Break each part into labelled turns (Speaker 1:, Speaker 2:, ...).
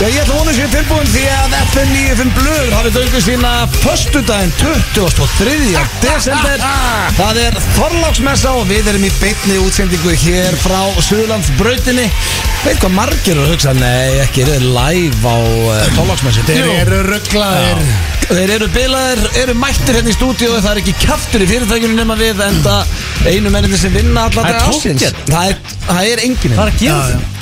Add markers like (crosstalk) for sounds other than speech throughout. Speaker 1: Já, ég ætla að vona sér tilbúin því að FN 95 Blöður hafi döngu sína Föstudaginn 23. desember Það er Þorláksmessa og við erum í beinni útsendingu hér frá Suðurlandsbrautinni Veit hvað margir eru að hugsa, nei ekki, þeir eru live á uh, Þorláksmessu
Speaker 2: Þeir eru rugglaðir
Speaker 1: Þeir eru bilaðir, eru mættir hérna í stúdíu Það er ekki kaftur í fyrirtækjunum nema við Enda einu menninni sem vinna alla
Speaker 3: Það er
Speaker 1: daga
Speaker 3: tómt
Speaker 1: ársins.
Speaker 3: hérna.
Speaker 1: Það er, það er enginn hérna.
Speaker 3: Það er að gera
Speaker 2: Já, já.
Speaker 3: þetta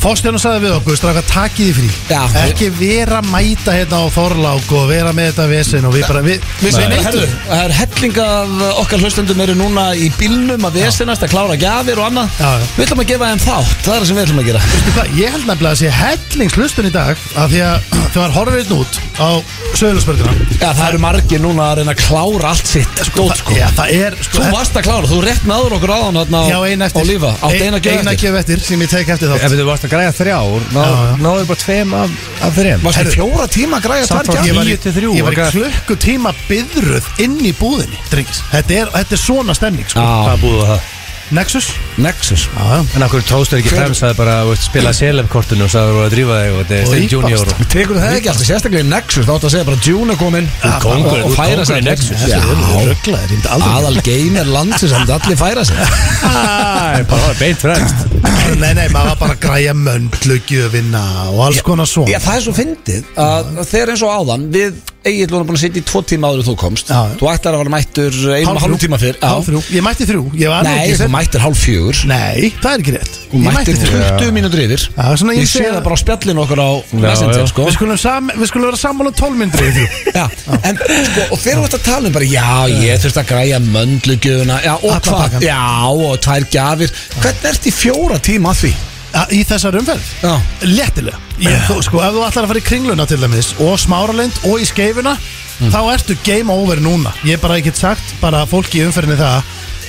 Speaker 2: Fórstjörnum sagði við okkur, straka takið í frí
Speaker 1: Já.
Speaker 2: Ekki vera að mæta hérna á Þorlák og vera með þetta vesen og við bara, við, við
Speaker 1: Nei,
Speaker 2: sem
Speaker 1: herðu,
Speaker 2: neytum
Speaker 1: Það er helling af okkar hlustendum eru núna í bílnum að vesinast að klára gjafir og annað
Speaker 2: Já, já.
Speaker 1: Við ætlum að gefa þeim þátt, það er það sem við ætlum að gera
Speaker 2: Veistu hvað, Ég held nefnilega að sé hellingslustun í dag af því að (clears throat) þegar horfir einn út á sögulagsbörguna
Speaker 1: Já, það eru margir núna að reyna að klára allt sitt dót, sko
Speaker 2: Já, það er sko,
Speaker 1: Þú varst að klára, þú rétt náður okkur áðan þarna á,
Speaker 2: Já, ein
Speaker 1: á
Speaker 2: eftir
Speaker 1: lífa Átt eina gjöf
Speaker 2: Eina
Speaker 1: eftir
Speaker 2: gjöf eftir sem ég tek eftir
Speaker 3: Ef
Speaker 2: þátt
Speaker 3: þú varst að græða þrjár
Speaker 2: Já, já.
Speaker 3: náðu- Náðu bara tveim af, af þrjum
Speaker 1: Varstu í fjóra tíma að græja
Speaker 3: Samt
Speaker 1: tvær
Speaker 3: var-
Speaker 2: Ég
Speaker 1: gjafir?
Speaker 2: var, í,
Speaker 3: Níu til þrjú,
Speaker 2: ég var í
Speaker 3: var
Speaker 2: klukkutíma byðruð inn í búðinni drengis. þetta er, þetta er svona stemning sko.
Speaker 1: Já,
Speaker 3: Hvað búðu það?
Speaker 2: Nexus
Speaker 1: Nexus
Speaker 2: Já,
Speaker 3: En af hverju tóðstu ekki
Speaker 1: Hver-
Speaker 3: fram Sæði bara þú veist, spila selefkortinu og sagði þú voru að drífa þig og þetta er
Speaker 2: Og
Speaker 3: Stein
Speaker 2: íbast.
Speaker 3: Junior og
Speaker 1: Tekur það ekki alltaf, sérstaklega í Nexus, þá áttu að segja bara June komin
Speaker 3: ert kóngurinn,
Speaker 1: og
Speaker 3: þú ert
Speaker 1: færa
Speaker 3: kóngurinn í Nexus.
Speaker 1: sig
Speaker 2: Þetta
Speaker 1: Já,
Speaker 2: er rugglaðir, ég myndi aldrei
Speaker 1: aðal gamer landsins, hann allir færa sig
Speaker 3: Það er bara beint fremst
Speaker 2: (laughs) Nei, nei, maður var bara að græja möndlu gjöfinna og alls konar svona
Speaker 1: Já, það er svo fyndið að þegar eins og áðan við Egil vorum búin að sitja í tvo tíma áður en þú komst
Speaker 2: Já.
Speaker 1: Þú ætlar að vera mættur einum og
Speaker 2: Hálf þrjú.
Speaker 1: hálfum tíma fyrr Já.
Speaker 2: Hálf þrjú. Ég mætti þrjú Ég var nú
Speaker 1: Nei,
Speaker 2: ekki
Speaker 1: þú
Speaker 2: sem-
Speaker 1: mættir hálf fjögur
Speaker 2: Nei, það er ekki rétt
Speaker 1: Þú
Speaker 2: Ég
Speaker 1: mættir
Speaker 2: þrjú
Speaker 1: 20 mínútur yfir
Speaker 2: Já, svona ég
Speaker 1: Ég sé
Speaker 2: segi
Speaker 1: það
Speaker 2: það.
Speaker 1: bara á spjallinu okkur á Messenger
Speaker 3: já.
Speaker 1: sko
Speaker 2: Við skulum, sam, við skulum vera sammála um 12 myndir í þrjú
Speaker 1: (laughs) Já, en sko, og þegar þú ert að tala um bara Já, ég þurft að græja möndlugjöfuna Já, og
Speaker 2: Alla
Speaker 1: hvað,
Speaker 2: pakkan.
Speaker 1: já, og tvær gjafir Hvernig ert í fjóra tíma að því?
Speaker 2: Ja, Í þessar umferð
Speaker 1: Já,
Speaker 2: Léttilega ég, þú, Sko, ef þú ætlar að fara í kringluna til dæmis Og smáralind og í skeifuna
Speaker 1: Mm.
Speaker 2: Þá ertu game over núna Ég bara ekki sagt, bara fólki í umferðinni það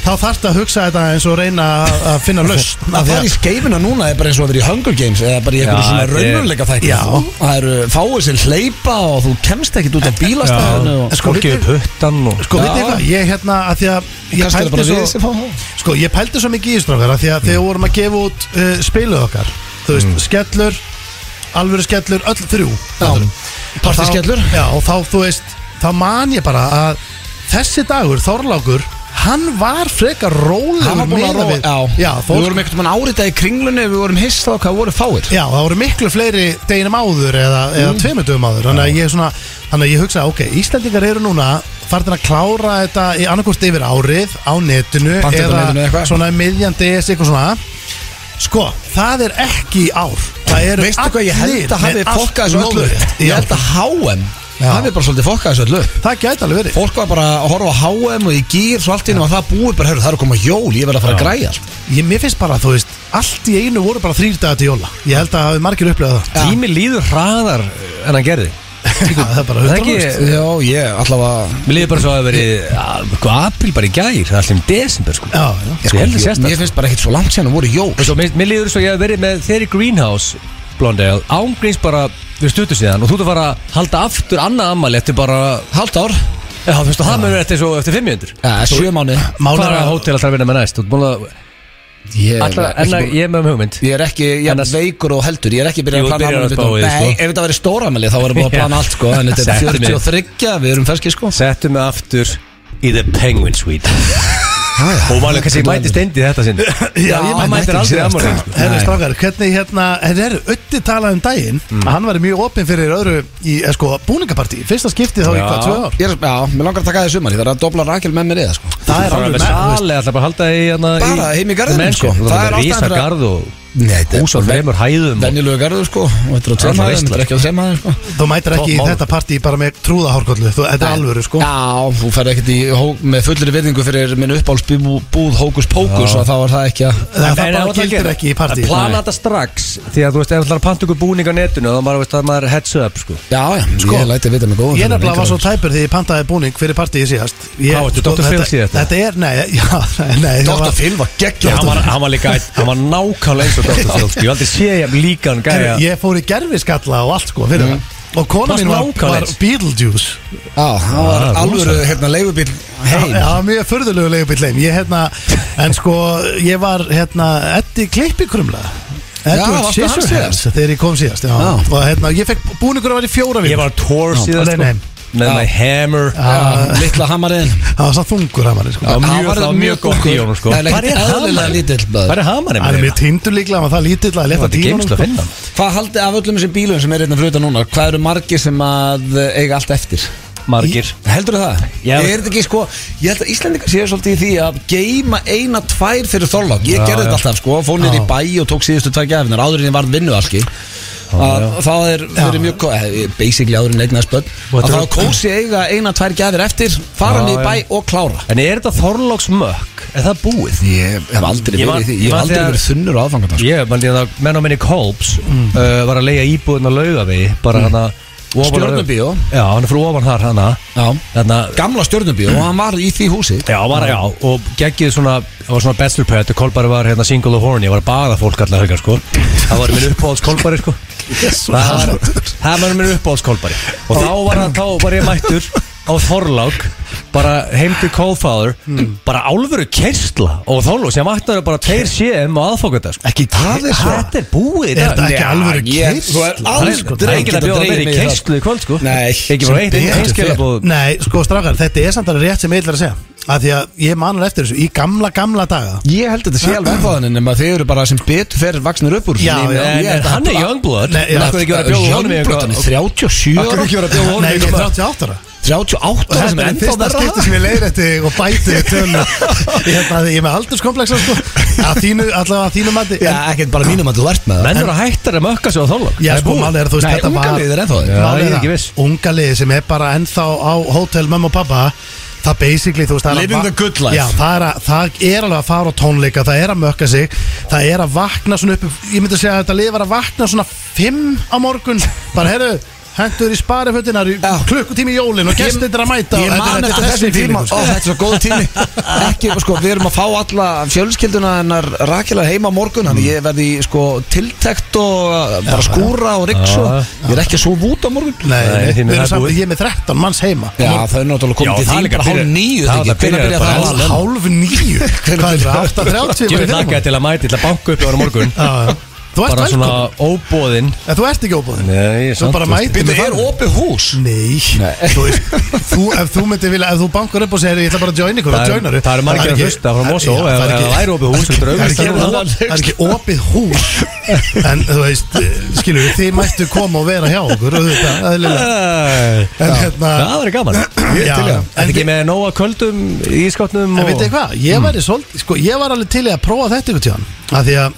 Speaker 2: Þá þarftu að hugsa þetta eins og reyna að- að
Speaker 1: (laughs)
Speaker 2: finna lausn Af
Speaker 1: að
Speaker 2: því
Speaker 1: fara í skeifina núna er bara eins og að vera í Hunger Games eða bara í einhverju
Speaker 3: Já,
Speaker 1: svona
Speaker 3: þetta er-
Speaker 1: raunuleika þætti
Speaker 2: Já.
Speaker 1: það eru fáið sem hleypa og þú kemst ekkit út á bílastæðinu og
Speaker 2: En sko,
Speaker 3: Fólki
Speaker 2: vitið-
Speaker 3: við puttan og
Speaker 2: Sko,
Speaker 1: Já.
Speaker 2: veit ég hvað, ég hérna að því að
Speaker 1: kannski
Speaker 2: ég
Speaker 1: er það bara
Speaker 2: pældi
Speaker 1: við sem
Speaker 2: svo,
Speaker 1: fá það
Speaker 2: sko, ég pældi svo mikið í strákar að því að þegar við vorum að gefa út uh, spiluð okkar, þú veist, skellur alvöru skellur, öll þrjú
Speaker 1: Mm. Já. Partyskellur.
Speaker 2: Þá- Já, og þá, þú veist, þá man ég bara að þessi dagur, Þorlákur hann var frekar rólegur
Speaker 1: Hann var búin að
Speaker 2: miðað
Speaker 1: róa,
Speaker 2: við-
Speaker 1: já,
Speaker 2: já,
Speaker 1: Við
Speaker 2: fólk,
Speaker 1: vorum einhvern veginn árið í kringlunni Við vorum hissa á hvað voru fáir
Speaker 2: já, það voru miklu fleiri deginum áður eða,
Speaker 1: Mm.
Speaker 2: eða tveimundum áður þannig að ég, svona, þannig að ég hugsa, ok, Íslandingar eru núna farin að klára þetta í annarkort yfir árið á netinu
Speaker 1: Panta þetta á
Speaker 2: eða
Speaker 1: netinu eitthvað.
Speaker 2: svona miðjandi eitthvað svona sko, það er ekki í ár það eru
Speaker 1: Veistu hvað ég held að
Speaker 2: allir
Speaker 1: hafi
Speaker 2: með allt
Speaker 1: fokkað þessu öllu
Speaker 2: lóðrétt.
Speaker 1: upp Ég
Speaker 2: Já,
Speaker 1: held að HM
Speaker 2: Já.
Speaker 1: hafi bara svolítið fokkað þessu öllu upp
Speaker 2: það gæti alveg verið
Speaker 1: Fólk var bara að horfa á HM og í gýr Svo allt í einu var það búið bara, herru, það er að koma jól Ég verð að fara að
Speaker 3: Já.
Speaker 1: græja allt
Speaker 2: ég, mér finnst bara, þú veist, allt í einu voru bara þrýr dagar til jóla ég held að hafi margir upplegað það
Speaker 1: Já.
Speaker 3: Tími líður hraðar en hann gerði
Speaker 2: Já, (laughs) það er bara
Speaker 3: Það er ekki-
Speaker 2: 100%.
Speaker 1: Já, ég allavega
Speaker 3: Mér líður bara svo að veri Hvað sko, apríl bara í gær Það er allir um desember sko
Speaker 2: Já, já.
Speaker 3: Ég held að sérst
Speaker 1: Mér finnst bara ekkit svo langt sér að voru jól
Speaker 3: Og svo mér, mér líður svo ég hef verið með þeirri Greenhouse Blondale ángríns bara við stuttu síðan og þú ert að fara að halda aftur annað ammali eftir bara
Speaker 1: Halvt ár,
Speaker 3: Já, þú veist, og það mörgur eftir, svo- eftir 500
Speaker 1: eh, sjö mánuði
Speaker 2: Málið er
Speaker 3: Hvaða
Speaker 2: að-
Speaker 3: hótel ætlar að vinna með næst? Þú ert búin að
Speaker 1: Ég er
Speaker 3: Alla,
Speaker 1: ekki
Speaker 3: alla,
Speaker 1: búinn-
Speaker 3: ég er með um hugmynd
Speaker 1: Ég er ekki, ég er
Speaker 3: Annars-
Speaker 1: veikur og heldur Ég er ekki byrjað
Speaker 3: Jú,
Speaker 1: að plana
Speaker 3: byrjar
Speaker 1: afmælið
Speaker 3: að
Speaker 1: mitt
Speaker 3: spá í því,
Speaker 1: Nei,
Speaker 3: sko.
Speaker 1: ef þetta verið stóramæli þá erum við búin að
Speaker 3: (laughs) Já.
Speaker 1: plana allt sko En þetta er
Speaker 3: Settu mig.
Speaker 1: 43, við erum ferski sko
Speaker 3: Settu mig aftur í The Penguin Suite Og maður kannski mæti stendi þetta sinn Já,
Speaker 1: ég
Speaker 3: hann
Speaker 1: mætti
Speaker 3: mætir
Speaker 1: ekki sko.
Speaker 3: aldrei
Speaker 1: síðast.
Speaker 3: ammali
Speaker 2: Herri strafgar, hvernig hérna Herri, herri, ötti talaði um daginn
Speaker 3: Mm.
Speaker 2: að Hann var mjög opinn fyrir öðru í, eh, sko, búningapartí Fyrsta skipti þá í
Speaker 3: Já.
Speaker 2: hvað, tvö ár
Speaker 1: Ég er, já, mér langar að taka það í sumar Ég þarf að dobla Rakel með mér eða sko
Speaker 2: Það er
Speaker 3: Það er
Speaker 2: alveg
Speaker 3: með sali, alltaf bara að halda í hana,
Speaker 1: Bara heim í garðinum,
Speaker 3: menn,
Speaker 1: sko.
Speaker 3: Það
Speaker 1: Það er
Speaker 3: er
Speaker 1: ástæðan
Speaker 3: rísa
Speaker 1: fyrir að-
Speaker 3: garð og
Speaker 1: Nei,
Speaker 3: hús á fremur hæðum og-
Speaker 1: Venjulegu garður sko Og þetta er á tveim
Speaker 3: Það er
Speaker 1: hæðum,
Speaker 3: alltaf veistla.
Speaker 1: þetta er ekki á þreim hæðum sko
Speaker 2: Þú mætir ekki í
Speaker 3: Topp mál.
Speaker 2: þetta partí bara með trúðahárkollu Þú, þetta er alvöru, sko
Speaker 1: Já, þú ferð ekkert í hó- með fullri virðingu fyrir minn uppáhaldsbúð Hókus Pókus og þá er það ekki að
Speaker 2: Það, það
Speaker 3: En
Speaker 2: bara
Speaker 3: það var
Speaker 2: gildir
Speaker 3: gera.
Speaker 2: ekki í partí
Speaker 3: En plana þetta strax Því að þú veist, ef þú ætlar að panta ykkur búning á netinu þá maður veist að maður er heads up sko.
Speaker 1: Já, já,
Speaker 2: Sko,
Speaker 1: ég læti vita með góðum
Speaker 2: Ég
Speaker 1: fyrir
Speaker 2: nefnilega var
Speaker 1: lengra.
Speaker 2: svo tæpur því ég pantaði búning fyrir partíi síðast Ég- sko,
Speaker 3: Hvað, varstu Dr. Phil
Speaker 2: þetta-
Speaker 3: síðast?
Speaker 2: Þetta er, nei, (laughs) já, nei það
Speaker 1: Dr.
Speaker 2: var-
Speaker 1: Phil var
Speaker 3: Já,
Speaker 1: geggjað
Speaker 3: hann, var, hann var líka, hann var nákvæmlega eins og Dr. Phil sko. Ég hef aldrei sé ég líka hann gæja
Speaker 2: Herri, Ég fór í gerfiskalla og allt, sko, fyrir það Og kona
Speaker 3: Mm. Varst
Speaker 2: mín var,
Speaker 3: nákvæmlega
Speaker 2: var
Speaker 3: eins.
Speaker 2: Beetlejuice
Speaker 1: Já, hann var
Speaker 3: Ah,
Speaker 1: alvöru hérna leifubíl heim
Speaker 2: Já, mjög förðulegu leigubíl heim Ég hérna, en sko, ég var hérna Eddi Klippikrumla Edward
Speaker 1: varstu hann
Speaker 2: Scissorhands
Speaker 1: síðast?
Speaker 2: þegar ég kom síðast já.
Speaker 1: Já.
Speaker 2: og hérna, ég fekk búningur að vera í fjóra
Speaker 3: Ég var á tour síðan
Speaker 2: Nei,
Speaker 3: sko
Speaker 2: nei.
Speaker 3: Með my hammer
Speaker 1: Já, litla hamarinn
Speaker 2: það var samt þungur að manni sko.
Speaker 3: Já, mjög-
Speaker 1: Hann var
Speaker 3: það var mjög gott í honum, sko.
Speaker 1: Það er
Speaker 3: Hvar er
Speaker 1: ekkert
Speaker 3: hamarinn?
Speaker 1: eðlilega lítill
Speaker 3: Hvað
Speaker 1: maður.
Speaker 3: er hamarinn?
Speaker 2: hann er mér tindur líklega, hann var það lítill að
Speaker 3: Það
Speaker 2: leta
Speaker 3: var ekki geimsla að
Speaker 2: sko.
Speaker 3: finna hann.
Speaker 1: Hvað haldið af öllum þessum bílum sem er hérna fyrir utan núna Hvað eru margir sem að eh, eiga allt eftir?
Speaker 3: Margir
Speaker 1: Heldur það?
Speaker 3: Já.
Speaker 1: Er þetta ekki sko Ég held að Íslendingar séu svolítið í því að geima eina, tvær fyrir þorlák Ég
Speaker 3: Já,
Speaker 1: gerði
Speaker 3: já.
Speaker 1: þetta alltaf sko Fór niður í
Speaker 2: Já.
Speaker 1: bæ og tók síðustu tvær gæfinar Áður en ég varð vinnualki að það er verið mjög ko- eh, basically áður en eignast börn
Speaker 2: Og
Speaker 1: að
Speaker 2: þetta
Speaker 1: það
Speaker 2: er-
Speaker 1: er kósi eiga eina, tvær gjafir eftir fara
Speaker 3: Já,
Speaker 1: niður í
Speaker 3: já.
Speaker 1: bæ og klára
Speaker 3: En er þetta Þorláks mökk? Er það búið?
Speaker 1: Ég hef aldrei
Speaker 3: Ég
Speaker 1: verið
Speaker 3: man-
Speaker 1: í því
Speaker 3: ég
Speaker 1: Ég hef
Speaker 3: man
Speaker 1: aldrei
Speaker 3: þegar-
Speaker 1: verið þunnur á aðfangandag sko.
Speaker 3: Ég, mann ég að menn á minni Kolbs uh, var að leiga íbúðin að lauga við bara hana ofan-
Speaker 1: Stjörnubíó.
Speaker 3: Já, hann er frá ofan þar hana
Speaker 1: Já.
Speaker 3: Þarna
Speaker 1: Gamla stjörnubíó og hann var í því húsi
Speaker 3: Já, var, já, og geggið svona það var svona bachelor pad, Kolbari var hérna single og horny, ég var að baða fólk allar helgar sko það var minn uppáhalds Kolbari sko það var, það var minn uppáhalds Kolbari og þá var, hann, þá var ég mættur á Þorlák, bara heim til Coldfather, bara álfuru kersla og Þorlák, sem mættur bara tveir CM og aðfókvölda sko
Speaker 1: Ekki það er svo
Speaker 3: Þetta er búið í
Speaker 2: Er
Speaker 3: dag
Speaker 2: þetta ekki
Speaker 1: Þú
Speaker 2: alvöru
Speaker 1: er
Speaker 2: kyrst?
Speaker 3: Það er
Speaker 1: aldrei
Speaker 3: ekki að bjóða meir í keistlu í kvöld sko
Speaker 1: Nei.
Speaker 3: Ekki bara eitt einn skilabóð
Speaker 2: Nei, sko strákar, þetta er samt alveg rétt sem ég ætlar að segja að því að ég manur eftir þessu í gamla, gamla daga
Speaker 1: Ég held að þetta sé alveg ennþá þannig nema þið eru bara sem betur fer vaksnir upp úr
Speaker 2: Já,
Speaker 1: Ég meina,
Speaker 2: já,
Speaker 1: ég held að
Speaker 3: Hann er Youngblood
Speaker 2: Nei, já,
Speaker 3: Það er ekki verið að bjóða honum í
Speaker 1: Youngblood, hann
Speaker 3: eitthvað
Speaker 1: er 37
Speaker 3: Akkur
Speaker 1: ára
Speaker 3: ekki verið að bjóða honum
Speaker 2: Nei,
Speaker 3: í
Speaker 2: ég er
Speaker 3: eitthvað
Speaker 2: 38 ára
Speaker 1: 38
Speaker 2: Og
Speaker 1: ára sem er
Speaker 2: þetta er
Speaker 1: ennþá
Speaker 2: fyrsta
Speaker 1: verra
Speaker 2: skipti sem ég leiðir þetta og bæti við tölum Ég held að ég er með aldurskompleksa sko Að þínu, allavega að þínu mati
Speaker 1: Já, ekkert bara mínum að þú ert með það
Speaker 3: Menn eru að hætta að mökka sig á þólag
Speaker 2: Já, sko, málið er þú veist,
Speaker 1: Nei,
Speaker 2: þetta var
Speaker 1: unga liðið er ennþá
Speaker 3: Já,
Speaker 1: þeir
Speaker 2: Málið
Speaker 3: ég er
Speaker 2: það,
Speaker 3: ekki viss.
Speaker 2: Unga liðið sem er bara ennþá á hótel mamma og pappa Það basically, þú veist það er að
Speaker 1: Living
Speaker 2: va-
Speaker 1: the good life.
Speaker 2: Já, það er, að, það er alveg að fara á tónleika Það er að mökka sig Það er að vakna svona upp Ég myndi að segja að þetta lið var að vakna svona Fimm á morgun Bara, herru, hendur í sparifötinar
Speaker 1: Já.
Speaker 2: Klukkutími í jólin og gestir að mæta
Speaker 1: Ég
Speaker 2: og þetta-
Speaker 1: man
Speaker 2: þetta
Speaker 1: eftir
Speaker 2: er
Speaker 1: þessum
Speaker 2: feeling,
Speaker 1: tíma Ó,
Speaker 2: sko.
Speaker 1: þetta er svo góð
Speaker 3: (laughs)
Speaker 1: tími Ekki, sko, við erum að fá alla fjölskylduna hennar rakilega heima á morgun Þannig ég verði, sko, tiltekt og uh, bara skúra og ryggs og
Speaker 3: Já.
Speaker 1: Ég er ekki að sofa út á morgun
Speaker 2: Nei,
Speaker 3: Nei,
Speaker 2: nei,
Speaker 3: þín er
Speaker 2: við erum
Speaker 3: það
Speaker 2: samt-
Speaker 3: búið.
Speaker 2: ég er með 13 manns heima
Speaker 1: Já, það er náttúrulega
Speaker 3: Já,
Speaker 1: komið til
Speaker 3: það
Speaker 1: þín
Speaker 3: er líka
Speaker 1: bara hálf
Speaker 3: byrjað-
Speaker 1: níu
Speaker 3: það
Speaker 1: þegar
Speaker 3: var
Speaker 1: Hvernig
Speaker 3: byrjað
Speaker 1: byrja
Speaker 3: bara
Speaker 1: það alveg?
Speaker 3: alveg.
Speaker 2: Hálf nýju
Speaker 3: (laughs)
Speaker 2: Hvað er það? 8.30 bara
Speaker 3: Ég
Speaker 2: í
Speaker 3: vil þakka
Speaker 2: fyrramálið?
Speaker 3: til að mæti til að banka upp á hann á morgun
Speaker 2: Já, já. Þú ert
Speaker 3: Bara svona
Speaker 2: velkomin
Speaker 3: óbóðinn
Speaker 2: En þú ert ekki óbúðin
Speaker 3: Nei, ég er
Speaker 2: Þú
Speaker 3: samt,
Speaker 2: bara
Speaker 3: þú veist.
Speaker 2: mætir
Speaker 1: Býttu,
Speaker 2: með
Speaker 1: er
Speaker 2: það.
Speaker 1: opið hús?
Speaker 2: Nei, Þú, veist, þú, ef þú myndir vilja, ef þú bankar upp og segir ég ætla bara að joina ykkur,
Speaker 3: Það
Speaker 2: þá
Speaker 3: er-
Speaker 2: joinar
Speaker 3: það eru margir að hlusta frá Mosó, ef- ef það væri opið hús, þetta
Speaker 2: Það er
Speaker 3: er auglýst
Speaker 2: ekki-
Speaker 3: þarna.
Speaker 2: það er ekki- það er ekki opið hús En þú veist, skilur við, þið mættu koma og vera hjá okkur og þetta, eðlilega
Speaker 3: Það
Speaker 2: En hérna,
Speaker 3: er gaman Ég
Speaker 2: Já,
Speaker 3: til í það.
Speaker 2: en-
Speaker 3: Er ekki með nóga köldum í skotnum
Speaker 2: en veitir hvað,
Speaker 3: Mm.
Speaker 2: ég væri svolítið, sko, ég var alveg til í að prófa þetta ykkur tíðan Af því að,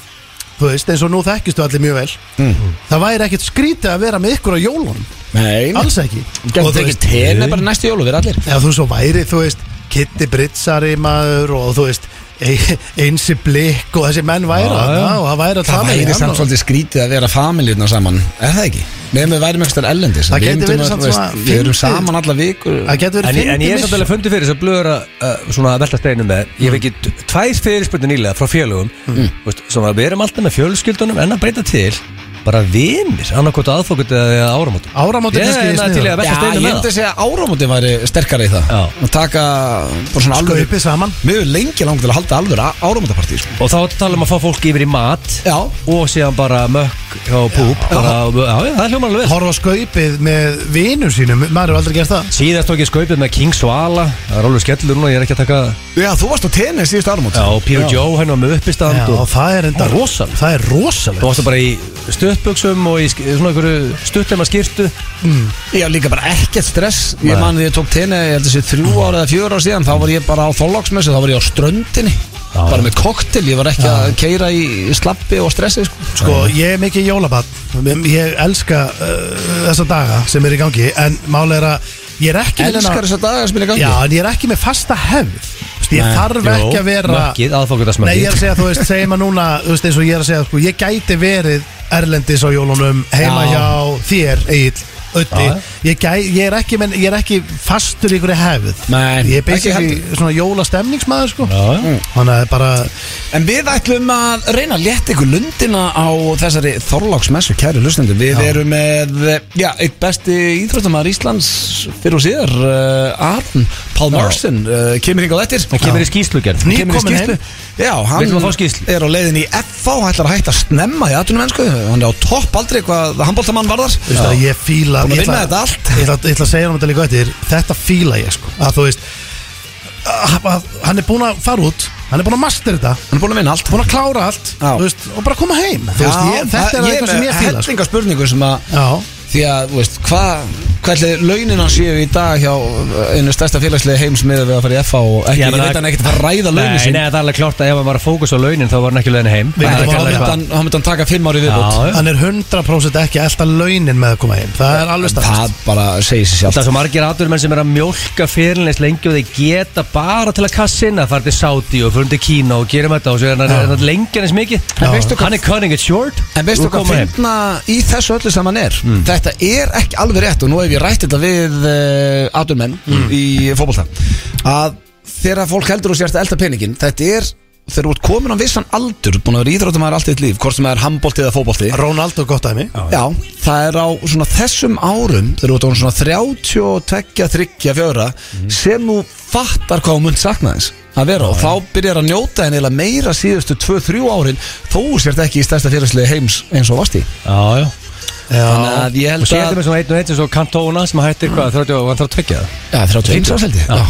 Speaker 2: þú veist, eins og nú þekkistu allir mjög vel
Speaker 3: Mm.
Speaker 2: Það væri ekkert skrítið að vera með ykkur á jólunum,
Speaker 1: Nei
Speaker 2: alls ekki
Speaker 1: Gæti
Speaker 2: Og þú
Speaker 1: tekið
Speaker 2: veist-
Speaker 1: tenni bara næstu jólu, við allir
Speaker 2: eða þú svo væri, þú veist Kitty Britsari maður og þú veist e- Einsi Blikk og þessi menn væri
Speaker 3: Já,
Speaker 2: að
Speaker 3: já.
Speaker 2: og það væri að
Speaker 1: Það
Speaker 2: tala í
Speaker 1: væri
Speaker 2: hann
Speaker 1: samt
Speaker 2: og-
Speaker 1: svolítið skrítið að vera familíuna saman Er það ekki? Nefnum við værum eitthvað ellendis en
Speaker 2: Það
Speaker 1: við
Speaker 2: gæti
Speaker 1: myndum
Speaker 2: verið
Speaker 1: að,
Speaker 2: samt
Speaker 1: þú veist,
Speaker 2: svona
Speaker 1: Við erum
Speaker 2: fyndið.
Speaker 1: saman alla vikur
Speaker 2: það getur
Speaker 3: En,
Speaker 2: verið
Speaker 3: ég- en ég er samt alveg fundið fyrir þess að blöður að uh, svona velta steinu með Ég hef ekki t- tvær fyrirspurni nýlega frá félögum mm. veist, Svona við erum alltaf með fjölskyldunum en að breyta til Bara vinir, annarkot aðfókut eða áramót
Speaker 2: Áramót er
Speaker 3: Ég
Speaker 2: kannski
Speaker 3: er hérna
Speaker 2: sniðugt.
Speaker 3: til í að
Speaker 1: Já,
Speaker 3: velta
Speaker 1: ég
Speaker 3: steinu með
Speaker 1: myndi
Speaker 3: það
Speaker 1: að segja að áramóti væri sterkari í það
Speaker 3: Já.
Speaker 1: Og taka bara
Speaker 2: Sko,
Speaker 1: svona alveg
Speaker 2: Skaupið saman.
Speaker 1: Mér er lengi langt til að halda alveg áramótapartí sko.
Speaker 3: Og þá ertu að tala um að fá fólk yfir í mat
Speaker 1: Já
Speaker 3: Og síðan bara mökk og púp bara, já, já, það hljómar alveg vel
Speaker 2: horfa á skaupið með vinum sínum maður hefur aldrei gert það
Speaker 3: Síðast tók ég skaupið með King Svala Það er alveg skellur núna, ég er ekki að taka
Speaker 1: Já, þú varst á tenni síðust áramót
Speaker 3: Já, og Píru Jó henni var hérna með
Speaker 2: Já,
Speaker 3: uppistand
Speaker 2: og
Speaker 3: og
Speaker 2: það er enda
Speaker 3: Það er rosalegt.
Speaker 2: það er rosalega
Speaker 3: Þú varst bara í stuttbuxum og í sk- svona einhverju stuttlema skýrtu
Speaker 1: Já, líka bara ekkert stress Ég
Speaker 3: Nei.
Speaker 1: man því ég tók tenni, ég held þessi þrjú ára eða fjör ára síðan Þá var ég bara á þólagsmessu, þá var ég á ströndinni
Speaker 3: Já.
Speaker 1: Bara með koktel, ég var ekki að keira í slappi og stressi sko.
Speaker 2: sko, ég er mikið jólabann ég elska uh, þessa daga sem er í gangi en máli er að ég er ekki með
Speaker 1: Elskar
Speaker 2: neina-
Speaker 1: þess að daga sem er í gangi
Speaker 2: Já, en ég er ekki með fasta hefð Þú veist, ég þarf ekki að vera Nei, ég
Speaker 3: Mökkið,
Speaker 2: er
Speaker 3: aðfókvitaðsmökkið
Speaker 2: að segja, þú veist, segjum að núna Þú veist, eins og ég er að segja, sko, ég gæti verið Erlendis á jólunum, heima
Speaker 1: Já.
Speaker 2: hjá þér, Egil öddi
Speaker 3: Já, já.
Speaker 2: ég, gæ, ég, er ekki, menn, ég er ekki fastur í einhverju hefð
Speaker 3: Nei,
Speaker 2: Ég er
Speaker 1: ekki
Speaker 2: basically svona jólastemningsmaður sko
Speaker 3: Já, já.
Speaker 2: Þannig að bara
Speaker 1: Mm. En við ætlum að reyna að leta ykkur lundina á þessari Þorláksmessu, kæri lustendur. Við erum með, já, eitt besti íþróttamæður Íslands fyrir og síðar, uh, Arn Pál Marsin, uh, kemur hingað á eftir.
Speaker 3: Það kemur í skýslugjörn
Speaker 2: Ný-
Speaker 1: Kemur í
Speaker 2: kominn
Speaker 1: skýrslu. Já, hann
Speaker 3: Vill maður fá skýrslu?
Speaker 1: er á leiðin í FH, ætlar að hætta að snemma í aðtunum mennsku, hann er á topp aldrei hvað handbóltamann varðar.
Speaker 2: Þú veist að ég fíla
Speaker 1: Búin að
Speaker 2: ég
Speaker 1: vinna
Speaker 2: ætla-
Speaker 1: þetta allt.
Speaker 2: Ég ætla, ég ætla að segja hann þetta líka eftir Þetta fíla ég sko Að þú veist að, að, Hann er búinn að fara út Hann er búinn að master þetta
Speaker 1: Hann er búin að vinna allt.
Speaker 2: Búinn að klára allt
Speaker 1: Já.
Speaker 2: þú veist, Og bara koma heim Þú veist, ég, Þetta er eitthvað sem ég fíla sko.
Speaker 1: Hellinga spurningu sem að
Speaker 2: Já
Speaker 1: Því að, þú veist, hvað Hvernig launin hans séu í dag hjá uh, einu stærsta félagslega heims með að við að fara í FH og ekki,
Speaker 3: Já,
Speaker 1: ég
Speaker 3: menn
Speaker 1: veit
Speaker 3: það-
Speaker 1: hann ekkert að ræða launin
Speaker 3: Nei,
Speaker 1: sín
Speaker 3: nei, það er alveg klart að ef hann var að fókus á launin þá var hann ekki launin heim
Speaker 2: Við
Speaker 3: Það er
Speaker 2: getum horfið
Speaker 3: ekki alveg
Speaker 1: Myndi
Speaker 3: eitthvað-
Speaker 1: hann- Hann myndi hann taka fimm ári viðbútt
Speaker 3: Já, já.
Speaker 2: Hann er 100% ekki að elta launin með að koma heim Það er alveg stafst
Speaker 1: Það bara segir sér
Speaker 3: Það
Speaker 1: sjálf
Speaker 3: er svo margir aðurmenn sem er að mjólka fyrirleins lengi og þeir geta bara til að kassinna Það er til Saudi og fyrir til Kína og gerum þetta og svo er hann- er hann lengi hann eins mikið
Speaker 1: En veistu hvað-
Speaker 3: Hann er cutting it short
Speaker 1: En veistu
Speaker 3: Nú
Speaker 1: hvað
Speaker 3: koma Mm. heim.
Speaker 1: finna í þessu öllu sem hann er Þetta er ekki alveg rétt og nú hef ég rætt þetta við uh, aturmenn
Speaker 3: Mm.
Speaker 1: í fótbolta að þegar fólk heldur og sérst að elda peningin þetta er þegar þú ert komin á vissan aldur búin að vera íþróttumæður allt eitt líf hvort sem það er handbóltið eða fótbolti
Speaker 2: Ronaldo gott af mig
Speaker 1: Já, það er á svona þessum árum þegar þú ert orðinn svona 32, 34 sem þú fattar hvað þú munt sakna þess að vera og þá byrjar að njóta henni eiginlega meira síðustu 2-3 árin þó þú sért ekki í stærsta fyrirslið heims eins og vasti
Speaker 3: Já, já
Speaker 1: Þannig að ég
Speaker 3: Og
Speaker 1: held
Speaker 3: sér þetta
Speaker 1: að
Speaker 3: með svona einn og einn sem svo Cantona sem hættir hvað, 30 og hann þarf að tvekja það
Speaker 1: Já, 31 árs held ég Já.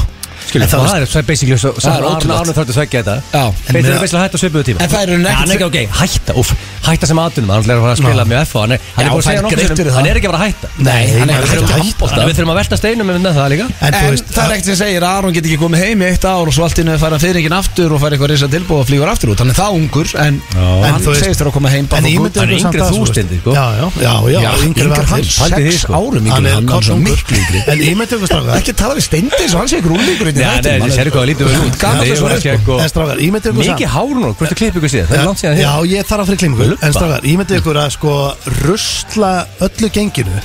Speaker 3: Skiljum,
Speaker 2: það
Speaker 3: það, það er það er basically svo,
Speaker 1: Það er
Speaker 3: það er
Speaker 1: ótrúlegt.
Speaker 3: ótrúlega Arnur þarf að tvekja þetta
Speaker 1: Já.
Speaker 3: Þeir
Speaker 2: En
Speaker 3: eru
Speaker 2: meða-
Speaker 3: basically að hætta á svipuðu tíma
Speaker 1: En það eru
Speaker 3: Nei,
Speaker 1: neitt-
Speaker 3: hann er ekki ok, hætta, úf, hætta sem atvinnum Hann er að fara að spila með FH Hann er,
Speaker 1: Já,
Speaker 3: hann er búin
Speaker 1: fær
Speaker 3: að segja nokkuð
Speaker 1: greitt
Speaker 3: sinnum,
Speaker 1: fyrir það.
Speaker 3: hann er ekki að fara að hætta
Speaker 2: Nei,
Speaker 1: hann er
Speaker 2: maður
Speaker 1: ekki að
Speaker 2: er ekki
Speaker 1: handbolta.
Speaker 3: Þannig að við þurfum að velta steinum um með það líka
Speaker 2: En þú
Speaker 1: En
Speaker 2: veist
Speaker 1: það er ekkert sem segir að Aron get ekki komið heim í eitt ár og svo allt innu fara fyrirgin aftur og fara eitthvað reysa tilbúð og flýgur aftur út Þannig það ungur, en
Speaker 2: En
Speaker 1: hann
Speaker 2: þú veist-
Speaker 1: segist þér að koma heim bara
Speaker 2: En
Speaker 1: frá
Speaker 2: ég
Speaker 1: Guðdal.
Speaker 2: myndi
Speaker 3: Hann er yngri en þú, Steindi, sko.
Speaker 2: Já, já, já, já,
Speaker 1: Já,
Speaker 2: yngri
Speaker 1: yngri
Speaker 2: var
Speaker 1: hann,
Speaker 2: þeir.
Speaker 3: Pældi því,
Speaker 1: sex
Speaker 3: sko.
Speaker 1: árum yngri
Speaker 2: Hann er
Speaker 1: hann, hann er svo
Speaker 2: kollungur.
Speaker 1: miklu yngri
Speaker 2: En ég myndi ykkur strákar
Speaker 1: ekki tala við steindi eins og hann sé ykkur úrleikur
Speaker 3: Já, nei, ég sér hvað lítið við út
Speaker 1: Gamall
Speaker 3: Nei,
Speaker 1: og
Speaker 3: ég var
Speaker 1: svona,
Speaker 3: ekki
Speaker 1: sko.
Speaker 3: eitthvað-
Speaker 2: En strákar, ég myndi ykkur
Speaker 3: Mikið hárun og hvort þú klippið ykkur síðan Það er langt síðan
Speaker 2: Eh,
Speaker 3: hérna.
Speaker 2: Já,
Speaker 3: þér
Speaker 2: ég þarf að fyrir klimmingu
Speaker 3: Lubba.
Speaker 2: En strákar, ég myndi ykkur að sko rusla öllu genginu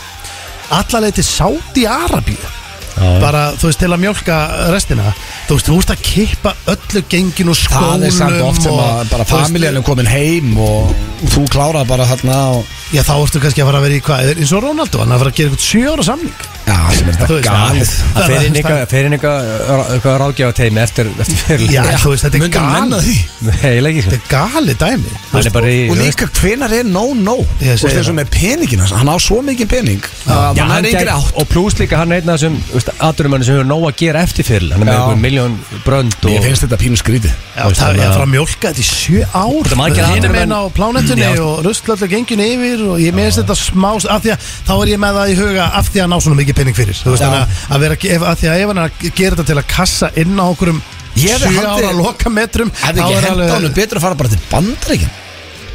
Speaker 2: allarleið til Sáti Arabíu bara, þú veist, til að mjólka restina þú veist, þú veist að kippa öllu genginu og skólum
Speaker 1: það er samt oft sem
Speaker 2: og-
Speaker 1: að bara
Speaker 2: þú veist,
Speaker 1: familjan er komin heim og þú klára bara þarna og
Speaker 2: Já, þá ertu kannski að fara að vera í hvað eins og Ronaldo, hann er að fara að gera eitthvað sjö ára samning
Speaker 1: já, sem er
Speaker 2: Þú
Speaker 1: þetta
Speaker 2: veist,
Speaker 1: galið
Speaker 2: það-
Speaker 3: Það fer inn eitthvað- fer inn eitthvað ráðgjáða teimi eftir fyrirlega
Speaker 2: Já, þú veist, þetta er
Speaker 1: Myndu menn að
Speaker 2: galið
Speaker 1: því?
Speaker 3: Nei, ég legg ekki sko.
Speaker 2: Þetta er galið dæmi
Speaker 3: Hann er bara í
Speaker 1: og líka hvenar er no no og
Speaker 2: Ég segi
Speaker 1: þessu
Speaker 2: það.
Speaker 1: með peningin hans, hann á svo mikið pening að
Speaker 3: Já,
Speaker 1: hann er yngri
Speaker 3: gæti-
Speaker 1: átt
Speaker 3: Og pluss líka hann er einn af þessum Aturumönni sem hefur nóg að gera eftir fyrir Hann er með
Speaker 1: Já.
Speaker 3: einhvern miljón brönd og
Speaker 1: ég finnst þetta pínu skrítið
Speaker 2: Já, það er
Speaker 1: hérna-
Speaker 2: að fara að mjólka þetta í sjö ár
Speaker 3: Þetta er margir
Speaker 2: hinum
Speaker 3: aðrir
Speaker 2: einn
Speaker 3: menn-
Speaker 2: á plánetunni
Speaker 3: Já.
Speaker 2: og rustlöldu gengin yfir og ég meðist þetta smá af því að þá er ég með það í huga af því að ná svona mikið pening fyrir þú veist
Speaker 1: Já.
Speaker 2: þannig að, að vera ef, af því að ef hann er að gera þetta til að kassa inn á okkur um
Speaker 1: Ég hefði
Speaker 2: sjö
Speaker 1: haldið-
Speaker 2: ára lokametrum
Speaker 1: hefði
Speaker 2: þá
Speaker 1: ekki
Speaker 2: er
Speaker 1: henda
Speaker 2: alveg-
Speaker 1: honum betur að fara bara til bandreikin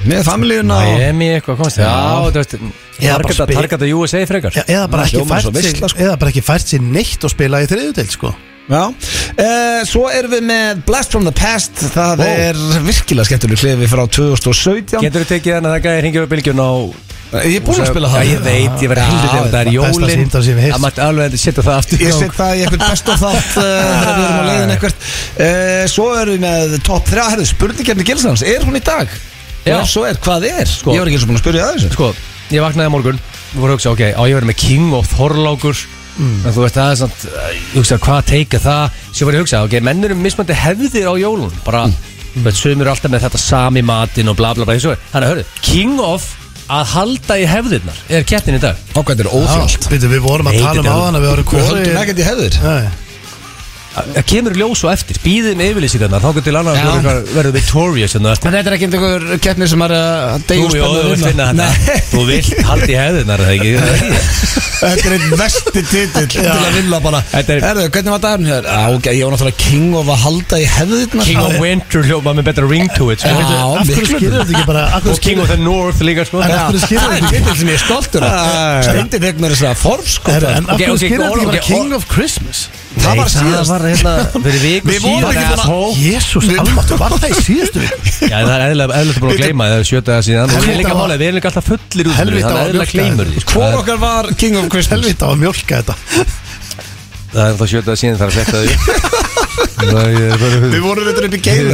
Speaker 1: með familjuna og
Speaker 3: Miami eitthvað komst þér
Speaker 1: Já.
Speaker 3: Já, þú veist
Speaker 2: Eða bara
Speaker 3: Targeta,
Speaker 2: spil-
Speaker 3: targeta USA frekar
Speaker 2: Já, eða, bara ekki
Speaker 1: Hljómar
Speaker 2: fært
Speaker 1: svo
Speaker 2: sig,
Speaker 1: veisla, sko.
Speaker 2: eða bara ekki fært sér neitt og spila í þriðuteld sko.
Speaker 1: Já, uh, svo erum við með Blast from the Past Það
Speaker 3: Wow.
Speaker 1: er virkilega skemmtileg klefi frá 2017
Speaker 3: Getur þú tekið hann að það gæði hringið á bylgjun á
Speaker 1: Ég er búin að spila það
Speaker 3: Já, ég veit, ég verði
Speaker 1: Já,
Speaker 3: hildur þegar það er
Speaker 2: það er besta
Speaker 3: jólin
Speaker 2: sýnd á sem ég heyrt.
Speaker 3: Það mætti alveg að setja það aftur í
Speaker 1: Ég
Speaker 3: gang.
Speaker 1: set það í einhvern best of (laughs) þátt uh, þegar við erum að leiðin eitthvað uh, Svo erum við með top 3 Herðu, spurningjarni Gilsans, er hún í dag? Já
Speaker 3: Já.
Speaker 1: Sko- Ef svo er, hvað er? Ég var ekki eins og búin að spyrja það þessu
Speaker 3: Sko, ég vaknaði á morgun og voru að hugsa, ok, á ég verið með King og Þorlákur
Speaker 2: Mm.
Speaker 3: en þú veist, það er samt eh, ég hugsa, hvað teika það svo var ég að hugsa, ok, menn eru mismandi hefðir á jólun bara,
Speaker 2: Mm.
Speaker 3: þú veist, sömur eru alltaf með þetta sami matinn og bla bla bla svo, þannig að hörðu, King of að halda í hefðirnar er kettin í dag
Speaker 1: Og hvað þetta er óþjóðalt
Speaker 2: Býtu, Við vorum að
Speaker 3: Nei,
Speaker 2: tala um
Speaker 3: þetta er-
Speaker 2: áðan að við vorum
Speaker 1: Við höldum
Speaker 2: kori
Speaker 1: ekkert í hefðir
Speaker 3: það Eh, kemur ljós og eftir, býðið með yfirlýsingarnar þá getur annars
Speaker 1: Já.
Speaker 3: voru eitthvað- verður victorious hérna. en það
Speaker 1: En þetta er ekki einhver keppni sem er eh, að
Speaker 3: Jú, jú, þú
Speaker 1: hérna.
Speaker 3: vilt finna þetta hérna? Þú vilt halda í hefðirnar, er það ekki? Er það ekki?
Speaker 1: (laughs) Þetta er einn vesti titill til að vinna bara
Speaker 3: Þetta er-
Speaker 1: Herðu, hvernig var dagurinn hér? Á, ok, ég var náttúrulega king of að halda í hefðirnar
Speaker 3: King of Winter hljóma með betra ring to it sko.
Speaker 1: Já.
Speaker 2: Af hverju
Speaker 1: miklu.
Speaker 2: skilur þetta ekki bara af hverju
Speaker 3: Og King
Speaker 2: skilur-
Speaker 3: of the North líka sko.
Speaker 2: En af hverju skilur
Speaker 1: Það er
Speaker 2: þetta ekki
Speaker 1: titill sem ég er stoltur af Steindi fekk mér þess að Forbes sko
Speaker 2: Herra, En af
Speaker 3: Ok,
Speaker 2: hverju
Speaker 3: ok,
Speaker 2: skilur þetta
Speaker 3: ok,
Speaker 2: ekki bara
Speaker 3: ok,
Speaker 2: King of Christmas
Speaker 1: Það var síðast
Speaker 3: var hérna fyrir viku
Speaker 1: Við vorum ekki búin að-
Speaker 3: að
Speaker 2: Jésús,
Speaker 1: Við-
Speaker 2: almáttu, var
Speaker 1: (laughs)
Speaker 2: það í síðustu viku?
Speaker 3: Já, það er eðlilega eðlilega búin að gleyma því, það er sjö dagar síðan og við erum líka
Speaker 2: Helvita var-
Speaker 3: málið, við erum líka alltaf fullir út úr því,
Speaker 2: Helvita
Speaker 3: þannig
Speaker 2: var
Speaker 3: að eðlilega
Speaker 2: mjólkaður.
Speaker 3: gleymur því sko.
Speaker 1: Hvor
Speaker 3: Það er-
Speaker 1: okkar var King of Christmas
Speaker 2: Helvita að mjölka þetta
Speaker 3: Það er alltaf sjö dagar síðan, það er að fletta því
Speaker 1: (laughs)
Speaker 3: Það er bara
Speaker 1: Við vorum þetta upp í geimu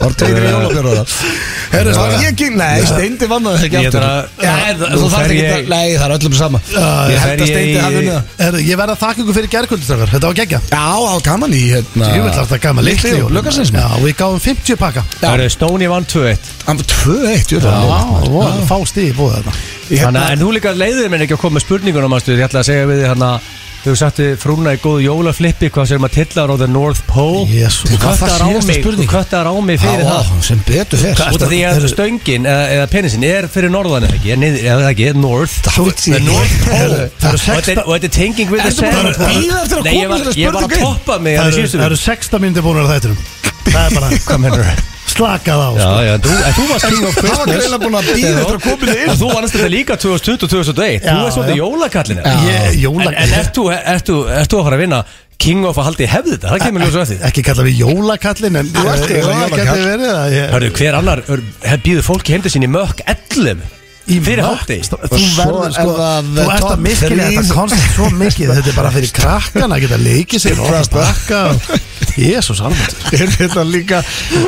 Speaker 1: Var tveikri jólokjörður Herru, það var ég King Nei, Steindi vann það ekki
Speaker 3: Ég
Speaker 1: aftur
Speaker 3: þarf að-
Speaker 1: Já, er-
Speaker 3: Nú
Speaker 1: Þú þarf
Speaker 3: fer
Speaker 1: ekki
Speaker 3: ég-
Speaker 1: að Nei, það er öllum sama
Speaker 2: Já,
Speaker 1: Ég held
Speaker 3: fer
Speaker 1: að
Speaker 3: ég
Speaker 1: Steindi
Speaker 3: í-
Speaker 1: hafi unnið það
Speaker 2: Herðu, Ég verð að þakka ykkur fyrir gerkvöldistakar, þetta var geggja
Speaker 1: Já, á gaman í hérna
Speaker 2: Ég vil alltaf gama
Speaker 1: Litli jól, lögarsins
Speaker 2: Já, við gáum 50 um pakka
Speaker 3: Það er Stóni vann 2-1
Speaker 1: Hann var 2-1, jú, það
Speaker 2: Vá,
Speaker 1: var nóg.
Speaker 2: vá, Fá stíði búið þetta
Speaker 1: Ah. Ég
Speaker 3: Þannig að
Speaker 1: hérna-
Speaker 3: en þú líka leiðir mér ekki að koma með spurningunum manstu, Ég ætla að segja við þig hérna Þú sagti frúna í góðu jólaflippi Hvað sér maður tillar á The North Pole
Speaker 2: Jesús,
Speaker 3: Þú
Speaker 1: hvað var
Speaker 3: köttar á
Speaker 1: síðasta
Speaker 3: mig Þú
Speaker 1: spurning?
Speaker 3: köttar á mig fyrir
Speaker 1: Já,
Speaker 3: það
Speaker 1: sem betur fer
Speaker 3: Út af því að stöngin eða, eða penisinn er fyrir norðan eða ekki, er niður, eða ekki, er north
Speaker 1: Það veit ég
Speaker 3: The
Speaker 1: ekki.
Speaker 3: North Pole
Speaker 2: Herðu,
Speaker 3: og
Speaker 2: það eru
Speaker 3: þetta er-
Speaker 2: sexta-
Speaker 3: og þetta er tenging við the
Speaker 1: Ertu bara að bíða eftir að
Speaker 3: Nei, ég
Speaker 1: koma
Speaker 3: var-
Speaker 1: þessari
Speaker 3: Ég var að
Speaker 1: spurningu inn?
Speaker 3: toppa mig
Speaker 2: Það
Speaker 3: Það er
Speaker 2: eru-
Speaker 3: síðustu
Speaker 2: það eru sexta myndir búin að þættinum Það er
Speaker 1: (laughs)
Speaker 2: bara,
Speaker 3: Hvað mennur það?
Speaker 2: slakað á
Speaker 3: Já,
Speaker 2: sko.
Speaker 3: já, þú, en þú varst king of
Speaker 1: Það var
Speaker 3: Christmas
Speaker 1: greinilega búin að bíða
Speaker 3: Já.
Speaker 1: eftir að koma þig inn.
Speaker 3: En Þú vannst þetta líka 2020 og 2021 Þú
Speaker 2: Já,
Speaker 3: er svolítið hérna.
Speaker 2: já.
Speaker 3: jólakallin
Speaker 2: Ég-
Speaker 3: En,
Speaker 2: jóla-
Speaker 3: en ert þú, ert, þú, ert þú að fara að vinna King of að haldi í hefði þetta? Það kemur ljósa að því
Speaker 2: Ekki kalla mig jólakallin En
Speaker 1: Þú ert ekki
Speaker 2: jólakallin
Speaker 1: jólakall.
Speaker 2: verið það ég-
Speaker 3: Hörru, hver annar býður fólki heimdi sín í mökk 11 Fyrir
Speaker 2: Mökk,
Speaker 3: hátti
Speaker 2: Þú
Speaker 1: svo
Speaker 2: verður
Speaker 1: er
Speaker 2: sko
Speaker 1: það
Speaker 2: Þú ert
Speaker 1: top
Speaker 2: að miskina
Speaker 1: three.
Speaker 2: þetta koncept svo mikið Þetta er bara fyrir krakkana að geta leikið sér Og það bakka Jésús alveg
Speaker 1: er þetta líka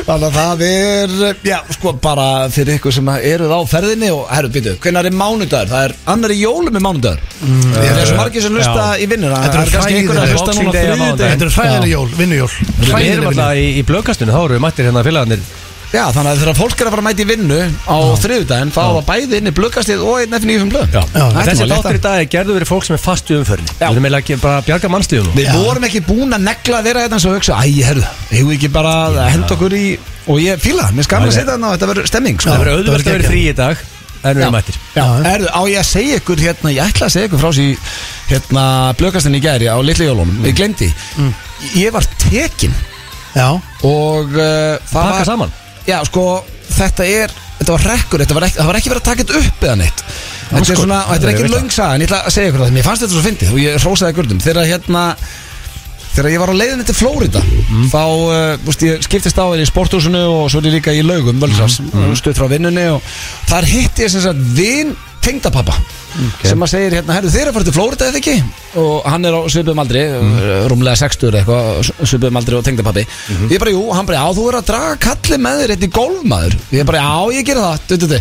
Speaker 1: þannig að það er já, sko, bara fyrir ykkur sem eruð á ferðinni og herru, býtu, hvenær er mánudagur? það er annar í jólum er mánudagur það er svo margir sem hlusta
Speaker 3: já.
Speaker 1: í vinnuna
Speaker 2: Eh,
Speaker 1: það
Speaker 2: Þetta eru
Speaker 1: er kannski einhver að
Speaker 2: hræðileg-
Speaker 1: hlusta núna
Speaker 3: Boxing Day á mánudaginn.
Speaker 1: þriðið
Speaker 2: Þetta er fræðileg jól, vinnujól
Speaker 3: Við
Speaker 2: Fræðileg
Speaker 3: erum
Speaker 2: vinnujól
Speaker 3: alltaf í, í blöðkastunni, þá eru við mættir hérna félagarnir
Speaker 1: já, þannig að þegar fólk er að fara að mæta í vinnu á þriðudaginn, þá var bæði inni blökkastið og einn FNÍ um blöð
Speaker 2: Já,
Speaker 1: þetta
Speaker 3: Þessi
Speaker 1: var létt.
Speaker 3: þáttur í dag er gerður verið fólk sem er fast í umförni
Speaker 1: Já.
Speaker 3: Við erum eiginlega ekki bara að bjarga mannslíðum
Speaker 1: Við vorum ekki búin að negla þeirra þetta eins og hugsa, æ, herðu, hefur við ekki bara að henda okkur í, og ég fíla, það, mér skaman að
Speaker 3: Já,
Speaker 1: setja þarna og þetta verður stemming, sko.
Speaker 3: Það
Speaker 2: Já,
Speaker 3: verður
Speaker 2: það
Speaker 3: auðvitað að
Speaker 2: verður
Speaker 3: vera frí í dag En við
Speaker 1: Já.
Speaker 3: erum mættir
Speaker 2: Já,
Speaker 1: Erðu, á ég að segja ykkur hérna, ég ætla að segja ykkur frá sér hérna blökastinni í gæri á litli jólunum, ég glemdi
Speaker 2: Mm.
Speaker 1: Ég var tekin
Speaker 2: já
Speaker 1: og uh, það
Speaker 3: Pakka
Speaker 1: var
Speaker 3: saman?
Speaker 1: Já, sko, þetta er, þetta var rekkur, þetta var ekki, það var ekki verið að taka þetta upp eða neitt Þetta
Speaker 3: sko,
Speaker 1: er svona, þetta
Speaker 3: það
Speaker 1: er
Speaker 3: er
Speaker 1: ekki
Speaker 3: veit
Speaker 1: löngsaga en ég ætla að segja ykkur það, mér fannst þetta svo fyndið og ég hrósaði gurdum Þegar hérna, þegar ég var á leiðinni til Flórida þá, uh, veist, ég skiptist á þér í sporthúsinu og svo er ég líka í laugum völsas, mm. stuð frá vinnunni og þar hitti ég sem sagt vin tengdapappa sem að segir hérna, herru þeir eru að fara til Flórida eða ekki og hann er á svipum aldri, mm. rúmlega 60 eða eitthvað, svipum aldri og tengdapappi ég bara, jú, hann bara, já, þú er að draga kalli með þér eitt í golfmaður, ég bara, já, ég gera það du, du, du.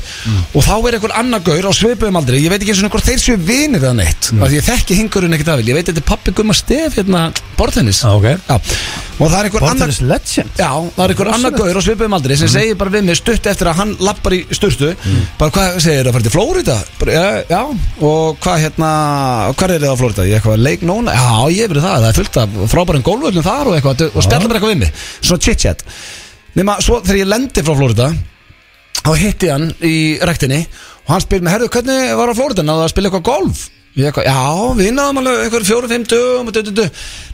Speaker 1: og þá er einhver annar gaur á svipum aldri, ég veit ekki eins og hvort þeir séu vinir eða neitt, mm. því ég þekki hingurinn ekkert afil, ég veit þetta er pappi Gumma Stef hérna, bortennis
Speaker 3: Já, ok.
Speaker 1: Já, og það er einhver annar
Speaker 2: Bortanis legend
Speaker 1: Já, það er einhver Mhm. annar gaur á svipum aldri sem segir bara við mig stutt eftir að hann lappar í sturtu bara hvað segir það, farið til Flórida? Bara, já, já, og hvað hérna hvað er það á Flórida? Ég eitthvað leik nóna Já, ég verið það, það er fullt af frábærum gólvöldum þar og eitthvað og spjallar mér eitthvað við mig svona chit-chat nema svo þegar ég lendi frá Flórida þá hitti ég hann í rektinni og hann spyr mig, herru, hvernig var á Flóridan að spila eitthvað golf? Ég eitthvað, já, við náðum alveg eitthvað fjóru, fimm dögum og dö, dö, dö.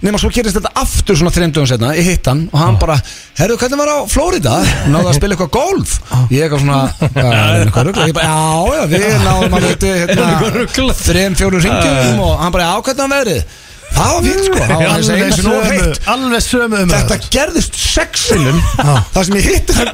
Speaker 1: nema svo gerist þetta aftur svona þreim dögum setna, ég hitt hann og hann bara herru, hvernig var á Flórida? Náðu að spila eitthvað golf? Ég eitthvað svona já, er eitthvað rugla, ég bara, já, já, við náðum alveg þetta,
Speaker 3: Eitthvað
Speaker 1: hérna,
Speaker 3: ruglað.
Speaker 1: þreim, fjóru ringjum og hann bara, já, hvernig var verið? Það var fínt sko, það var
Speaker 2: Alveg
Speaker 1: eins og nú
Speaker 2: sömu,
Speaker 1: heitt
Speaker 2: alveg sömu um
Speaker 1: Þetta gerðist sexinum Það sem ég hitti það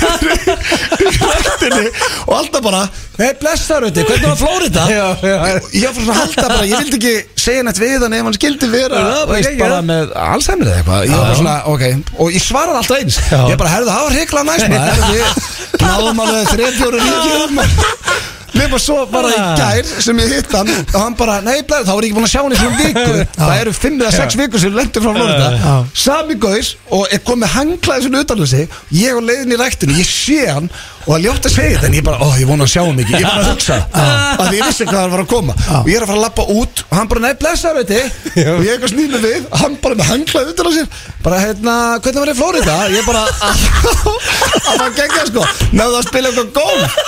Speaker 1: góðir Rættinni Og alltaf bara Hei blessaður þetta, hvernig var Flórida?
Speaker 3: Já, já, já.
Speaker 1: Ég var svona að halda bara Ég vildi ekki segja nætt við hann Ef hann skildi vera
Speaker 3: Já,
Speaker 1: veist,
Speaker 3: ekki,
Speaker 1: Bara
Speaker 3: já.
Speaker 1: með Alzheimer eða eitthvað Ég var bara svona, ok Og ég svaraði alltaf eins
Speaker 3: Já.
Speaker 1: Ég bara, herðu það var hekla næst maður Við náðum alveg þrefjóru ríkjum Nefna svo bara í gær sem ég hitt hann og hann bara, nei, blæður, þá er ég ekki búin að sjá hann í svona viku það eru fimm eða sex viku sem lendur frá Florida
Speaker 2: Já.
Speaker 1: sami gauðis og er komið hanglaði svona utan á sig ég á leiðin í ræktinu, ég sé hann og það ljótt að segja þetta en ég bara, ó, ég vona að sjá hann ekki ég bara að hugsa að því ég vissi hvað hann var að koma og ég er að fara að lappa út og hann bara, nei, blessaður þetta og ég eitthvað snýð með við, hann bara með hanglaði utan á sér bara, hérna, hvernig var ég Florida? ég bara, að það gengja sko náðu að spila eitthvað golf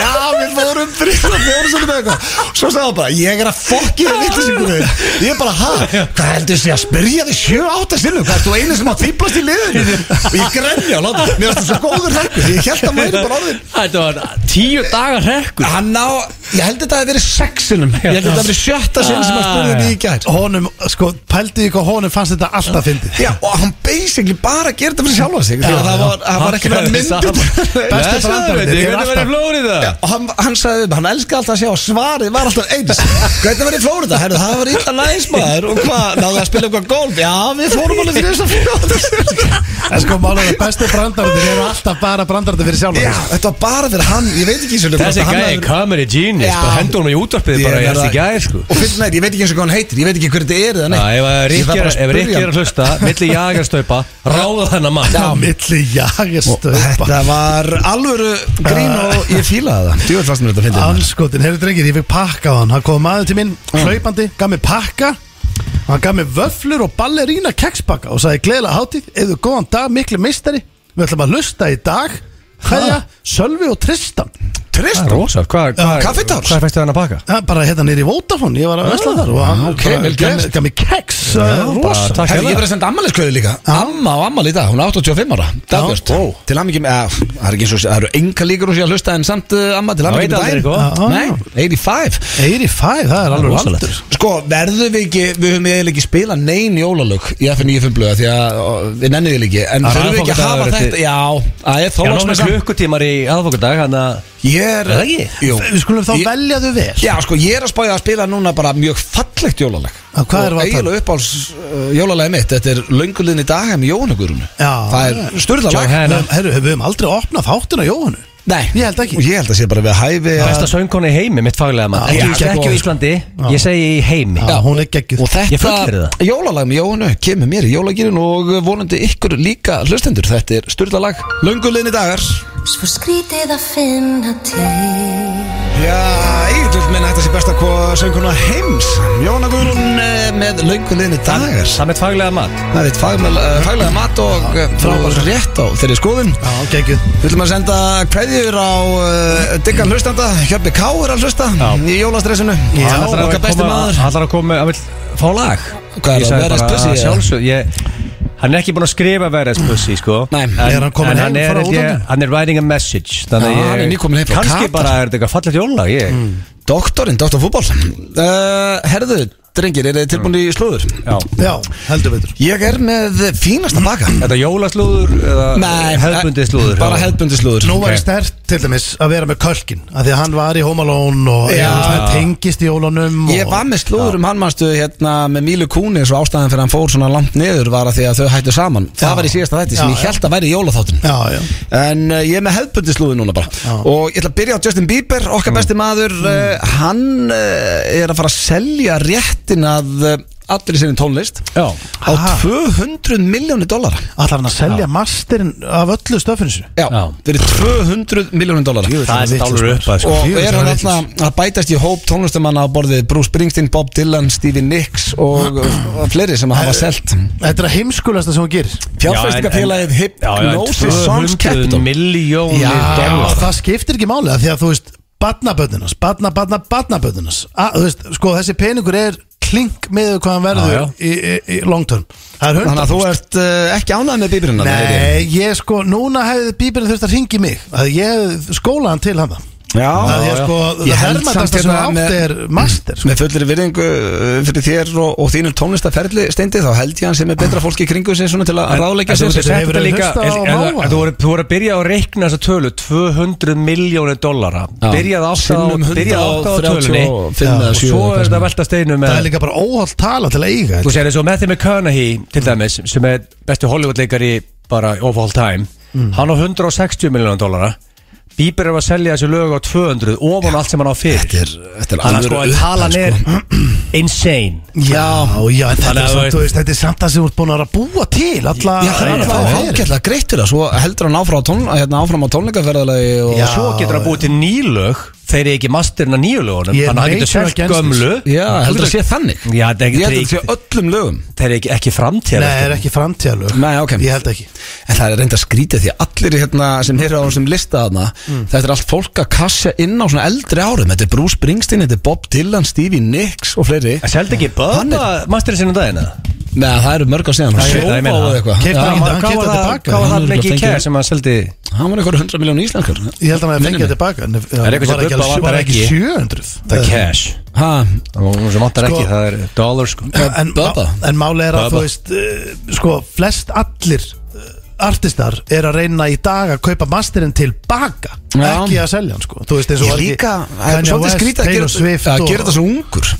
Speaker 1: já, við fórum þrýra fjórum sem þetta eitthvað svo sagði hann bara, ég er að fokkja þér vittlisingur ég er bara, ha, hvað heldur þessi að spyrja þig sjö átta sinnum, hvað ert þú einu sem að fýblast í liðinu og ég grenja, láta, mér varst þú svo góður hrekkur ég held að maður bara orðin
Speaker 3: Þetta var tíu dagar hrekkur
Speaker 1: hann ná, Ég held þetta að verið sexinum Ég held þetta að verið sjötta sinn sem að spurði þetta í gær
Speaker 2: Honum, sko, pældi ykkur honum fannst þetta alltaf fyndið
Speaker 1: Já, og hann basically bara gerði þetta fyrir sjálfa sig Þegar það var, það var ekki verið myndir
Speaker 2: Besti brandarinn, ég er
Speaker 3: Ég veit að vera
Speaker 2: alltaf-
Speaker 3: flóri það
Speaker 1: Og hann, hann sagði þetta, hann elskaði alltaf að sjá að Svarið var alltaf eins Hvernig var í Flórida? Herru, það var illa næs maður Og hvað, náðu að spila eitthvað golf? Já, við fórum alveg fyrir þess að fjóða
Speaker 2: En sko, málega, besti brandarinn eru alltaf bara brandarinn fyrir sjálf
Speaker 1: Já, þetta var bara fyrir hann, ég veit ekki svolítið
Speaker 3: Þessi
Speaker 1: hvort að hann
Speaker 3: gæði
Speaker 1: hafi-
Speaker 3: comedy genius
Speaker 1: Já.
Speaker 3: Bara hendur honum í útvarpið bara
Speaker 1: Ég
Speaker 3: í
Speaker 1: er
Speaker 3: þessi
Speaker 1: að-
Speaker 3: gæði sko
Speaker 1: Og fyrir næri, ég veit ekki eins og hvað hann heitir Ég veit ekki hver þetta er eða
Speaker 3: Næ,
Speaker 1: neitt
Speaker 3: ef að
Speaker 1: Ég
Speaker 3: Rikki
Speaker 1: þarf bara
Speaker 3: er- ef
Speaker 1: spyrja
Speaker 3: Rikki er
Speaker 1: hann.
Speaker 3: að hlusta Milli
Speaker 1: (laughs)
Speaker 3: jagarstaupa Ráða þennan mann
Speaker 1: Já.
Speaker 2: Milli jagestöpa
Speaker 1: Þetta var alvöru grín og ég fílaði það Djúvel fast mér þetta fyndið maður.
Speaker 2: Anskotin, heyrðu drengir, ég fekk pakka á hann Hann kom maður til mín, hlaupandi, gaf mér pakka Hann gaf mér vöflur og ballerína kekspakka Og sagði gleðilega hátíð, eða góðan dag, miklu meistari Við ætlum að hlusta í dag Hæja, Sölvi og Tristan
Speaker 3: Það er
Speaker 1: Tristan
Speaker 3: rosa Hvað hva,
Speaker 1: Kaffitár?
Speaker 3: Hvað fæstu hann að pakka?
Speaker 2: Það er bara hérna nýri Vótafón, ég var að vesla þar Og hann
Speaker 1: Ah, ok,
Speaker 2: bara
Speaker 1: vel
Speaker 2: gaf mér-
Speaker 1: gert.
Speaker 2: gaf mér keks, uh,
Speaker 3: bara
Speaker 2: rosa
Speaker 3: takk.
Speaker 1: Herri, ég verið að senda ammaliðskveðu líka Amma og ammal í dag, hún er 85 ára Dagbjörn, til ammingjum Það er ekki eins og það eru enga líkur hún sé að hlusta En samt eh, amma til
Speaker 3: Það veit
Speaker 1: ammingjum
Speaker 2: eitthvað.
Speaker 3: aldrei
Speaker 1: Nei, 85
Speaker 2: 85, það er alveg
Speaker 3: rosalegt.
Speaker 2: landur
Speaker 1: Sko, verðum við ekki, við höfum eiginlega ekki spila neyn jólalög í FN95 blöða því að ó, við nennum því ekki, en
Speaker 3: Það er
Speaker 1: þurfum við ekki að hafa
Speaker 3: aðfangadagur
Speaker 1: þetta,
Speaker 3: eftir-
Speaker 1: já, það er
Speaker 3: Já, nóg með
Speaker 1: þólagsmessa
Speaker 3: klukkutímar í aðfokadag Þannig að
Speaker 1: Ég er,
Speaker 3: Er það ekki?
Speaker 1: Jú.
Speaker 2: Við skulum þá
Speaker 1: Ég-
Speaker 2: velja þau vel
Speaker 1: Já, sko, ég er að spája að spila núna bara mjög fallegt jólalag
Speaker 2: Á, hvað
Speaker 1: Og
Speaker 2: erum við að tala um?
Speaker 1: eiginlega uppáls uh, jólalagi mitt Þetta er löngulinni daga með Jóhanugurunu
Speaker 2: Já.
Speaker 1: Það er styrla lag
Speaker 3: Johanna.
Speaker 2: Herru, herru, við höfum aldrei opnað þáttina Jóhannu
Speaker 1: Nei,
Speaker 2: Ég held ekki.
Speaker 1: Og Ég held að sé bara við hæfi að-
Speaker 3: Besta söngkona í heimi Mitt faglega mann
Speaker 2: Já,
Speaker 1: já,
Speaker 3: Ekki, ekki, ekki á
Speaker 1: sko.
Speaker 3: Íslandi Ég segi í heimi
Speaker 2: Já, hún er geggjuð
Speaker 1: Og
Speaker 3: Ég fullyrði
Speaker 1: þetta
Speaker 3: það.
Speaker 1: jólalag með Jóhannu kemur mér í jólagirinn og vonandi ykkur líka hlustendur Þetta er styrla lag, löngulinni dagar
Speaker 4: Svo skrítið að finna til
Speaker 1: Já, ég vil minna þetta sé besta hvað sönguna heims Jóhanugurun með löngulinni dagar
Speaker 3: Það með faglega mann
Speaker 1: Það er eitt fagmæl- eh, faglega mat og eh, frábært rétt á þeirri skoðun
Speaker 2: Já, geggjuð
Speaker 1: Við viljum að senda kveðjur á uh, diggan hlustanda, Hjörpi K er að hlusta
Speaker 3: Já.
Speaker 1: í jólastressinu
Speaker 2: Já,
Speaker 1: Hann ætlar að okkar besti maður
Speaker 3: Hann ætlar að koma Hann vil fá lag
Speaker 1: Hvað er
Speaker 3: Ég
Speaker 1: það,
Speaker 3: sagði
Speaker 1: Veras
Speaker 3: bara
Speaker 1: Pussy, eða?
Speaker 3: Sjálfsög Ég Hann er ekki búin að skrifa verðast pussi, sko
Speaker 1: Nei.
Speaker 3: en,
Speaker 2: Er hann kominn
Speaker 3: en
Speaker 2: heim
Speaker 3: hann er,
Speaker 2: frá
Speaker 3: held ég-
Speaker 2: útlöndum?
Speaker 3: hann er writing a message Þannig
Speaker 1: Já, hann er
Speaker 3: ég
Speaker 1: nýkominn heim frá
Speaker 3: Kannski
Speaker 1: Katar.
Speaker 3: bara er þetta eitthvað fallet jólag Ég
Speaker 1: Doktorinn, doktor fútbol uh, Herðu, drengir, er þið tilbúin í slúður?
Speaker 3: Já
Speaker 2: Já, heldur betur
Speaker 1: Ég er með fínasta baka eh,
Speaker 3: Þetta jólaslúður eða hefðbundið slúður
Speaker 1: Bara hefðbundi slúður
Speaker 2: Nú var
Speaker 3: Ok.
Speaker 2: ég stert til dæmis að vera með kölkin Af því að hann var í Home Alone og
Speaker 1: Já.
Speaker 2: já. það tengist í jólunum
Speaker 1: Ég var með slúður um hann mannstu hérna með Mílu Kúni svo ástæðan fyrir hann fór svona langt niður var að því að þau hættu saman Það
Speaker 2: Já.
Speaker 1: var í síðasta þætti sem
Speaker 2: Já,
Speaker 1: ég held að væri í jólaþáttin
Speaker 2: Já, já
Speaker 1: En uh, ég er með hefðbundi slúði núna bara
Speaker 2: Já. Mm.
Speaker 1: Og ég ætla að byrja á Justin Bieber, okkar besti maður uh, Hann uh, er að fara að selja réttin að uh, allri sinni tónlist
Speaker 3: Já
Speaker 1: Á
Speaker 2: Aha.
Speaker 1: 200 miljónir dollara
Speaker 2: Allar hann að selja masterinn af öllu stöfinu sinu
Speaker 1: Já,
Speaker 3: Já.
Speaker 1: fyrir 200 miljónir dollara
Speaker 3: Það er stálur upp að sko
Speaker 1: Og
Speaker 2: Jú,
Speaker 1: er
Speaker 2: það
Speaker 1: hann
Speaker 2: er
Speaker 1: alltaf að bætast í hóp tónlistamanna á borðið Bruce Springsteen, Bob Dylan, Stevie Nicks og, og fleiri sem
Speaker 2: Eh,
Speaker 1: hafa selt
Speaker 2: Þetta er að heimskulasta sem hún gerir
Speaker 1: Fjárfæstingafélagið Hypnosis Songs Capital
Speaker 3: Miljónir
Speaker 2: og
Speaker 3: dollar
Speaker 2: það skiptir ekki máli af Því að þú veist, badnaböðunas, badna, badna, badnaböðunas Þú veist, sko, þessi peningur er klink með hvað hann verður
Speaker 3: Já, já.
Speaker 2: Í, í, í long term Það er
Speaker 1: Þannig
Speaker 2: hundar
Speaker 1: að þú ert uh, ekki ánægð með bíbrina
Speaker 2: Nei, ég sko, núna hefði bíbirinn þurft að ringi mig að ég hefði skólað hann til hann
Speaker 1: Já,
Speaker 2: að ég sko,
Speaker 1: Ég held
Speaker 2: það
Speaker 1: samt
Speaker 2: hermatasta sem
Speaker 1: hérna
Speaker 2: átt
Speaker 1: með-
Speaker 2: er master sko.
Speaker 1: Með fullri virðingu uh, fyrir þér og, og þínum tónlistaferli steindi þá held ég hann sem er betra fólki í kringu sem svona til að ráðleggja
Speaker 3: En þú
Speaker 1: sér
Speaker 3: veist,
Speaker 2: Hefur þú
Speaker 3: þetta líka-
Speaker 2: hlustað á
Speaker 3: en- en-
Speaker 2: Máva?
Speaker 3: en Þú voru- þú voru að byrja á að reikna þessa tölu 200 miljónir dollara
Speaker 1: Já.
Speaker 3: Byrjað átt á
Speaker 1: Sinnum
Speaker 3: byrjað átt á
Speaker 1: 135
Speaker 3: tölunni
Speaker 1: og fimm eða
Speaker 3: og
Speaker 1: sjö
Speaker 3: svo
Speaker 1: eða
Speaker 3: er
Speaker 1: hvað
Speaker 3: þetta
Speaker 1: sem
Speaker 3: að velta steinu
Speaker 2: það er
Speaker 3: með
Speaker 2: líka bara óhald tala til að eiga
Speaker 3: Þú sér þessu með þeim með Kanahy til dæmis sem er besti Hollywood-leikari bara of all time
Speaker 1: Mm.
Speaker 3: Hann á 160 miljónir dollara Bieber er að selja þessu lög á 200 ofan á allt sem hann á fyrir
Speaker 1: Þetta er, þetta er
Speaker 3: Þannig að sko
Speaker 1: alvöru
Speaker 3: að
Speaker 1: upphæð,
Speaker 3: talan
Speaker 1: sko.
Speaker 3: er (clears throat) insane
Speaker 2: já, já, en þetta er
Speaker 3: Þannig að þú
Speaker 2: samt,
Speaker 3: veist-
Speaker 2: þú veist, þetta er samt það sem þú ert búin að vera að búa til alla
Speaker 1: Já, hann er
Speaker 2: alla-
Speaker 1: þá
Speaker 2: alla-
Speaker 1: ágætlega greitt fyrir það Svo heldur hann áfram á, tón, hérna, áfram á tónleikaferðalegi og,
Speaker 2: Já.
Speaker 3: og svo getur hann búið til nýlög þeir eru ekki masterinn að nýju lögunum
Speaker 2: Ég er
Speaker 3: þannig að hann getur
Speaker 2: major
Speaker 3: selt
Speaker 2: against
Speaker 3: gömlu
Speaker 1: Já, heldur að sé þannig
Speaker 3: Já, þetta er ekki
Speaker 1: Ég heldur að
Speaker 3: tryggt.
Speaker 1: sé öllum lögum
Speaker 3: þeir eru ekki, ekki framtíðar
Speaker 2: Nei, er ekki framtíðalög
Speaker 1: Nei, ok.
Speaker 2: Ég held ekki
Speaker 1: En það er reynda að skrýta því að allir hérna, sem heyra á þessum lista þarna Þetta er allt fólk að kassja inn á svona eldri árum Þetta er Bruce Springsteen, þetta er Bob Dylan, Stevie Nicks og fleiri
Speaker 3: seldi ekki
Speaker 1: Hann
Speaker 3: Bubba masterinn sinna dagina
Speaker 1: Nei, það eru mörg á síðan
Speaker 3: ég veit það, ég meina
Speaker 1: Sjóvá eða
Speaker 3: það.
Speaker 1: eitthvað
Speaker 2: Keypti
Speaker 1: Já.
Speaker 2: hann í dag.
Speaker 3: hvað
Speaker 2: keypti
Speaker 3: var
Speaker 2: það
Speaker 3: það
Speaker 2: tilbaka.
Speaker 3: hvað var
Speaker 1: Hann
Speaker 3: það
Speaker 1: er
Speaker 3: Blakey
Speaker 1: fengið-
Speaker 3: Care sem hann seldi
Speaker 1: Hann var eitthvað 100 miljón íslenskar
Speaker 2: Ég held að maður
Speaker 1: Nei, nei,
Speaker 2: fengið þetta baka En
Speaker 3: er eitthvað sem Bubba
Speaker 2: var
Speaker 3: hvað vantar
Speaker 2: ekki Eh,
Speaker 3: ekki
Speaker 2: 700
Speaker 3: Það er cash
Speaker 1: Ha,
Speaker 3: Það var sem vantar
Speaker 2: Sko-
Speaker 3: ekki, það er dollar sko
Speaker 2: en,
Speaker 1: Bubba.
Speaker 2: en máli er að
Speaker 3: Bubba.
Speaker 2: þú veist uh, sko, flest allir uh, artistar er að reyna í dag að kaupa masterinn tilbaka
Speaker 1: Já.
Speaker 2: ekki að selja hann sko þú veist eins og
Speaker 1: Ég
Speaker 2: var ekki
Speaker 1: líka, það er
Speaker 2: Kanye
Speaker 1: svolítið
Speaker 2: West,
Speaker 1: skrítið að
Speaker 2: Taylor
Speaker 1: gera,
Speaker 2: Swift
Speaker 1: að gera þetta svo ungur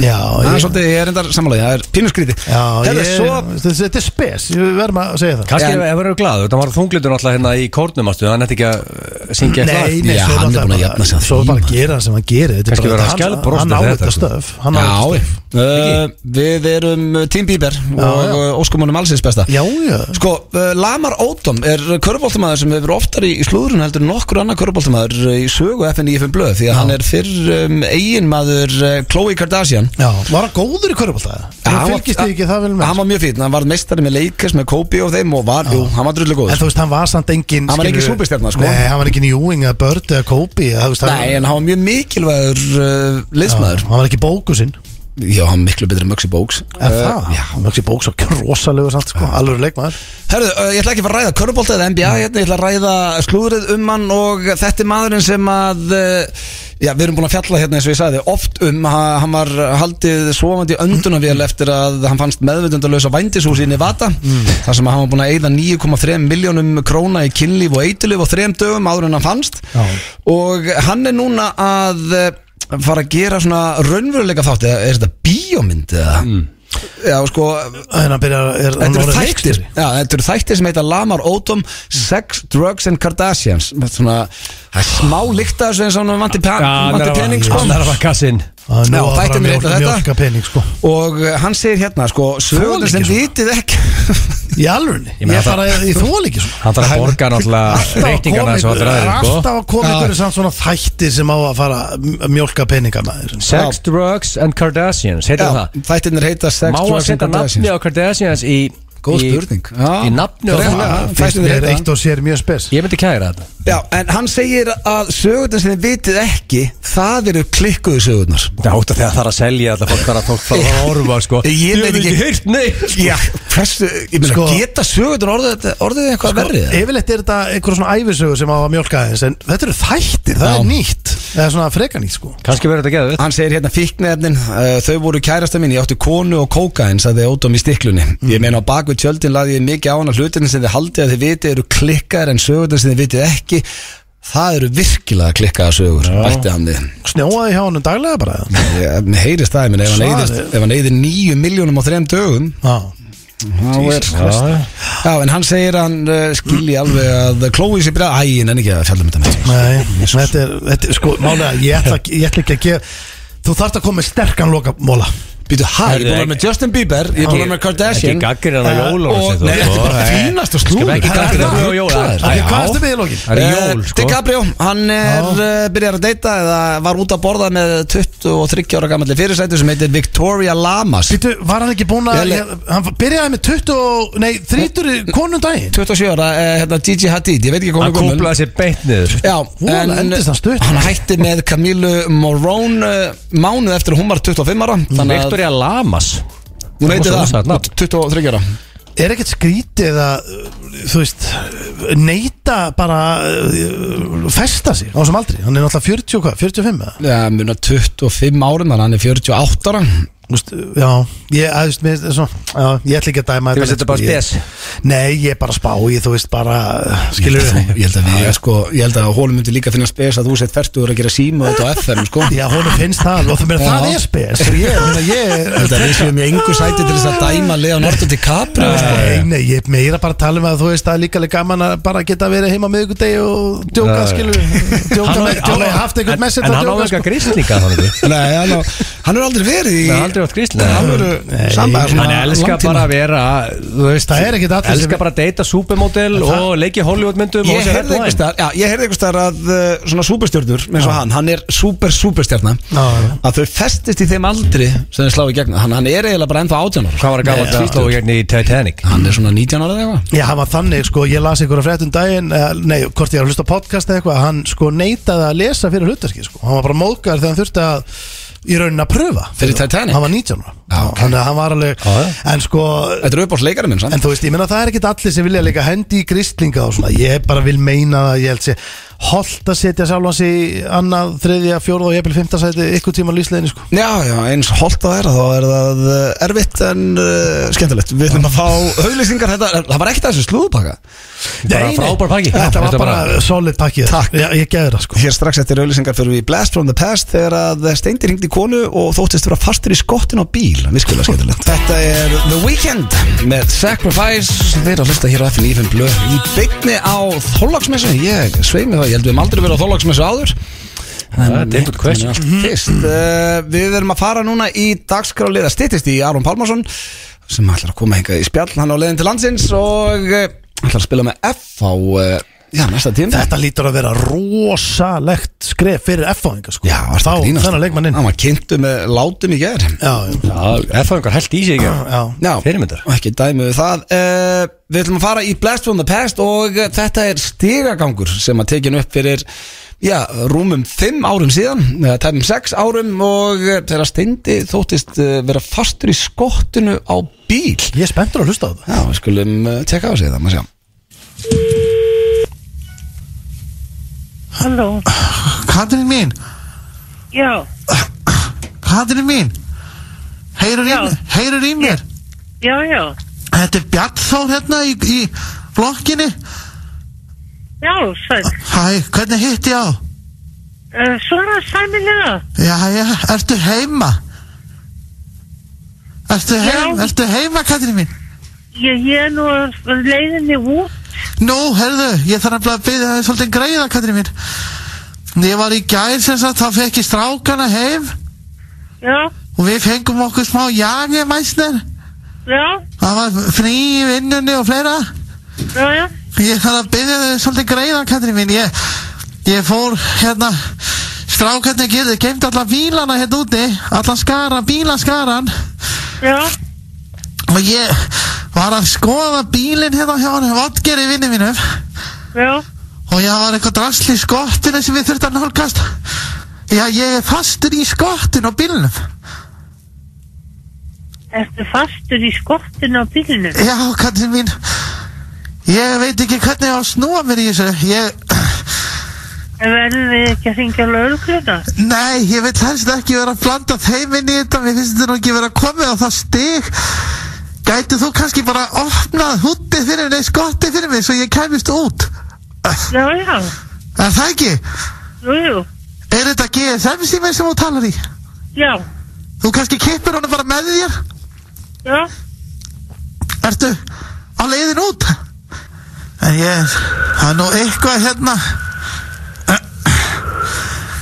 Speaker 2: já,
Speaker 1: Það er
Speaker 2: ég,
Speaker 1: svolítið, ég er endar samanlega, það er pínu skrítið
Speaker 2: já, ég,
Speaker 1: Hefði svo
Speaker 2: þetta þetta er spes við verðum að segja það
Speaker 3: Kanski
Speaker 1: En-
Speaker 3: ef verður glaðu, það var þunglindur náttúrulega hérna í kórnum ástu, hann ætti ekki að uh, syngja
Speaker 2: Nei, nei,
Speaker 1: Já, hann er
Speaker 2: svo er náttúrulega
Speaker 1: búinn að
Speaker 2: bara-
Speaker 1: jafna sig á
Speaker 2: Svo
Speaker 1: því,
Speaker 2: er bara
Speaker 1: maður.
Speaker 2: að gera það sem hann gerir Þetta er
Speaker 3: Kannski
Speaker 2: bara-
Speaker 3: verður hann
Speaker 2: hann-
Speaker 3: skælbrosandi
Speaker 2: Hann á
Speaker 3: þegar
Speaker 2: þetta
Speaker 3: þetta-
Speaker 2: stöf Hann á
Speaker 1: sko. Já,
Speaker 2: þetta
Speaker 1: uh,
Speaker 2: stöf
Speaker 1: við erum uh, Team Bieber og
Speaker 2: já.
Speaker 1: uh, óskum honum allsins besta
Speaker 2: Já, já
Speaker 1: Sko, uh, Lamar Odom er körfbóltamæður sem hefur oftar í, í slúðurinn heldur en nokkur annar körfbóltamæður í sögu FNIFM blöð því að hann er fyrr um, eiginmaður uh, Khloe Kardashian
Speaker 2: Já, var hann góður í körfbólta?
Speaker 1: hann
Speaker 2: Þú
Speaker 1: var-
Speaker 2: fylgist þið ekki það vel með
Speaker 1: Hann var mjög fýtn, hann var meistari með Lakers, með Kobe og þeim og var, jú, hann var drullu
Speaker 2: En
Speaker 1: góður
Speaker 2: þú veist, hann var samt engin
Speaker 1: Hann var
Speaker 2: skilur-
Speaker 1: engin súperstjarna, sko.
Speaker 2: Nei, hann var engin Ewing eða Bird eða Kobe eða, þú veist, hann-
Speaker 1: Nei, en hann var mjög mikilvægur uh,
Speaker 2: Já,
Speaker 1: liðsmaður
Speaker 2: Hann var ekki bókusinn
Speaker 1: Já, hann var miklu betri en Möxi Bóks
Speaker 2: En það, hann var ekki bóks og rosalegu samt, sko
Speaker 1: Uh.
Speaker 2: Alveg leikmaður
Speaker 1: Herðu, uh, ég ætla ekki að fara að ræða körubólta eða NBA hérna, ég ætla að ræða slúðrið um hann og þetta er maðurinn sem að uh, já, við erum búin að fjalla hérna eins og ég sagði oft um, ha- hann var haldið svovandi öndunavél eftir að hann fannst meðvindundalösa vændishús í Nevada þar sem að hann var búin að eigða 9,3 miljónum króna í kynlíf og eitilíf á þrem dögum áður en hann fannst
Speaker 2: Já.
Speaker 1: og hann er núna að uh, fara að gera svona raunveruleika þátt eða er þetta bíómynd eða? Já, sko,
Speaker 2: En hann byrjar er, hann
Speaker 1: Þetta eru
Speaker 2: orðinn
Speaker 1: þættir
Speaker 2: leikstjóri?
Speaker 1: Já, þetta eru þættir sem heita Lamar Odom Sex, Drugs and Kardashians Þetta er svona það er smá líkta þessu eins og hann vanti
Speaker 3: Já, hann er
Speaker 1: vanti
Speaker 3: að-
Speaker 1: pening sko
Speaker 3: hann er að fara kassinn
Speaker 2: Já, nú
Speaker 1: Já,
Speaker 2: var bara
Speaker 1: þættirnir
Speaker 2: mjólk-
Speaker 1: heita þetta.
Speaker 2: mjólka pening, sko
Speaker 1: og uh, hann segir hérna sko sögurnar sem
Speaker 2: ekki svona.
Speaker 1: vitið ekki
Speaker 2: Í alvörni,
Speaker 3: Ég meina,
Speaker 2: ég
Speaker 3: það-
Speaker 2: bara, ég þól ekki svona
Speaker 3: Hann þarf að borga
Speaker 2: Alltaf
Speaker 3: náttúrulega
Speaker 2: að
Speaker 3: reikningana
Speaker 2: koma
Speaker 3: eins og allir
Speaker 2: ykkur-
Speaker 3: aðrir sko
Speaker 2: Alltaf að koma ykkur í samt svona þætti sem á að fara að mjólka peninga maður
Speaker 3: Sex, Drugs and Kardashians, heitir
Speaker 1: Já,
Speaker 3: það
Speaker 1: Þættirnir heita Sex,
Speaker 3: Má að
Speaker 1: Drugs and
Speaker 3: setja nafni
Speaker 1: Kardashians
Speaker 3: á Kardashians í
Speaker 1: Góð
Speaker 3: í-
Speaker 1: spurning Já.
Speaker 3: Í nafni á
Speaker 1: Hreinlega,
Speaker 3: það
Speaker 2: Fyrst
Speaker 1: Þættirnir
Speaker 2: mér
Speaker 1: heita
Speaker 2: eitt og sér mjög spes
Speaker 3: Ég myndi kæra þetta
Speaker 1: Já, en hann segir að sögurnar sem þið vitið ekki það eru klikkuðu sögurnar
Speaker 3: Já, út af því að það er að selja alltaf fólk þarf að fólk þarf að orfa sko
Speaker 1: Ég veit ekki-
Speaker 3: heyrt neitt
Speaker 1: Já, hversu, ég meina,
Speaker 2: Sko-
Speaker 1: geta sögurnar orðið, orðið
Speaker 3: Sko,
Speaker 1: eitthvað verrið?
Speaker 2: Yfirleitt er þetta einhver svona æfisögu sem á að mjólka aðeins En þetta eru þættir, það er nýtt Það er svona freka nýtt sko
Speaker 3: Kanski verður þetta geðið
Speaker 1: Hann segir hérna fíknefnin uh, Þau voru kærasta mín, ég átti konu og kókain sagði Ódóm í stiklunni Ég meina á bakvið tjöldin laði ég mikið á hana hlutin sem þið haldið að þið vitið eru klikkar en sögurnar sem þið vitið ekki Það eru virkilega klikkaða sögur Ætti hann þið
Speaker 2: Snjóaði hjá honum daglega bara eða?
Speaker 1: Ég- Mér heyrist það, ég meina ef hann
Speaker 2: Svarið.
Speaker 1: eyðist- ef hann eyðir 9 miljónum á þrem dögum
Speaker 2: Já
Speaker 1: þá er- Já, en hann segir að hann uh, skilji alveg að Chloe sé byrjað Æ, en ekki að fjallum þetta með þetta.
Speaker 2: Nei, þetta er, þetta er sko Málega, ég ætla, ég ætla ekki að gefa Þú þarft að koma með sterkan lokamóla
Speaker 1: Býtu, hæ, ég er
Speaker 3: Herðu,
Speaker 1: búin að vera með Justin Bieber Ég er búin að vera með Kardashian
Speaker 3: Ekki gaggrin að jóla
Speaker 1: og, nei, þetta er bara fínasta slúður
Speaker 3: Skal ekki gaggrin að jóla
Speaker 2: Það er hvað erstu með í lokin?
Speaker 3: Það er jól
Speaker 1: Dick
Speaker 3: sko
Speaker 1: Gabriel, Eh, hann er uh, byrjar að deyta eða var út að borða með 23 ára gamalli fyrirsættu sem heitir Victoria Lamas
Speaker 2: Sýttu, var hann ekki búin að
Speaker 1: Ég-
Speaker 2: ég- Hann byrjaði með 20, og- nei, 30 konum daginn
Speaker 1: 27 ára, uh, hérna Gigi Hadid, ég veit ekki hvað
Speaker 3: Hann
Speaker 1: hún er
Speaker 3: kúplaði sér beint niður
Speaker 1: Já,
Speaker 2: Vona, endist hann stutt.
Speaker 1: hann hætti með Camille Morone uh, mánuð eftir að hún var 25 ára þannig að
Speaker 3: Victoria Lamas
Speaker 1: hún
Speaker 3: Hún
Speaker 1: heitir
Speaker 3: var svo
Speaker 1: það,
Speaker 3: ósagt nafn.
Speaker 1: 23 ára
Speaker 2: Er ekkert skrítið að uh, Þú veist, neyta bara uh, Festa sig á þessum aldri Hann er náttúrulega 40 og hvað, 45 eða?
Speaker 1: Já, muna 25 árum, þannig að hann er 48 ára
Speaker 2: Þú veist, Já, ég, að, þú veist, mér, svo, já, ég ætla ekki að dæma
Speaker 3: Þú
Speaker 2: þetta
Speaker 3: veist, þetta er bara
Speaker 2: neitt, sko, ég- Nei, ég er bara að spá ég, Þú veist, bara, uh, skilur við
Speaker 1: Ég held að við, sko, ég held að hólum myndi líka finna spes að þú sett færtur að gera síma þetta á FM,
Speaker 2: (laughs)
Speaker 1: sko
Speaker 2: (laughs) Já, hún finnst það alveg og það, meira,
Speaker 1: Já.
Speaker 2: það er spes Ég, meina,
Speaker 1: Þetta við
Speaker 2: ég,
Speaker 1: séum í engu sæti til þess að dæma Leonardo DiCaprio sko.
Speaker 2: Nei, nei, ég er meira bara að tala um að þú veist það er líka alveg gaman að bara geta verið heima miðvikudegi og djóka,
Speaker 3: Já, já.
Speaker 2: skilur við djóka
Speaker 3: Hann á-
Speaker 2: með, djóka,
Speaker 3: hann á-
Speaker 2: haft einhvern
Speaker 3: en-
Speaker 2: message
Speaker 3: En
Speaker 2: að
Speaker 3: hann á
Speaker 2: djóka, sko.
Speaker 3: enga gríslinga þannig
Speaker 1: Nei, hann, á, hann er aldrei verið í
Speaker 3: Nei,
Speaker 2: um
Speaker 3: aldrei átt gríslinga
Speaker 1: Hann er sambæð
Speaker 3: Hann elskar bara að vera Þú veist
Speaker 2: Það er ekkert allir sem-
Speaker 3: Elskar bara að deyta supermodel og leiki Hollywoodmyndum
Speaker 1: Ég heyrði einhvers staðar- já, ég heyrði einhvers staðar að uh, svona superstjörnur eins og hann, hann er super superstjörna
Speaker 2: Já, já.
Speaker 1: að þau festist í þeim aldri sem þau slá í gegn hann, hann er eiginlega bara ennþá 18 ára sko.
Speaker 3: Hvað var að gaman að sló hérna í Titanic
Speaker 1: Hann er svona 19 ára eða eitthvað
Speaker 2: Já, hann var þannig, sko, ég las einhverja fréttum daginn, eh, nei, hvort ég er að hlusta á podcast eða eitthvað, hann sko neitaði að lesa fyrir hlutarski, sko, hann var bara móðgar þegar hann þurfti að í raunin að pröfa
Speaker 1: Fyrir Titanic?
Speaker 2: Hann var 19 ára,
Speaker 1: Já, ok. Ah,
Speaker 2: þannig að hann var alveg, en sko,
Speaker 1: Þetta er uppáhaldsleikari minn, sann
Speaker 2: en þú veist, ég meina það er ekkit allir sem vilja leika hendi í gristlinga og svona, ég bara vil meina það, ég held sé holdt að setja sjálfan sig í annað, þriðja, fjórða og jafnvel fymta sæti ykkur tíma lífsleginni sko
Speaker 1: Já, já, eins holdt það er að þá er það uh, erfitt en uh, skemmtilegt Við ætlum að fá auðlýsingar, þetta, það var ekkert að þessu slúðupakka
Speaker 3: Bara frábær pakki.
Speaker 2: Þetta var
Speaker 3: Þetta
Speaker 2: bara,
Speaker 3: bara-
Speaker 2: solid pakki
Speaker 1: Takk.
Speaker 2: Já, Ég geði það sko
Speaker 1: Hér strax eftir auðlýsingar fyrir við í Blast from the Past þegar að Steindir hringdi í konu og þóttist vera fastur í skottin á bíl Viskulega skemmtilegt Þetta er The Weeknd með Sacrifice Þeir að hlusta hér á FN Ífum Blöð í beinni á Þorlagsmessu Ég sveimi það, ég held við um aldrei verið á Þorlagsmessu áður
Speaker 3: Það er difficult question.
Speaker 1: Allt Fyrst, uh, við erum að fara núna í dagskráliða stittist í Aron Pálmarsson sem ætlar að koma hingað í spjall hann á leiðin til landsins og uh, ætlar að spila með F á uh, já, næsta tíma
Speaker 2: Þetta lítur að vera rosalegt skref fyrir F-fáðinga sko
Speaker 1: Já, varstu
Speaker 2: Fá
Speaker 1: að grínast?
Speaker 2: þennan leikmanninn
Speaker 1: Hann var kynntu með látum í gær
Speaker 2: Já, já,
Speaker 3: Já, ef það engar held í sig ekki
Speaker 2: já
Speaker 1: Já,
Speaker 3: Fyrirmyndar.
Speaker 1: og ekki dæmi við það uh, Við ætlum að fara í Blast from the Past og eh, þetta er stigagangur sem að tekin upp fyrir já, rúmum 5 árum síðan eða tæmum 6 árum og eh, þegar steindi þóttist uh, vera fastur í skottinu á bíl
Speaker 2: Ég er spenntur að hlusta á það
Speaker 1: Já, við skulum uh, tjekka á sig það, maður sjá
Speaker 5: Halló,
Speaker 6: Katrin mín,
Speaker 5: já,
Speaker 6: Katrin mín Heyrur í,
Speaker 5: Já.
Speaker 6: heyrur í mér
Speaker 5: já, já,
Speaker 6: Þetta er Bjartþór hérna í, í blokkinni
Speaker 5: já, sæl,
Speaker 6: Hæ, hvernig hitti ég á?
Speaker 5: uh, svona sæmilega,
Speaker 6: Já, já, ertu heima? Ertu heima,
Speaker 5: Já.
Speaker 6: ertu heima Katrin mín?
Speaker 5: ég, ég er nú á leiðinni út,
Speaker 6: Nú, heyrðu, ég þarf nefnilega að byggja það er svolítið greiða Katrin mín Ég var í gær sem sagt, þá fekk ég strákana heim
Speaker 5: já,
Speaker 6: og við fengum okkur smá jagemæsner
Speaker 5: já,
Speaker 6: Það var frí í vinnunni og fleira
Speaker 5: já, já,
Speaker 6: Ég þarf að byrja þau svolítið greiða, Katrín mín. Ég, ég fór hérna, strákarnir getur geimt alla bílana hérna úti, alla skaran, bílaskaran
Speaker 5: já,
Speaker 6: og ég var að skoða bílinn hérna hjá hann, Vodgeri vinnu mínum
Speaker 5: já,
Speaker 6: og ég var eitthvað drasli í skottinu sem við þurftum að nálgast. Já, ég er fastur í skottinu á bílnum.
Speaker 5: ertu fastur í skottinu á bílinu,
Speaker 6: Já, Katrín mín, ég veit ekki hvernig ég á að snúa mér í þessu. Ég,
Speaker 5: verður Eh, við ekki að ringja lögregluna?
Speaker 6: Nei, ég vil helst ekki vera að blanda þeim inn í þetta, mér finnst þetta nú ekki vera komið á það stig. Gæti þú kannski bara opnað húttið fyrir mig, skottið fyrir mig, svo ég kemist út?
Speaker 5: Já, já,
Speaker 6: Er það ekki?
Speaker 5: jú, jú,
Speaker 6: Er þetta GSM símið sem þú talar í?
Speaker 5: já,
Speaker 6: Þú kannski kippir honum bara með þér?
Speaker 5: já,
Speaker 6: Ertu á leiðin út? En ég, það er nú eitthvað hérna,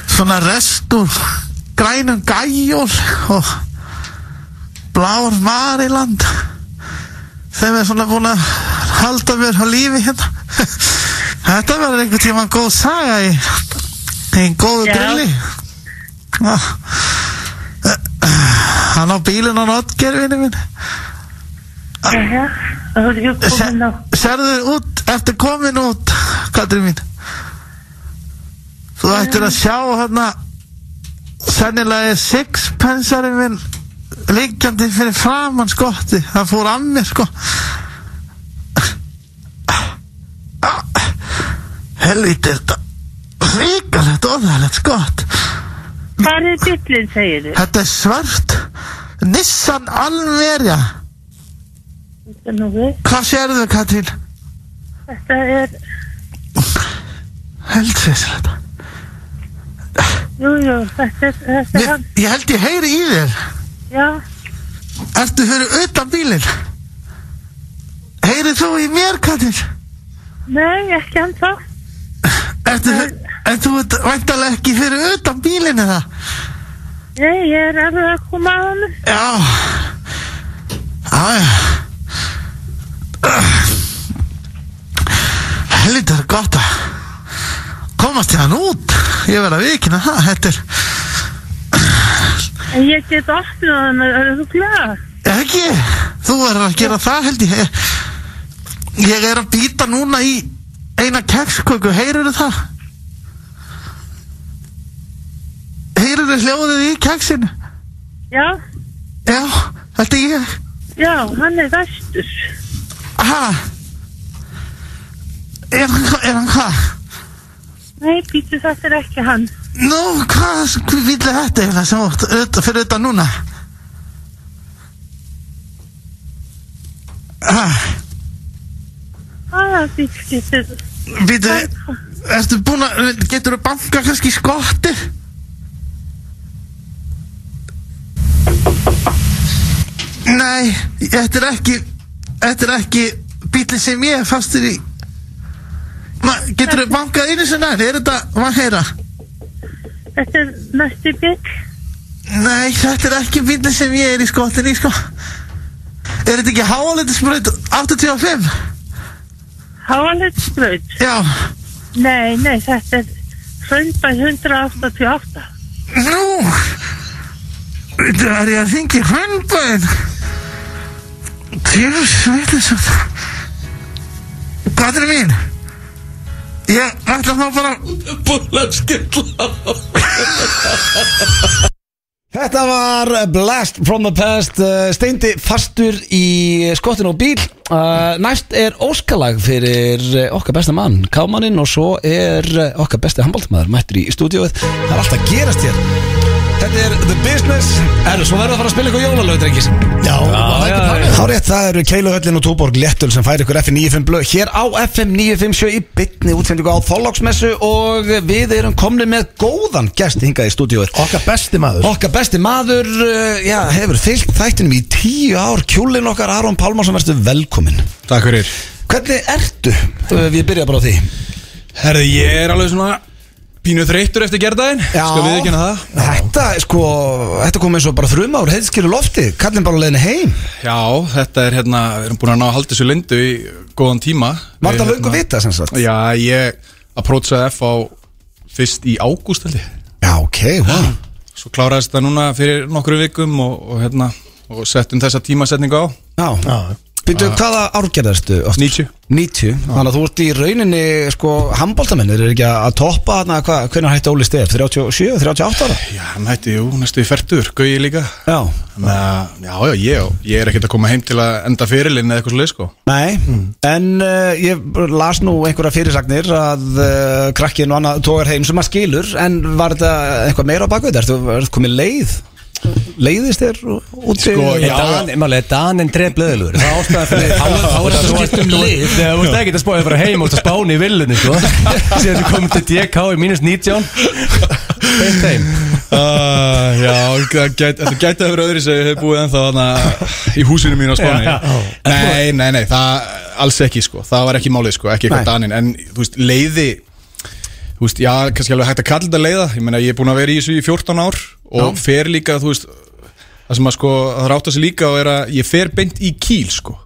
Speaker 6: svona rest úr grænum gæjól og blár mariland. Þeim er svona búin að halda mér á lífi hérna. Þetta verður einhvern tíma góð saga í, í góðu
Speaker 5: Já.
Speaker 6: grilli. Já. Hann á bílinn á notgerfinu minn.
Speaker 5: já, það er ekki komin á,
Speaker 6: Se- Serðu út, ertu komin út Katrín mín Þú ættir að sjá hérna Sennilega er sixpensari minn Liggjandi fyrir framann skotti Það fór af mér sko Helvítið þetta Ríkalegt óþægilegt skott
Speaker 5: hvað er bílinn, segir þið?
Speaker 6: Þetta er svart Nissan Alverja
Speaker 5: Þetta er nú við,
Speaker 6: Hvað sérðu Katrín?
Speaker 5: þetta er,
Speaker 6: Heldsveisar þetta
Speaker 5: jú, jú, þetta er, þetta er
Speaker 6: Mér,
Speaker 5: hann,
Speaker 6: ég held ég heyri í þér
Speaker 5: já,
Speaker 6: Ertu fyrir utan bílinn? Heyrið þú í mér, Katir?
Speaker 5: nei, ekki hann þá,
Speaker 6: Ertu fyrir, en þú ert væntalega ekki fyrir utan bílinn eða?
Speaker 5: nei, ég er alveg að koma á hann,
Speaker 6: Já Já, já Helvita er gott að komast hérna út Ég verð að vikina það, þetta er
Speaker 5: en ég get opnað hann, er þú glad?
Speaker 6: Ekki, þú verður að gera það held ég Ég er að býta núna í eina keksköku, heyrurðu það? Heyrurðu hljóðið í keksinu?
Speaker 5: Já,
Speaker 6: Já, þetta er ég
Speaker 5: já, hann er vestur.
Speaker 6: Ha? Er hann, hva- er hann hvað?
Speaker 5: Nei, býtu þetta er ekki hann.
Speaker 6: Nú, hvað, hvað vill er þetta eiginlega sem átt auðvitað fyrir auðvitað núna? Ah,
Speaker 5: Ah, býtu, býtu.
Speaker 6: býtu, ertu búin að, getur þú banka kannski skottir? Nei, þetta er ekki, þetta er ekki bílinn sem ég er fastur í. Ma, getur þú bankað einu sinna, er þetta, maður heyra?
Speaker 5: Þetta er næstu bygg.
Speaker 6: Nei, þetta er ekki bílinn sem ég er í skotinni, sko. Er þetta ekki háalendinsbraut 85?
Speaker 5: Háalegnsbraut.
Speaker 6: Já.
Speaker 5: Nei, nei, þetta er Hraunbæð 188.
Speaker 6: Nú, þetta er ég að hringi hröndbæðin. Tjús, veitir svo. Hvað er mín? Ég ætla þá bara...
Speaker 1: Þetta var Blast from the Past uh, Steindi fastur í skottin og bíl uh, Næst er óskalag fyrir uh, okkar besta mann Kámaninn og svo er uh, okkar besti handbóltmaður mættur í stúdíóið Það er allt að gerast hér Þetta er The Business Erðu, svo verður að fara að spila ykkur jólalög, drengis
Speaker 2: Já, var það
Speaker 3: já,
Speaker 2: ekki
Speaker 3: já.
Speaker 2: planið?
Speaker 1: Þá rétt, það eru Keiluhöllin og Túborg Léttul sem færi ykkur FM 95 blöð hér á FM 957 í bytni útsendingu á Þorláksmessu og við erum komni með góðan gest hingað í stúdíóið
Speaker 2: Okkar besti maður
Speaker 1: Okkar besti maður uh, já, hefur fylgt þættinum í tíu ár kjúlin okkar Aron Pálmarsson verðstu velkomin
Speaker 7: Takk fyrir
Speaker 1: Hvernig ertu?
Speaker 7: Eh,
Speaker 1: Uh, Við byrja bara á því
Speaker 7: Herði, ég er alveg svona pínu þreyttur eftir gerðaðin Skal við ekki hana það?
Speaker 1: Þetta, sko, þetta kom eins og bara þrjum ár heiðskilu lofti, kallin bara á leiðinu heim
Speaker 7: Já, þetta er hérna, við erum búin að ná að halda þessu lindu í góðan tíma
Speaker 1: Var
Speaker 7: Við,
Speaker 1: þetta löngu
Speaker 7: hérna,
Speaker 1: vita sem sagt?
Speaker 7: Já, ég approachaði F á fyrst í ágúst held ég
Speaker 1: Já, ok, wow
Speaker 7: Svo kláraðist það núna fyrir nokkru vikum og, og hérna, og settum þessa tímasetningu á
Speaker 1: Já,
Speaker 2: Já.
Speaker 1: býttu, hvaða árgerðarstu?
Speaker 7: 90.
Speaker 1: 90, þannig að þú ert í rauninni, sko, handbóltamennir er ekki að toppa hana, hvað, hvernig hætti Óli Steff? 37, 38 ára?
Speaker 7: Já, hann hætti, jú, næstu í fertur, gauði líka
Speaker 1: Já,
Speaker 7: Þannig að, já, já, ég, ég er ekkert að koma heim til að enda fyrirlinn eða eitthvað svo sko
Speaker 1: Nei,
Speaker 2: Mm.
Speaker 1: en uh, ég las nú einhverja fyrirsagnir að uh, krakkin og annað tógar heim sem maður skilur en var þetta eitthvað meira á bakvið þér? Þú ert komið leið? Leiðist þér úti?
Speaker 7: Sko,
Speaker 3: Er
Speaker 7: Já,
Speaker 3: Dan- Máli, er Danin dreif blöðilur Það er ástæðan fyrir Þá þá er þetta skipt um lið Þú veist ekki að spá Ég fara heim og ert að spáni í villunni sko. Síðan þú komið til DK í mínus 19 Beint heim
Speaker 7: Uh, já, það gæti, þetta gæti að vera öðru sem ég hef búið ennþá hana, í húsinu mínu á Spáni
Speaker 3: Já.
Speaker 7: Nei, nei, nei, það alls ekki sko, það var ekki málið sko, ekki eitthvað
Speaker 1: Nei.
Speaker 7: daninn En þú veist, leiði, þú veist, já, kannski alveg hægt að kalla þetta leiða Ég meina, ég er búin að vera í þessu í 14 ár og fer líka, þú veist, það sem að sko, það ráta sig líka og er að ég fer beint í kýl sko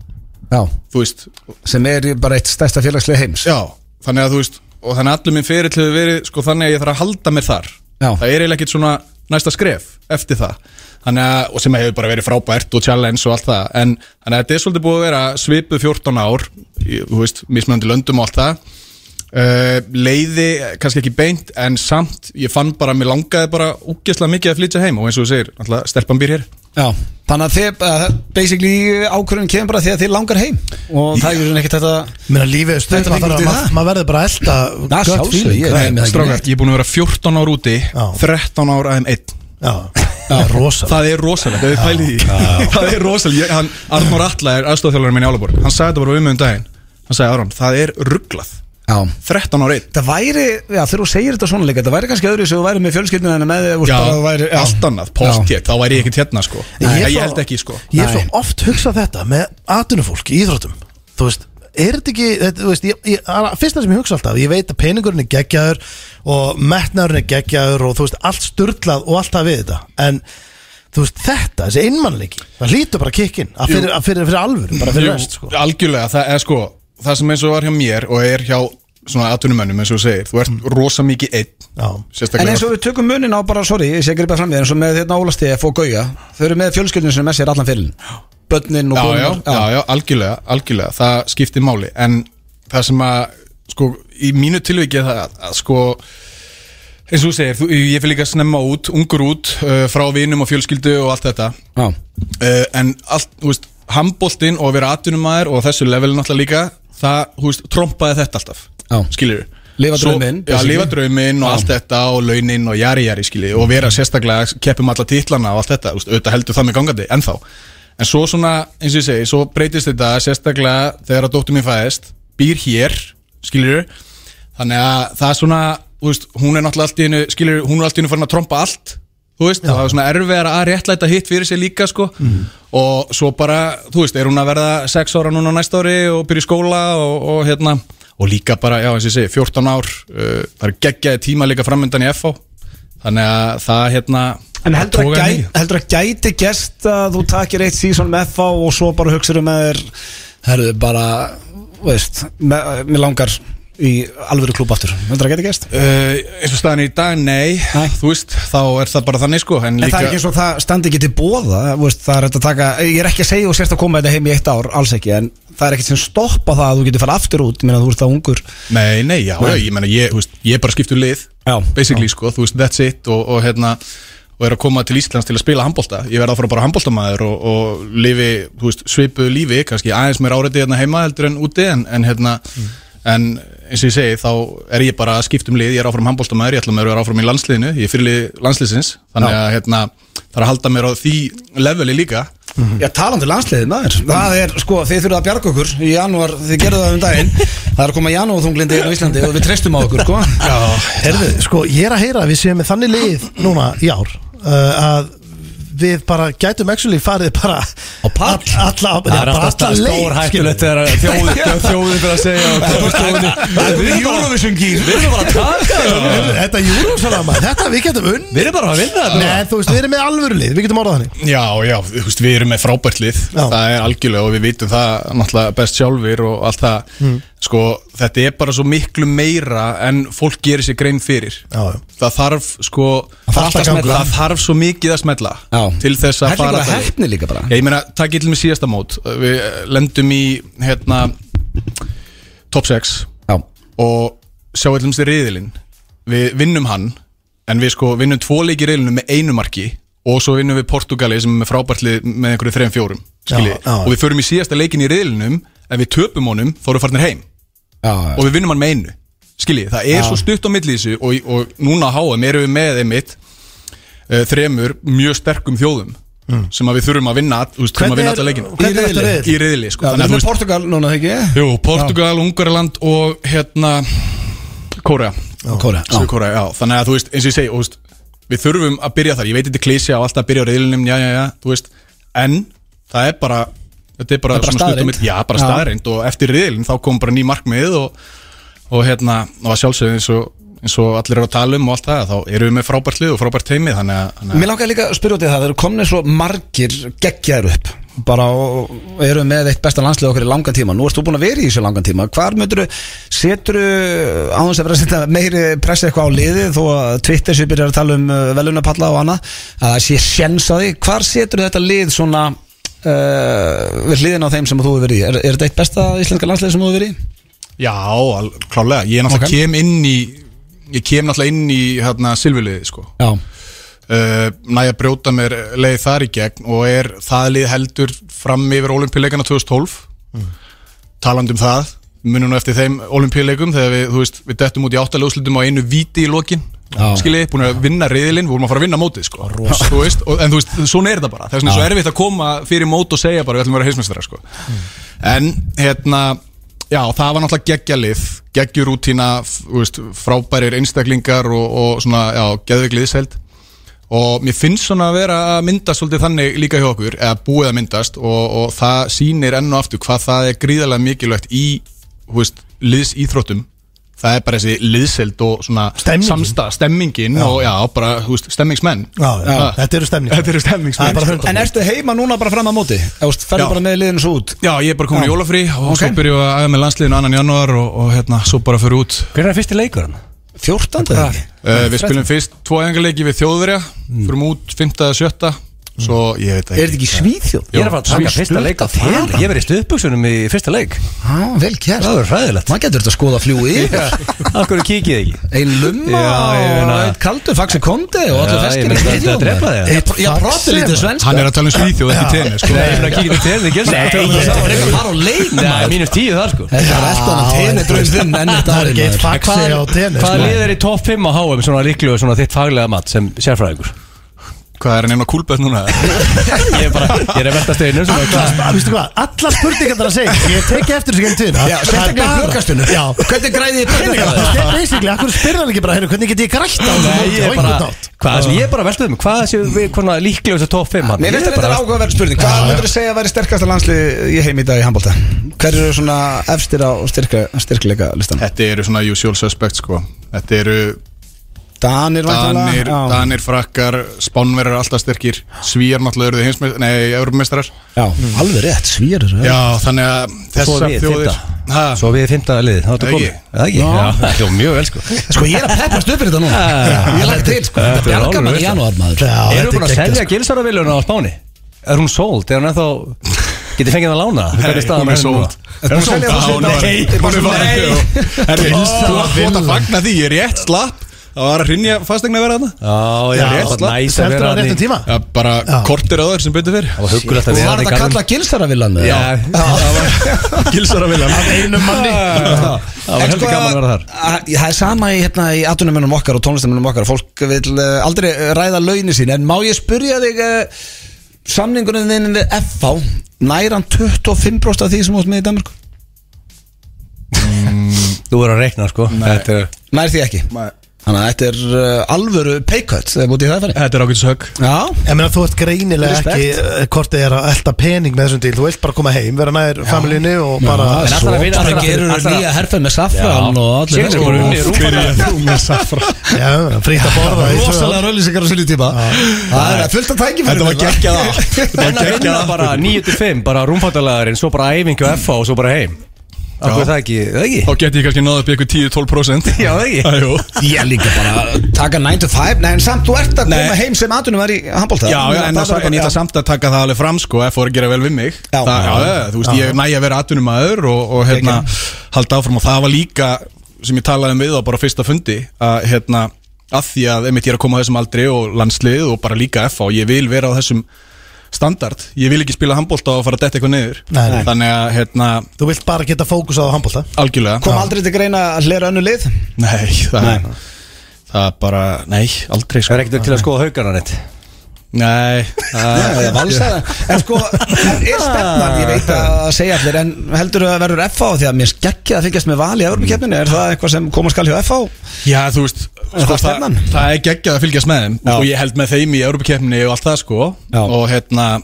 Speaker 1: Já,
Speaker 7: Þú veist,
Speaker 1: sem er í bara eitt stærsta félagslega heims
Speaker 7: já, þannig að þú veist, og þannig að allur minn ferill hefur verið sko þannig að ég þarf að halda mér þar
Speaker 1: Já.
Speaker 7: það er eiginlega ekkert svona næsta skref eftir það þannig að, og sem hefur bara verið frábært og challenge og allt það en þannig að þetta er svolítið búið að vera svipuð 14 ár í, þú veist, mismunandi löndum og allt það uh, leiði, kannski ekki beint en samt, ég fann bara, mér langaði bara úgeslega mikið að flytja heim og eins og þú segir, alltaf stelpan býr hér
Speaker 1: Já, þannig að þið, uh, basically ákvörðun kemur bara því að þið langar heim og það er ekki ekkert þetta
Speaker 2: Mér að lífið er stutt
Speaker 1: Þetta
Speaker 2: Maður
Speaker 1: gengur til
Speaker 2: þarf að-
Speaker 1: það.
Speaker 2: maður verður bara að elta
Speaker 1: Na,
Speaker 2: gut
Speaker 1: sjálfsögðu,
Speaker 2: feeling.
Speaker 1: ég- Nei, með það ekki
Speaker 7: Strákar,
Speaker 1: neitt.
Speaker 7: ég er búin að vera 14 ár úti
Speaker 2: Já.
Speaker 7: 13 ár aðeim einn
Speaker 2: Já, það er rosa
Speaker 7: Það er rosalegt, ef við pælið í því (laughs) Það er rosalegt, ég, hann, Arnur Alla er aðstofþjólarinn minn í Álaborg Hann sagði þetta bara um um daginn Hann sagði Aron, það er rugglað
Speaker 1: Já
Speaker 7: 13 ára einn
Speaker 1: Það væri, já þegar þú segir þetta svona líka, það væri kannski öðru sem þú væri með fjölskyldinu en með þér, þú veist,
Speaker 7: Já,
Speaker 1: bara að þú væri, já.
Speaker 7: allt annað, póstjétt, þá væri ég ekkert hérna sko Nei,
Speaker 2: er
Speaker 7: ég,
Speaker 2: svo-
Speaker 7: held ekki sko
Speaker 2: Ég er
Speaker 1: Nei.
Speaker 2: svo oft hugsað þetta með atunufólk í íþróttum Þú veist, er þetta ekki þetta, þú veist, ég, ég, að- Fyrsta sem ég hugsa alltaf Ég veit að peningurinn er geggjaður Og metnaðurinn er geggjaður Og þú veist, allt sturlað og allt það við þetta En þú veist, þetta, þessi innmannleiki Það hlýtur bara kikkin að fyrir, að fyrir, fyrir alvöru, bara fyrir
Speaker 7: Jú,
Speaker 2: rest sko.
Speaker 7: Algjörlega, það er sko Það sem eins og var hjá mér og er hjá svona atvinnumönnum eins og þú segir Þú ert rosa mikið einn
Speaker 2: Já.
Speaker 1: En
Speaker 7: Sérstaklega
Speaker 1: eins og við tökum munin á bara, sorry, ég sé að gripa fram við eins og með hérna Óla Stef og Gauja Þau eru með fjölskyldinu sem er með sér allan fyrirlin Bönnin og
Speaker 7: já, já,
Speaker 1: konurnar,
Speaker 7: já, já, algjörlega, algjörlega það skiptir máli, en það sem að sko, í mínu tilviki er það að, að sko eins og þú segir, þú, ég fyrir líka snemma út ungur út, uh, frá vinum og fjölskyldu og allt þetta
Speaker 1: já.
Speaker 7: uh, en allt, þú veist, handbóltinn og að vera atvinnumæður og þessu levelin alltaf líka það, þú veist, trompaði þetta alltaf
Speaker 1: Já.
Speaker 7: skilur,
Speaker 1: Lifa
Speaker 7: Svo-
Speaker 1: drauminn,
Speaker 7: Já,
Speaker 1: basically.
Speaker 7: lifa drauminn og allt þetta og launin og jari jari skilji og vera sérstaklega keppum alla titlana og allt þetta, þú veist, auðvitað heldur það með gangandi ennþá, en svo svona eins og ég segi, svo breytist þetta sérstaklega þegar að dóttur mín fæðist, býr hér skiljiðu, þannig að það er svona, þú veist, hún er náttúrulega allt í hennu, skiljiðu, hún er allt í hennu farin að trompa allt þú veist, það er svona erfiðar að réttlæta hitt fyrir sig líka, sko
Speaker 1: Mm.
Speaker 7: og svo bara, þú veist, er hún að verða 6 ára núna á næsta ári og byrja í skóla og, og hérna, og líka bara já, eins og ég segi, 14 ár, uh, það er geggjaði tíma líka framöndan í FH þannig að það, hérna
Speaker 1: En heldur að,
Speaker 7: togar
Speaker 1: gæ,
Speaker 7: mikið.
Speaker 1: heldur að gæti gest að þú takir eitt sísón með FA og svo bara hugsaður með þér Herðu bara, veist, me- mér langar í alvöru klúb aftur Heldur að gæti gest?
Speaker 7: Uh, eins og staðan í dag, nei,
Speaker 1: Nei.
Speaker 7: þú veist, þá er það bara þannig sko en
Speaker 1: En það
Speaker 7: líka,
Speaker 1: er ekki eins og það standi ekki til bóða veist, það er hægt að taka, ég er ekki að segja og sérst að koma þetta heim í eitt ár, alls ekki en það er ekkert sem stoppa það að þú getur fara aftur út meðan þú ert það ungur
Speaker 7: nei, nei, já, já, ég meina ég, þú veist, ég bara skiptu lið
Speaker 1: Já,
Speaker 7: basically sko, þú veist, that's it og, og hérna, og er að koma til Íslands til að spila handbólta, ég verða að fara bara handbóltamaður og, og lifi, þú veist, svipu lífi kannski aðeins mér áriði hérna heima heldur en úti en, en hérna,
Speaker 1: Mm.
Speaker 7: en eins og ég segi, þá er ég bara að skipta um lið ég er áfram handbóltamaður, ég ætla mér að vera áfram í landsliðinu ég er fyrirlið landsliðsins, þannig að hérna það er að halda mér á því leveli líka
Speaker 1: Já, talandi um landsliðið maður Það er, sko, þið þurfið að bjarga okkur í janúar, þið gerðu það um daginn Það er að koma janúarþunglindi inn á Íslandi og við treystum á okkur, sko Já,
Speaker 2: Herðu, sko, ég er að heyra að við séum með þannig lið núna í ár uh, að við bara gætum actually farið bara
Speaker 3: Á pall?
Speaker 2: all, alla,
Speaker 3: Það er alltaf
Speaker 2: alla leið,
Speaker 3: stór hættulegt
Speaker 2: skilur.
Speaker 3: þegar (laughs) þjóðin þjóðin fyrir að segja og þjóðstofunni
Speaker 1: Við erum Eurovision gýr
Speaker 3: Við erum bara að taka
Speaker 2: Heyrðu,
Speaker 3: þetta
Speaker 2: Þetta er júrósalama, þetta við getum unn
Speaker 3: Við erum bara að vinna þetta
Speaker 2: Nei, þú veist, við erum með alvöru lið, við getum orðað þannig
Speaker 7: Já, já, þú veist, við erum með frábært lið
Speaker 2: Já.
Speaker 7: það er algjörlega og við vitum það náttúrulega best sjálfur og allt það
Speaker 2: Mm.
Speaker 7: sko, þetta er bara svo miklu meira en fólk gerir sér grein fyrir
Speaker 2: Já, já.
Speaker 7: það þarf sko
Speaker 2: þarf allt að ganga.
Speaker 7: það þarf svo mikið að smetla
Speaker 1: Já.
Speaker 7: til þess að
Speaker 1: Hellingur
Speaker 7: fara
Speaker 1: að heppni líka bara.
Speaker 7: Ég meina, takk ég til mig síðasta mót við lendum í hérna top 6
Speaker 1: Já,
Speaker 7: og sjá allum sér riðilinn við vinnum hann en við sko vinnum tvo leiki riðilinu með einu marki og svo vinnum við Portugali sem er með frábært lið með einhverju þreim fjórum skilji,
Speaker 2: Já, já.
Speaker 7: og við förum í síðasta leikin í riðilinum en við töpum honum þá erum við farnir heim
Speaker 1: já,
Speaker 7: og við vinnum hann með einu skilji, það er svo stutt á milli í þessu og, og núna á HM erum við með einmitt uh, þremur mjög sterkum þjóðum sem að við þurfum að vinna þú veist, þurfum að vinna alla leikina
Speaker 2: Mm. hvernig er þetta
Speaker 7: í
Speaker 2: lið?
Speaker 7: riðili sko.
Speaker 1: já
Speaker 7: Þannig
Speaker 1: Við
Speaker 7: að þú
Speaker 1: erum
Speaker 7: veist-
Speaker 1: Portugal núna, þegar
Speaker 7: Jú, Portugal, Ungarland og hérna Kórea
Speaker 1: ekki? Kóra
Speaker 7: Suður Kórea, já, þannig að þú veist, eins og ég segi og, þú veist, við þurfum að byrja þar, ég veit þetta er klísja og alltaf að byrja á reyðlinum, já, já, já, þú veist en það er bara þetta
Speaker 1: Það
Speaker 7: er bara,
Speaker 1: er bara
Speaker 7: svona stutt á
Speaker 1: staðreynd.
Speaker 7: milli- já, bara
Speaker 1: Já.
Speaker 7: staðreind og eftir reyðlin þá kom bara ný markmið og, og hérna, og að sjálfsögðu eins og, eins og allir eru að tala um og allt það, þá erum við með frábært lið og frábært teimi, þannig að, þannig að
Speaker 1: Mér langaði líka að spyrja út í það, það eru komnið svo margir geggjaður upp bara og og eru með eitt besta landslið okkar í langan tíma, nú ert þú búin að vera í þessu langan tíma hvar myndur þú, setur þú áðans að vera að setja meiri pressi eitthvað á liði þó að Twitter sem byrjar að tala um uh, velunapalla og annað, að það sé sjens á því, hvar setur þetta lið svona uh, við hliðin á þeim sem þú hefur verið í, er, er þetta eitt besta íslenska landslið sem þú hefur verið í?
Speaker 7: Já, al- klálega, ég er náttúrulega
Speaker 1: Ok.
Speaker 7: kem inn í ég kem náttúrulega inn í hérna silfuliði sko
Speaker 1: Já,
Speaker 7: uh, næja að brjóta mér leið þar í gegn og er það lið heldur fram yfir olimpíuleikana 2012 talandi um það munum nú eftir þeim olimpíuleikum þegar við, þú veist, við dettum út í áttaljóðslutum á einu víti í lokin
Speaker 1: Já.
Speaker 7: skilji, búin að vinna riðilinn, vorum að fara að vinna mótið sko. Þú veist, og, en þú veist, svona er þetta bara það er svona svo erfitt að koma fyrir mót og segja bara við ætlum að vera heismestrar sko. en hérna, já, það var náttúrulega geggjalið, geggjurútína f- þú veist, frábærir einstaklingar og, og svona, já, geðvigliðsheld og mér finnst svona að vera að myndast svolítið þannig líka hjá okkur eða búið að myndast og, og það sýnir enn og aftur hvað það er gríðarlega mikilvægt í þú veist, liðsíþróttum það er bara þessi liðseld og svona
Speaker 2: Stemmingin.
Speaker 7: samsta, stemmingin og já, bara þú veist, stemmingsmenn
Speaker 2: Já, já, þetta eru stemning
Speaker 7: Þetta eru stemmingsmenn.
Speaker 2: Það er bara hundar
Speaker 1: en ertu heima núna bara fram að móti? Ferðu
Speaker 7: Já.
Speaker 1: bara með liðin svo út?
Speaker 7: Já, ég er bara komin í jólafrí og
Speaker 1: Ok.
Speaker 7: svo byrjum við að æfa með landsliðinu annan janúar og, og hérna, svo bara fyrir út Eh,
Speaker 3: Hver er fyrsti leikur hann?
Speaker 1: 14. eða ekki?
Speaker 7: uh, Við spilum fyrst tvo engarleiki við þjóðverja, fyrir út 5. eða 7. svo ég veit
Speaker 1: Er þetta ekki svíþjóð?
Speaker 3: Ég er að fara að taka fyrsta leik á þér Ég verið stuðbuksunum í fyrsta leik
Speaker 1: Já, vel kert
Speaker 3: Það verður hræðilegt
Speaker 1: Maður getur þetta að skoða fljú yfir
Speaker 3: Af hverju kíkið þið ekki?
Speaker 1: Ein lumma
Speaker 3: Já, ég meina-
Speaker 1: og einn kaldur faxi kondi og allir
Speaker 3: Já, ég
Speaker 1: feskir
Speaker 3: meina, þetta er að drepa þig.
Speaker 1: Já, prótið lítið svensk
Speaker 7: Hann er að tala um svíþjóð, ekki tenni sko.
Speaker 3: Nei, ég meina kíkið þið þið gerst það.
Speaker 1: Nei, þetta er eitthvað að fara á leik
Speaker 3: Nei,
Speaker 1: maður.
Speaker 3: mínus tíu þar sko
Speaker 1: Þetta er alltaf hann að tenni draum þinn enn þetta
Speaker 2: Það er
Speaker 1: árið
Speaker 2: ekki eitt
Speaker 1: maður.
Speaker 2: faxi á sko. tenni
Speaker 3: Hvaða lið er í topp 5 á HM svona líklu og svona þitt faglega mat sem sérfræðingur?
Speaker 7: Hvað er hann einn á kúlböð núna?
Speaker 3: Ég er bara, ég er að velta steinu sem er hvað
Speaker 2: Vistu hvað, alla spurningar það að segja Ég teki eftir þessu genið tíðina
Speaker 1: Já,
Speaker 2: Það er
Speaker 1: sérstaklega í
Speaker 2: bara-
Speaker 1: flugkastinu
Speaker 2: Já,
Speaker 1: um Hvernig græði þið
Speaker 2: Það
Speaker 1: penninga?
Speaker 2: er basically, akkur spyrði hann ekki bara "Heyrðu, Hvernig get ég grætt á þessu
Speaker 3: Nei,
Speaker 2: móti á
Speaker 3: ég er
Speaker 2: einhvern
Speaker 3: bara,
Speaker 2: nátt
Speaker 3: hvað sem ég er bara að velta um Hvað sem við svona líklu þessu topp 5
Speaker 1: Mér finnst þetta áhugaverð spurning Hvað myndur þú segja að væri sterkasta landslið í heim í dag í handbólta? Hver eru svona efstir á styrkleika listan?
Speaker 7: Þetta eru svona usual suspects sko. Þetta eru
Speaker 1: Danir
Speaker 7: Danir,
Speaker 1: væntanlega, já.
Speaker 7: Danir frakkar, Spánverjar alltaf styrkir Svíjar náttúrulega eru þið heimsmeist Nei, Európmestrar
Speaker 1: Já, alveg rétt, svýrur
Speaker 7: Já, þannig að
Speaker 3: Svo
Speaker 7: þessar
Speaker 3: við,
Speaker 7: þjóðir
Speaker 3: fimmta.
Speaker 7: Ha?
Speaker 3: Svo við fymta lið, þá er þetta
Speaker 7: Það
Speaker 3: komið Það ekki, já, það
Speaker 7: ekki.
Speaker 3: er mjög vel sko
Speaker 1: Sko ég er að peppast upp fyrir þetta núna Ég er lagt til, sko,
Speaker 3: Ah, Þetta
Speaker 1: þetta
Speaker 3: er
Speaker 1: bjarga
Speaker 3: alveg
Speaker 1: mann í
Speaker 3: veist.
Speaker 1: janúar maður
Speaker 2: Já,
Speaker 3: Erum við
Speaker 2: þetta er
Speaker 3: búin að
Speaker 2: geggjað
Speaker 3: selja gilsaraviluna á Spáni? Er hún sold? Er hún ennþá Getið fengið það lána? Hvernig
Speaker 7: Nei,
Speaker 3: staðan
Speaker 7: hún er
Speaker 3: henni
Speaker 7: sold.
Speaker 3: hérna núna?
Speaker 7: Er hún
Speaker 1: Nei, nei.
Speaker 2: Gilsa
Speaker 7: sold? Já, hún er- hún er farin. Jú. Herri, þú átt- þú átt að
Speaker 2: villa.
Speaker 7: fagna því, ég er rétt slapp Það var að hrinja fastegna að vera þarna
Speaker 2: Já,
Speaker 3: Já, já, það er næst að
Speaker 2: Seldur
Speaker 3: vera
Speaker 2: á réttum tíma
Speaker 7: Já, bara
Speaker 2: Já.
Speaker 7: kortir að þær sem byrjuð fyrir
Speaker 3: Það var
Speaker 1: Þú
Speaker 3: huggulegt að vera
Speaker 1: var þetta að kalla gilsaravillan
Speaker 3: Já, (laughs) það var gilsaravillan
Speaker 2: Af einum manni
Speaker 3: Það var heldur gaman að vera þar
Speaker 1: sko, Það er sama í, hérna, í atvinnumennum okkar og tónlistamennum okkar Fólk vil uh, aldrei eh, ræða launi sín En má ég spyrja þig uh, Samningunum þinn við FH Næran 25% af því sem þú átt með í Danmark
Speaker 3: Þú er að reikna sko Þetta er
Speaker 1: Nær því ekki
Speaker 7: Nei.
Speaker 1: Þannig að þetta er uh, alvöru paycut Þegar mútið það færi
Speaker 7: Þetta er ákveðs högg
Speaker 1: Já
Speaker 2: Ég meina þú ert greinilega
Speaker 1: Respekt.
Speaker 2: ekki eh, hvort þið er að elda pening með þessum díl Þú vilt bara koma heim, vera nær familíinu og bara
Speaker 1: En
Speaker 3: ætlar
Speaker 1: alltaf
Speaker 3: að
Speaker 1: að vinna
Speaker 3: vinna-
Speaker 1: Það
Speaker 3: ætlar að-
Speaker 1: gerur
Speaker 3: ætlar að-
Speaker 1: nýja herfið með saffran og allir
Speaker 3: Sér er bara unni rúfana
Speaker 2: Já, frýtt að borða í tvö ár.
Speaker 1: Rosalega rauðlýsingar á sinni tíma Það er fullt að tækja
Speaker 7: Þetta var geggjað
Speaker 1: (laughs)
Speaker 7: á. Þetta
Speaker 3: En að
Speaker 7: var geggjað
Speaker 3: vinna
Speaker 7: á.
Speaker 3: bara 9-5 Bara rúmfattalagarinn Svo bara æfingu FH og svo bara heim Akkur það ekki Það ekki
Speaker 7: Þá geti ég kannski náða upp í eitthvað 10-12%
Speaker 3: Já, það ekki.
Speaker 7: Æjú
Speaker 1: Ég líka bara taka 9 to 5 Nei, en samt þú ert að koma heim sem atunum var í handbólta
Speaker 7: Já, já, en það er bara nýta samt að taka það alveg fram sko ef voru að gera vel við mig
Speaker 1: Já.
Speaker 7: það, já, já, Þú veist, ég næja að vera atvinnumæður og, og hérna, halda áfram og það var líka sem ég talaði um við á bara fyrsta fundi að hérna, að því að einmitt ég er að koma á þessum aldri og landslið og bara líka F og ég vil vera á þessum standard, ég vil ekki spila handbólta og fara að detta eitthvað niður
Speaker 2: Nei, nei.
Speaker 7: þannig að, hérna,
Speaker 2: Þú vilt bara geta fókus á handbólta
Speaker 7: algjörlega
Speaker 1: Kom aldrei til greina að hlera önnu lið
Speaker 7: Nei, það,
Speaker 1: Nei.
Speaker 7: það bara, nei, aldrei
Speaker 3: Það
Speaker 7: sko
Speaker 3: er ekkert til að skoða haugana neitt
Speaker 7: Nei,
Speaker 1: Já,
Speaker 7: það
Speaker 1: já, valsara En sko, það er stefnan, ég veit að segja allir En heldur að verður FH því að mér skekkja að fylgjast með val í Evropakeppninu Er það eitthvað sem koma skal hjá FH?
Speaker 7: Já, þú veist, sko,
Speaker 1: það
Speaker 7: það,
Speaker 1: stefnan?
Speaker 7: það er geggjað að fylgjast með þeim
Speaker 1: Já.
Speaker 7: og ég held með þeim í Európa-keppni og allt það sko
Speaker 1: Já.
Speaker 7: og hérna,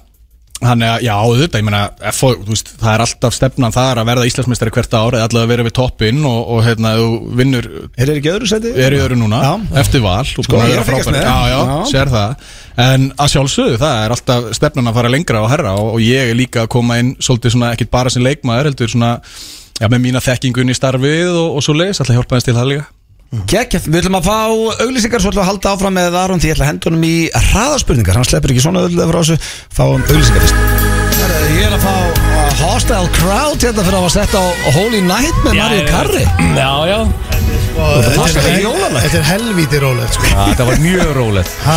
Speaker 7: hann er, já, auðvitað, ég meina FO, þú veist, það er alltaf stefnan þar að verða Íslandsmeistari hvert ár eða allavega að vera við toppinn og, og hérna, þú vinnur
Speaker 1: Er þeir ekki í öðru seti?
Speaker 7: er í öðru núna,
Speaker 1: Já.
Speaker 7: eftir val
Speaker 1: Sko,
Speaker 7: og
Speaker 1: ég
Speaker 7: búin
Speaker 1: er
Speaker 7: vera
Speaker 1: að fylgjast
Speaker 7: frábær.
Speaker 1: með.
Speaker 7: já, já,
Speaker 1: Já.
Speaker 7: sér það, en að sjálfsögðu það er alltaf stefnan að fara lengra og herra og, og ég er líka að koma inn svolítið svona, ekkit bara sem leikmaður, heldur svona Já, með mína þekkingun í starfið og, og svo leiðis, alltaf hjálpa hans til það líka.
Speaker 1: Gekk, við ætlum að fá auglýsingar svo ætlum við að halda áfram með Aron því ég ætla að henda honum í hraðaspurningar hann sleppur ekki svona öllu frá þessu fáum auglýsingar fyrst Herra, Ég er að fá uh, Hostile Crowd hérna fyrir að hafa sett á Holy Night með Mario Karri
Speaker 3: Já, já
Speaker 1: Þetta er jólalegt.
Speaker 2: Þetta er helvíti rólegt sko.
Speaker 3: Þetta var mjög rólegt
Speaker 2: Ha,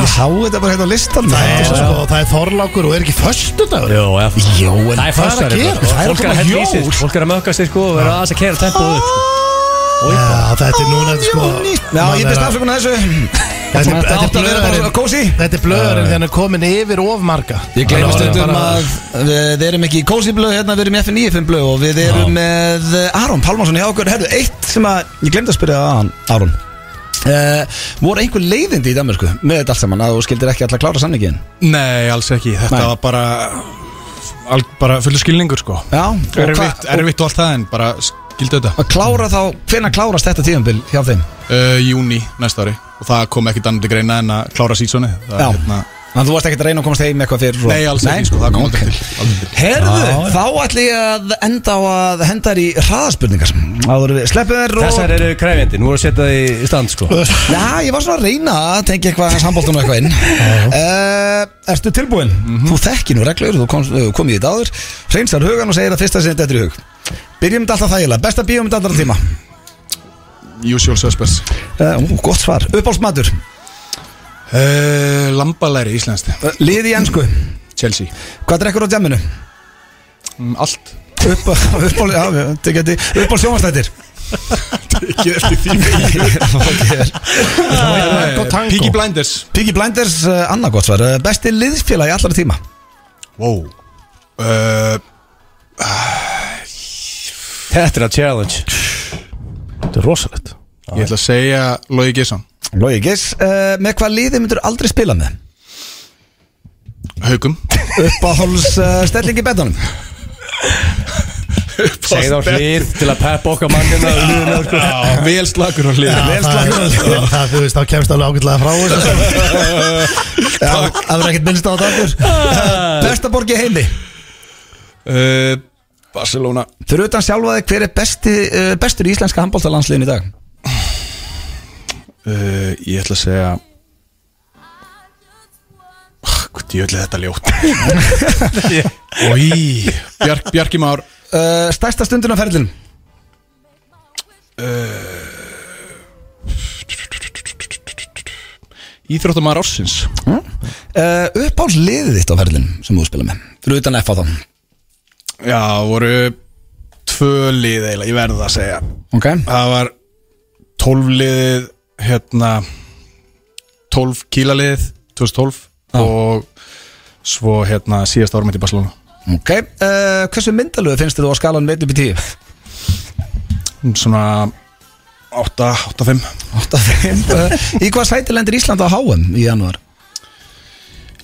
Speaker 1: Ég sá þetta bara hérna á listan
Speaker 2: Það er, sko, það er þorlákur og er ekki föstudagur
Speaker 3: Jó, já
Speaker 1: Jó, en
Speaker 3: Það er
Speaker 2: Hvað er að
Speaker 3: föstudagurinn
Speaker 2: gera?
Speaker 3: bara.
Speaker 2: Það er að
Speaker 3: Fólk er
Speaker 2: koma
Speaker 3: að hella í
Speaker 2: jól.
Speaker 3: sig, sko. Fólk er að mökka sig sko og vera aðeins að kera tempoð upp sko.
Speaker 2: Já, þetta er núna þetta er sko
Speaker 1: Já, ég
Speaker 2: maður er
Speaker 1: best
Speaker 2: að-
Speaker 1: afsökunar þessu
Speaker 2: Þetta er-
Speaker 1: Þetta
Speaker 2: þetta er
Speaker 1: átt að vera bara
Speaker 2: blöðurinn
Speaker 1: kósi
Speaker 2: Þetta er blöðurinn þegar hann er komin yfir of marga
Speaker 1: Ég gleymi stundum að við erum ekki í kósi blöð hérna, við erum í F95 blöð og við erum með eh, Aron Pálmarsson hjá okkur Herðu, eitt sem að, ég glemdi að spyrja að hann, Aron uh, Voru einhver leiðindi í Danmarku með þetta allt saman að þú skildir ekki alltaf klára samningin
Speaker 7: Nei, alls ekki, þetta
Speaker 1: Nei.
Speaker 7: var bara al, bara fullur skilningur sko
Speaker 1: Já, og,
Speaker 7: Erfitt,
Speaker 1: og,
Speaker 7: erfitt og allt það en bara skildu þetta
Speaker 1: að klára þá, hvenær klárast þetta tíðanbil hjá þeim?
Speaker 7: uh, Júni næsta ári og það kom ekkit annað til greina en að klára sísoni
Speaker 1: Já.
Speaker 7: hérna,
Speaker 1: Þannig að þú varst ekkert að reyna að komast heim eitthvað fyrir
Speaker 7: Nei, alls ekki, sko, það kom aldrei til, aldrei til.
Speaker 1: Herðu, þá ætlum ég að enda á að henda þér í hraðaspurningar Áður en við sleppum þér og
Speaker 3: Þessar eru krefjandi, nú er að setja þið í (laughs) stand sko
Speaker 1: Já, ég var svona að reyna að tengja eitthvað samboltan og eitthvað inn Mhm. uh, Ertu tilbúin? Þú þekkir nú reglur, þú kom, kom í þetta áður Hreinsar hugan og segir að fyrsta sinni þetta er í hug Byrjum þetta alltaf þægilega, besta bíómynd allra tíma
Speaker 7: Usual suspects
Speaker 1: uh, ú, Gott svar, uppáhaldsmatur
Speaker 7: uh, Lambalæri íslenski
Speaker 1: uh, Lið í ensku,
Speaker 7: Chelsea
Speaker 1: hvað drekkur á djamminu?
Speaker 7: um, Allt
Speaker 1: Upp, (laughs) uppáhald, já, þetta geti Uppáhald sjónvastættir
Speaker 7: Ekki eftir því
Speaker 1: (laughs)
Speaker 2: Gott tango.
Speaker 7: Piggy Blinders
Speaker 1: Piggy Blinders, uh, annað gott svar uh, Besti liðsfélagi allra tíma
Speaker 7: Wow uh,
Speaker 3: Þetta er að challenge
Speaker 2: Þetta er rosalegt
Speaker 7: Ég ætla að segja Logi Gesson
Speaker 1: Logi Giss, uh, með hvað liði myndur aldrei spila með?
Speaker 7: Haugum
Speaker 1: Uppáhalds uh, stelling í betanum
Speaker 3: Segð á hlýð til að peppa okkar mannina í liðinu, sko.
Speaker 7: Vel slagur á hlýðin
Speaker 1: Vel
Speaker 2: Það,
Speaker 1: slagur á
Speaker 2: það, það, þú veist, þá kemst alveg ágætlega frá þessu
Speaker 1: Já, það verður ekkert minnst á þetta aftur Besta borg í heimi
Speaker 7: uh, Barcelona
Speaker 1: Fyrir utan sjálfaði hver er besti, uh, bestur í íslenska handbóltalandsliðin í dag?
Speaker 7: uh, Ég ætla að segja Ah, Hvað djöfull er þetta ljótt Í Bjark, Bjarki Már
Speaker 1: Uh, stærsta stundin á ferðlinn
Speaker 7: Íþróttamæður ársins
Speaker 1: uh, Uppáhalds liðið þitt á ferðlinn sem þú spila með Fyrir utan F á þá
Speaker 7: Já, voru tvö lið eiginlega, ég verði það að segja
Speaker 1: Ok
Speaker 7: Það var tólfliðið hérna tólf kílaliðið 2012 og svo hérna síðast árum í Barcelona
Speaker 1: Ok uh, Hversu myndalögu finnst þið á skalan 1 upp í 10?
Speaker 7: svona 8, 8, 5
Speaker 1: 8 af 5 Í hvað sæti lendir Ísland á HM í janúar?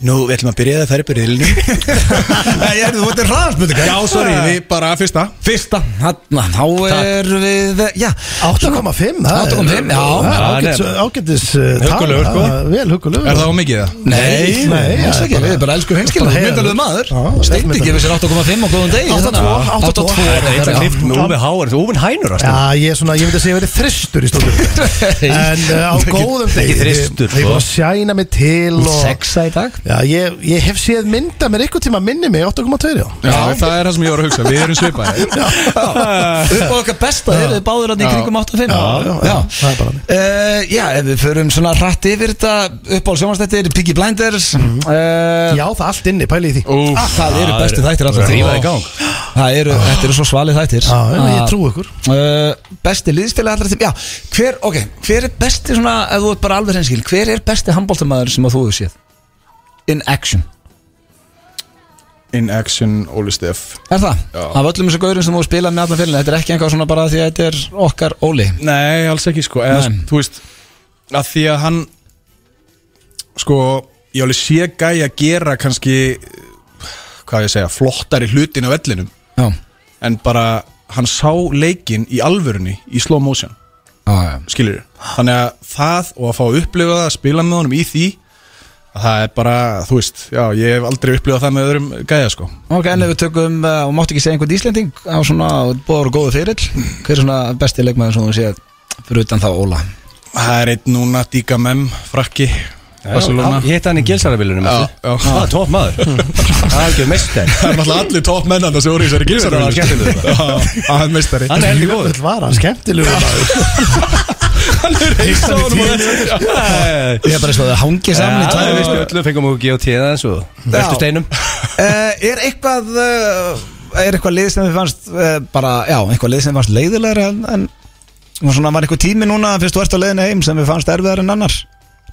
Speaker 7: Nú, við ætlum að byrja það að færa byrja ilinu
Speaker 1: (laughs) Nei, er, þú veitir hraðspurningar
Speaker 7: Já, sorry, við bara fyrsta
Speaker 1: Fyrsta, hann, þá er við, já
Speaker 2: 8,5 það er-
Speaker 1: 8,5, já.
Speaker 2: það er
Speaker 3: Já,
Speaker 2: ágætis-
Speaker 3: nei.
Speaker 2: Ágætis uh, tala,
Speaker 3: Huggulegur, sko.
Speaker 2: það er Vel huggulegur
Speaker 7: Er það á mikið það?
Speaker 1: Nei,
Speaker 2: Nei,
Speaker 1: nei, alls
Speaker 2: það er
Speaker 1: ekki,
Speaker 2: bara-
Speaker 1: við bara elskum hinskilum
Speaker 2: bara heiðarlegur.
Speaker 1: Myndalöðu maður,
Speaker 2: Já,
Speaker 1: steindi
Speaker 2: vel
Speaker 1: gefur sér 8,5 á Hérna. góðum degi
Speaker 2: 8,2, 8,2.
Speaker 3: Það er eitthvað klift með Óvin Háar Óvin Hænur að
Speaker 2: Já, ég, er svona, ég myndi að segja að ég verið þristur í stúdum
Speaker 3: (laughs)
Speaker 2: En uh, á góðum degi
Speaker 3: ekki þristur,
Speaker 2: Ég ég
Speaker 3: sko.
Speaker 2: var að sjæna mig til og,
Speaker 1: Sexa í dag
Speaker 2: já, ég, ég hef séð mynda mér einhvern tíma minni mig 8,2 já.
Speaker 7: Já, það er það sem ég var að hugsa, við erum
Speaker 1: (laughs)
Speaker 7: svipaði
Speaker 1: Upp á okkar besta, þeir eru báður hann í
Speaker 7: Já.
Speaker 1: kringum 8,5
Speaker 2: Já, já, já, það er bara þannig.
Speaker 1: Eh, Já, ef við förum svona rætt yfir þetta Upp á sjónvastættir, Piggy Blinders eh,
Speaker 2: Mhm. já, það er allt inni, pæli í því
Speaker 7: Úf,
Speaker 1: Ah, Það eru bestu þættir allra
Speaker 3: Drífa
Speaker 1: tíma.
Speaker 3: í gang.
Speaker 1: Það eru, þetta eru svo svalið þættir
Speaker 2: Já, já,
Speaker 1: Ah.
Speaker 2: ég trú ykkur
Speaker 1: uh, Besti liðsfélag allra tíma Já, hver, ok, hver er besti svona Ef þú ert bara alveg hreinskil Hver er besti handbóltamaður sem að þú hefur séð In action
Speaker 7: in action, Óli Steff
Speaker 1: Er það?
Speaker 7: Já.
Speaker 1: Af öllum þessu gaurum sem þú spilað með allan félagin Þetta er ekki einhvað svona bara því að þetta er okkar Óli
Speaker 7: Nei, alls ekki sko eða,
Speaker 1: Nei.
Speaker 7: Þú veist, að því að hann Sko, ég alveg sé gæja gera kannski Hvað á ég að segja, flottari hlutin á vellinum
Speaker 1: Já,
Speaker 7: En bara, hann sá leikin í alvörunni Í slow motion,
Speaker 1: já, já
Speaker 7: skilur Þannig að það og að fá að upplifa það Að spila með honum í því að Það er bara, þú veist, já, ég hef aldrei upplifað það með öðrum gæja sko
Speaker 1: Ok, en ef við tökum, uh, og máttu ekki segja einhvern Íslending á svona bóður og góðu fyrill Hver er svona besti leikmaður sem þú séð fyrir utan þá Óla?
Speaker 7: Það er einn núna, Díka Mem, frakki Barcelona
Speaker 3: Ég hitt hann í gilsarabílunum
Speaker 7: Já, já.
Speaker 3: Það er topp maður Það er ekki meistari
Speaker 7: Það er náttúrulega allir topp mennanda sem voru í þessari
Speaker 3: Jú, það var skemmtilegur.
Speaker 7: gilsaröfn Það er meistari
Speaker 3: Hann er heldur góður
Speaker 2: Þetta var hann skemmtilegur maður.
Speaker 7: Hann er reist á honum og-
Speaker 1: Ég er bara eins og það hangi saman í
Speaker 3: Það er
Speaker 1: tvær
Speaker 3: vist öllu Fengum okkur GOT aðeins og Vertu steinum
Speaker 1: uh, Er eitthvað uh, Er eitthvað lið sem þið fannst uh, bara, Já, eitthvað lið sem þið fannst leiðilegra en, en og svona var eitthvað tími núna fyrst þú ert á leiðinu heim sem við fannst erfiðar en annars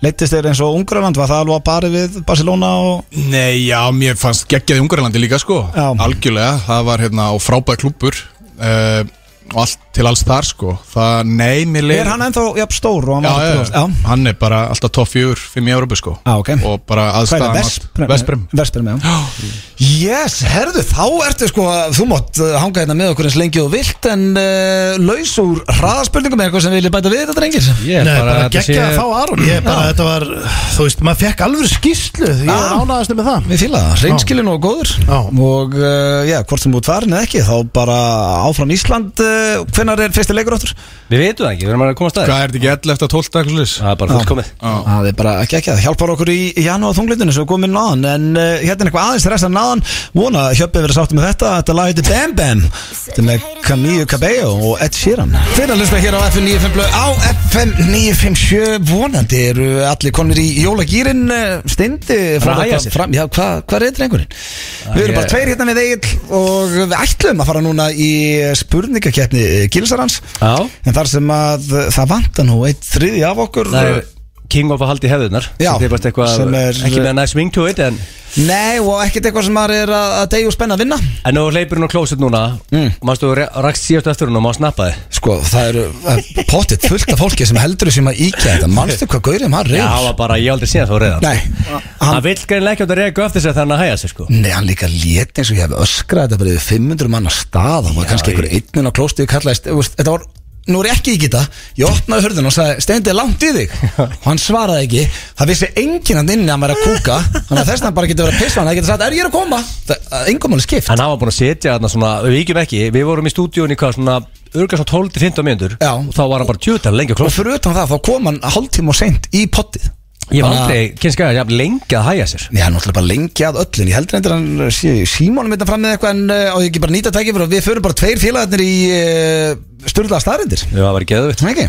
Speaker 1: Leittist þeir eins og Ungarland var það alveg að pari við Barcelona og
Speaker 7: Nei, já, mér fannst geggjaði Ungarlandi líka sko
Speaker 1: Já.
Speaker 7: Algjörlega, það var hérna á frábæð klúpur uh, og allt til alls þar sko það, nei, mér leið
Speaker 1: Er hann ennþá jafn stór og hann
Speaker 7: já,
Speaker 1: var
Speaker 7: já,
Speaker 1: 2000? Já,
Speaker 7: hann er bara alltaf topp fjör fimm í Európa sko
Speaker 1: Já, ok.
Speaker 7: og bara
Speaker 1: hvað er
Speaker 7: aðstæðan
Speaker 1: það?
Speaker 7: Vesprim
Speaker 1: Vesprim, já Yes, herðu, þá ertu sko Þú mátt uh, hanga hérna með okkur eins lengi og vilt En uh, laus úr hraðaspurningum Er eitthvað sem vilja bæta við þetta, drengir?
Speaker 3: Ég er
Speaker 2: Nei, bara, bara
Speaker 3: þetta
Speaker 2: geggja
Speaker 3: sé-
Speaker 2: að fá Aron Ég bara, þetta var, þú veist, maður fekk alveg skýrslu Ég var
Speaker 3: Ah.
Speaker 1: Já.
Speaker 2: ánæðast með það
Speaker 1: Við fýla það, reynskilin og góður
Speaker 2: Já.
Speaker 1: Og uh, já, hvort sem út farin eða ekki Þá bara áfram Ísland uh, Hvenær er fyrsti leikur áttur?
Speaker 3: Við veitum það ekki, við erum að koma að staði
Speaker 7: hvað er þetta ekki 11 eftir 12 dag slis
Speaker 3: Það er bara fullkomið
Speaker 1: Það er bara ekki ekki Það hjálpar okkur í janúar þunglindinu Svo komin náðan En uh, hérna er eitthvað aðeins resta náðan Vona, að Hjöppi verið sátt með þetta Þetta lag heitir Bam Bam Þetta er með Camille Cabello og Ed Sheeran Fyrir að hlusta hér á FM 957 Á FM 957 Vonandi eru allir konir í eh, jólagýrin Stindi
Speaker 3: Hann er að hægja sér.
Speaker 1: fram, Já, hvað hva er drengurinn? Við erum
Speaker 3: ég-
Speaker 1: bara tveir hérna með Egil Og við ætlum að fara núna í spurningakeppni Gilsarans
Speaker 3: Já.
Speaker 1: En þar sem að uh, það vanta nú eitt þriði af okkur
Speaker 3: Það er King of að haldi hefðunar
Speaker 1: Já,
Speaker 3: sem er bara eitthvað,
Speaker 1: sem er-
Speaker 3: ekki með nice wing to it en,
Speaker 1: Nei, og ekkert eitthvað sem maður er að að deyja og spenna að vinna
Speaker 3: en nú hleypur hún á klóset núna mm. Mástu þú rakst síðast eftir hún og má snappa þið
Speaker 1: Sko, það eru eh, pottitt fullt af fólki sem heldur þessum að íkja þetta Manstu hvað gaurið maður
Speaker 3: Já, það
Speaker 1: reyður?
Speaker 3: var bara, ég hef aldrei síðan þá reyðan
Speaker 1: Nei,
Speaker 3: Hann
Speaker 1: hann,
Speaker 3: vill greinlega ekki að reyða eftir sig þannig að hæja sig sko
Speaker 1: nei, hann líka lét eins og ég hef öskrað þetta bara yfir 500 manna stað Það var kannski einhver einnun á klóstið kallaðist þú veist, Þetta var, nú er ég ekki í geta Ég opnaði hurðin og sagði, steindið langt í þig Og hann svaraði ekki Það vissi enginn hann inni að maður er að kúka Þannig að þess að hann bara getur verið að pissa hann Það getur sagt, er ég er að koma? Það, engum alveg skipt
Speaker 3: En hann var búin að setja þarna svona, við víkjum ekki Við vorum í stúdíunni hvað svona Örgast svona 12-15 mínútur
Speaker 1: Já.
Speaker 3: Og þá var hann bara tjóðan lengi á
Speaker 1: Og
Speaker 3: klóset
Speaker 1: fyrir utan það, þá kom hann hálftíma og seint í pottið
Speaker 3: Ég var
Speaker 1: Bara-
Speaker 3: aldrei, kynska, ég haf lengi að hæja sér
Speaker 1: Nei, hann er náttúrulega bara lengi að öllin Ég heldur endur hann sé í símónum þetta fram með eitthvað En uh, á ég ekki bara að nýta tækið fyrir Við förum bara tveir félagarnir í uh, Sturla staðrindir
Speaker 3: Já, það var ekki eðvitt
Speaker 1: Sem ekki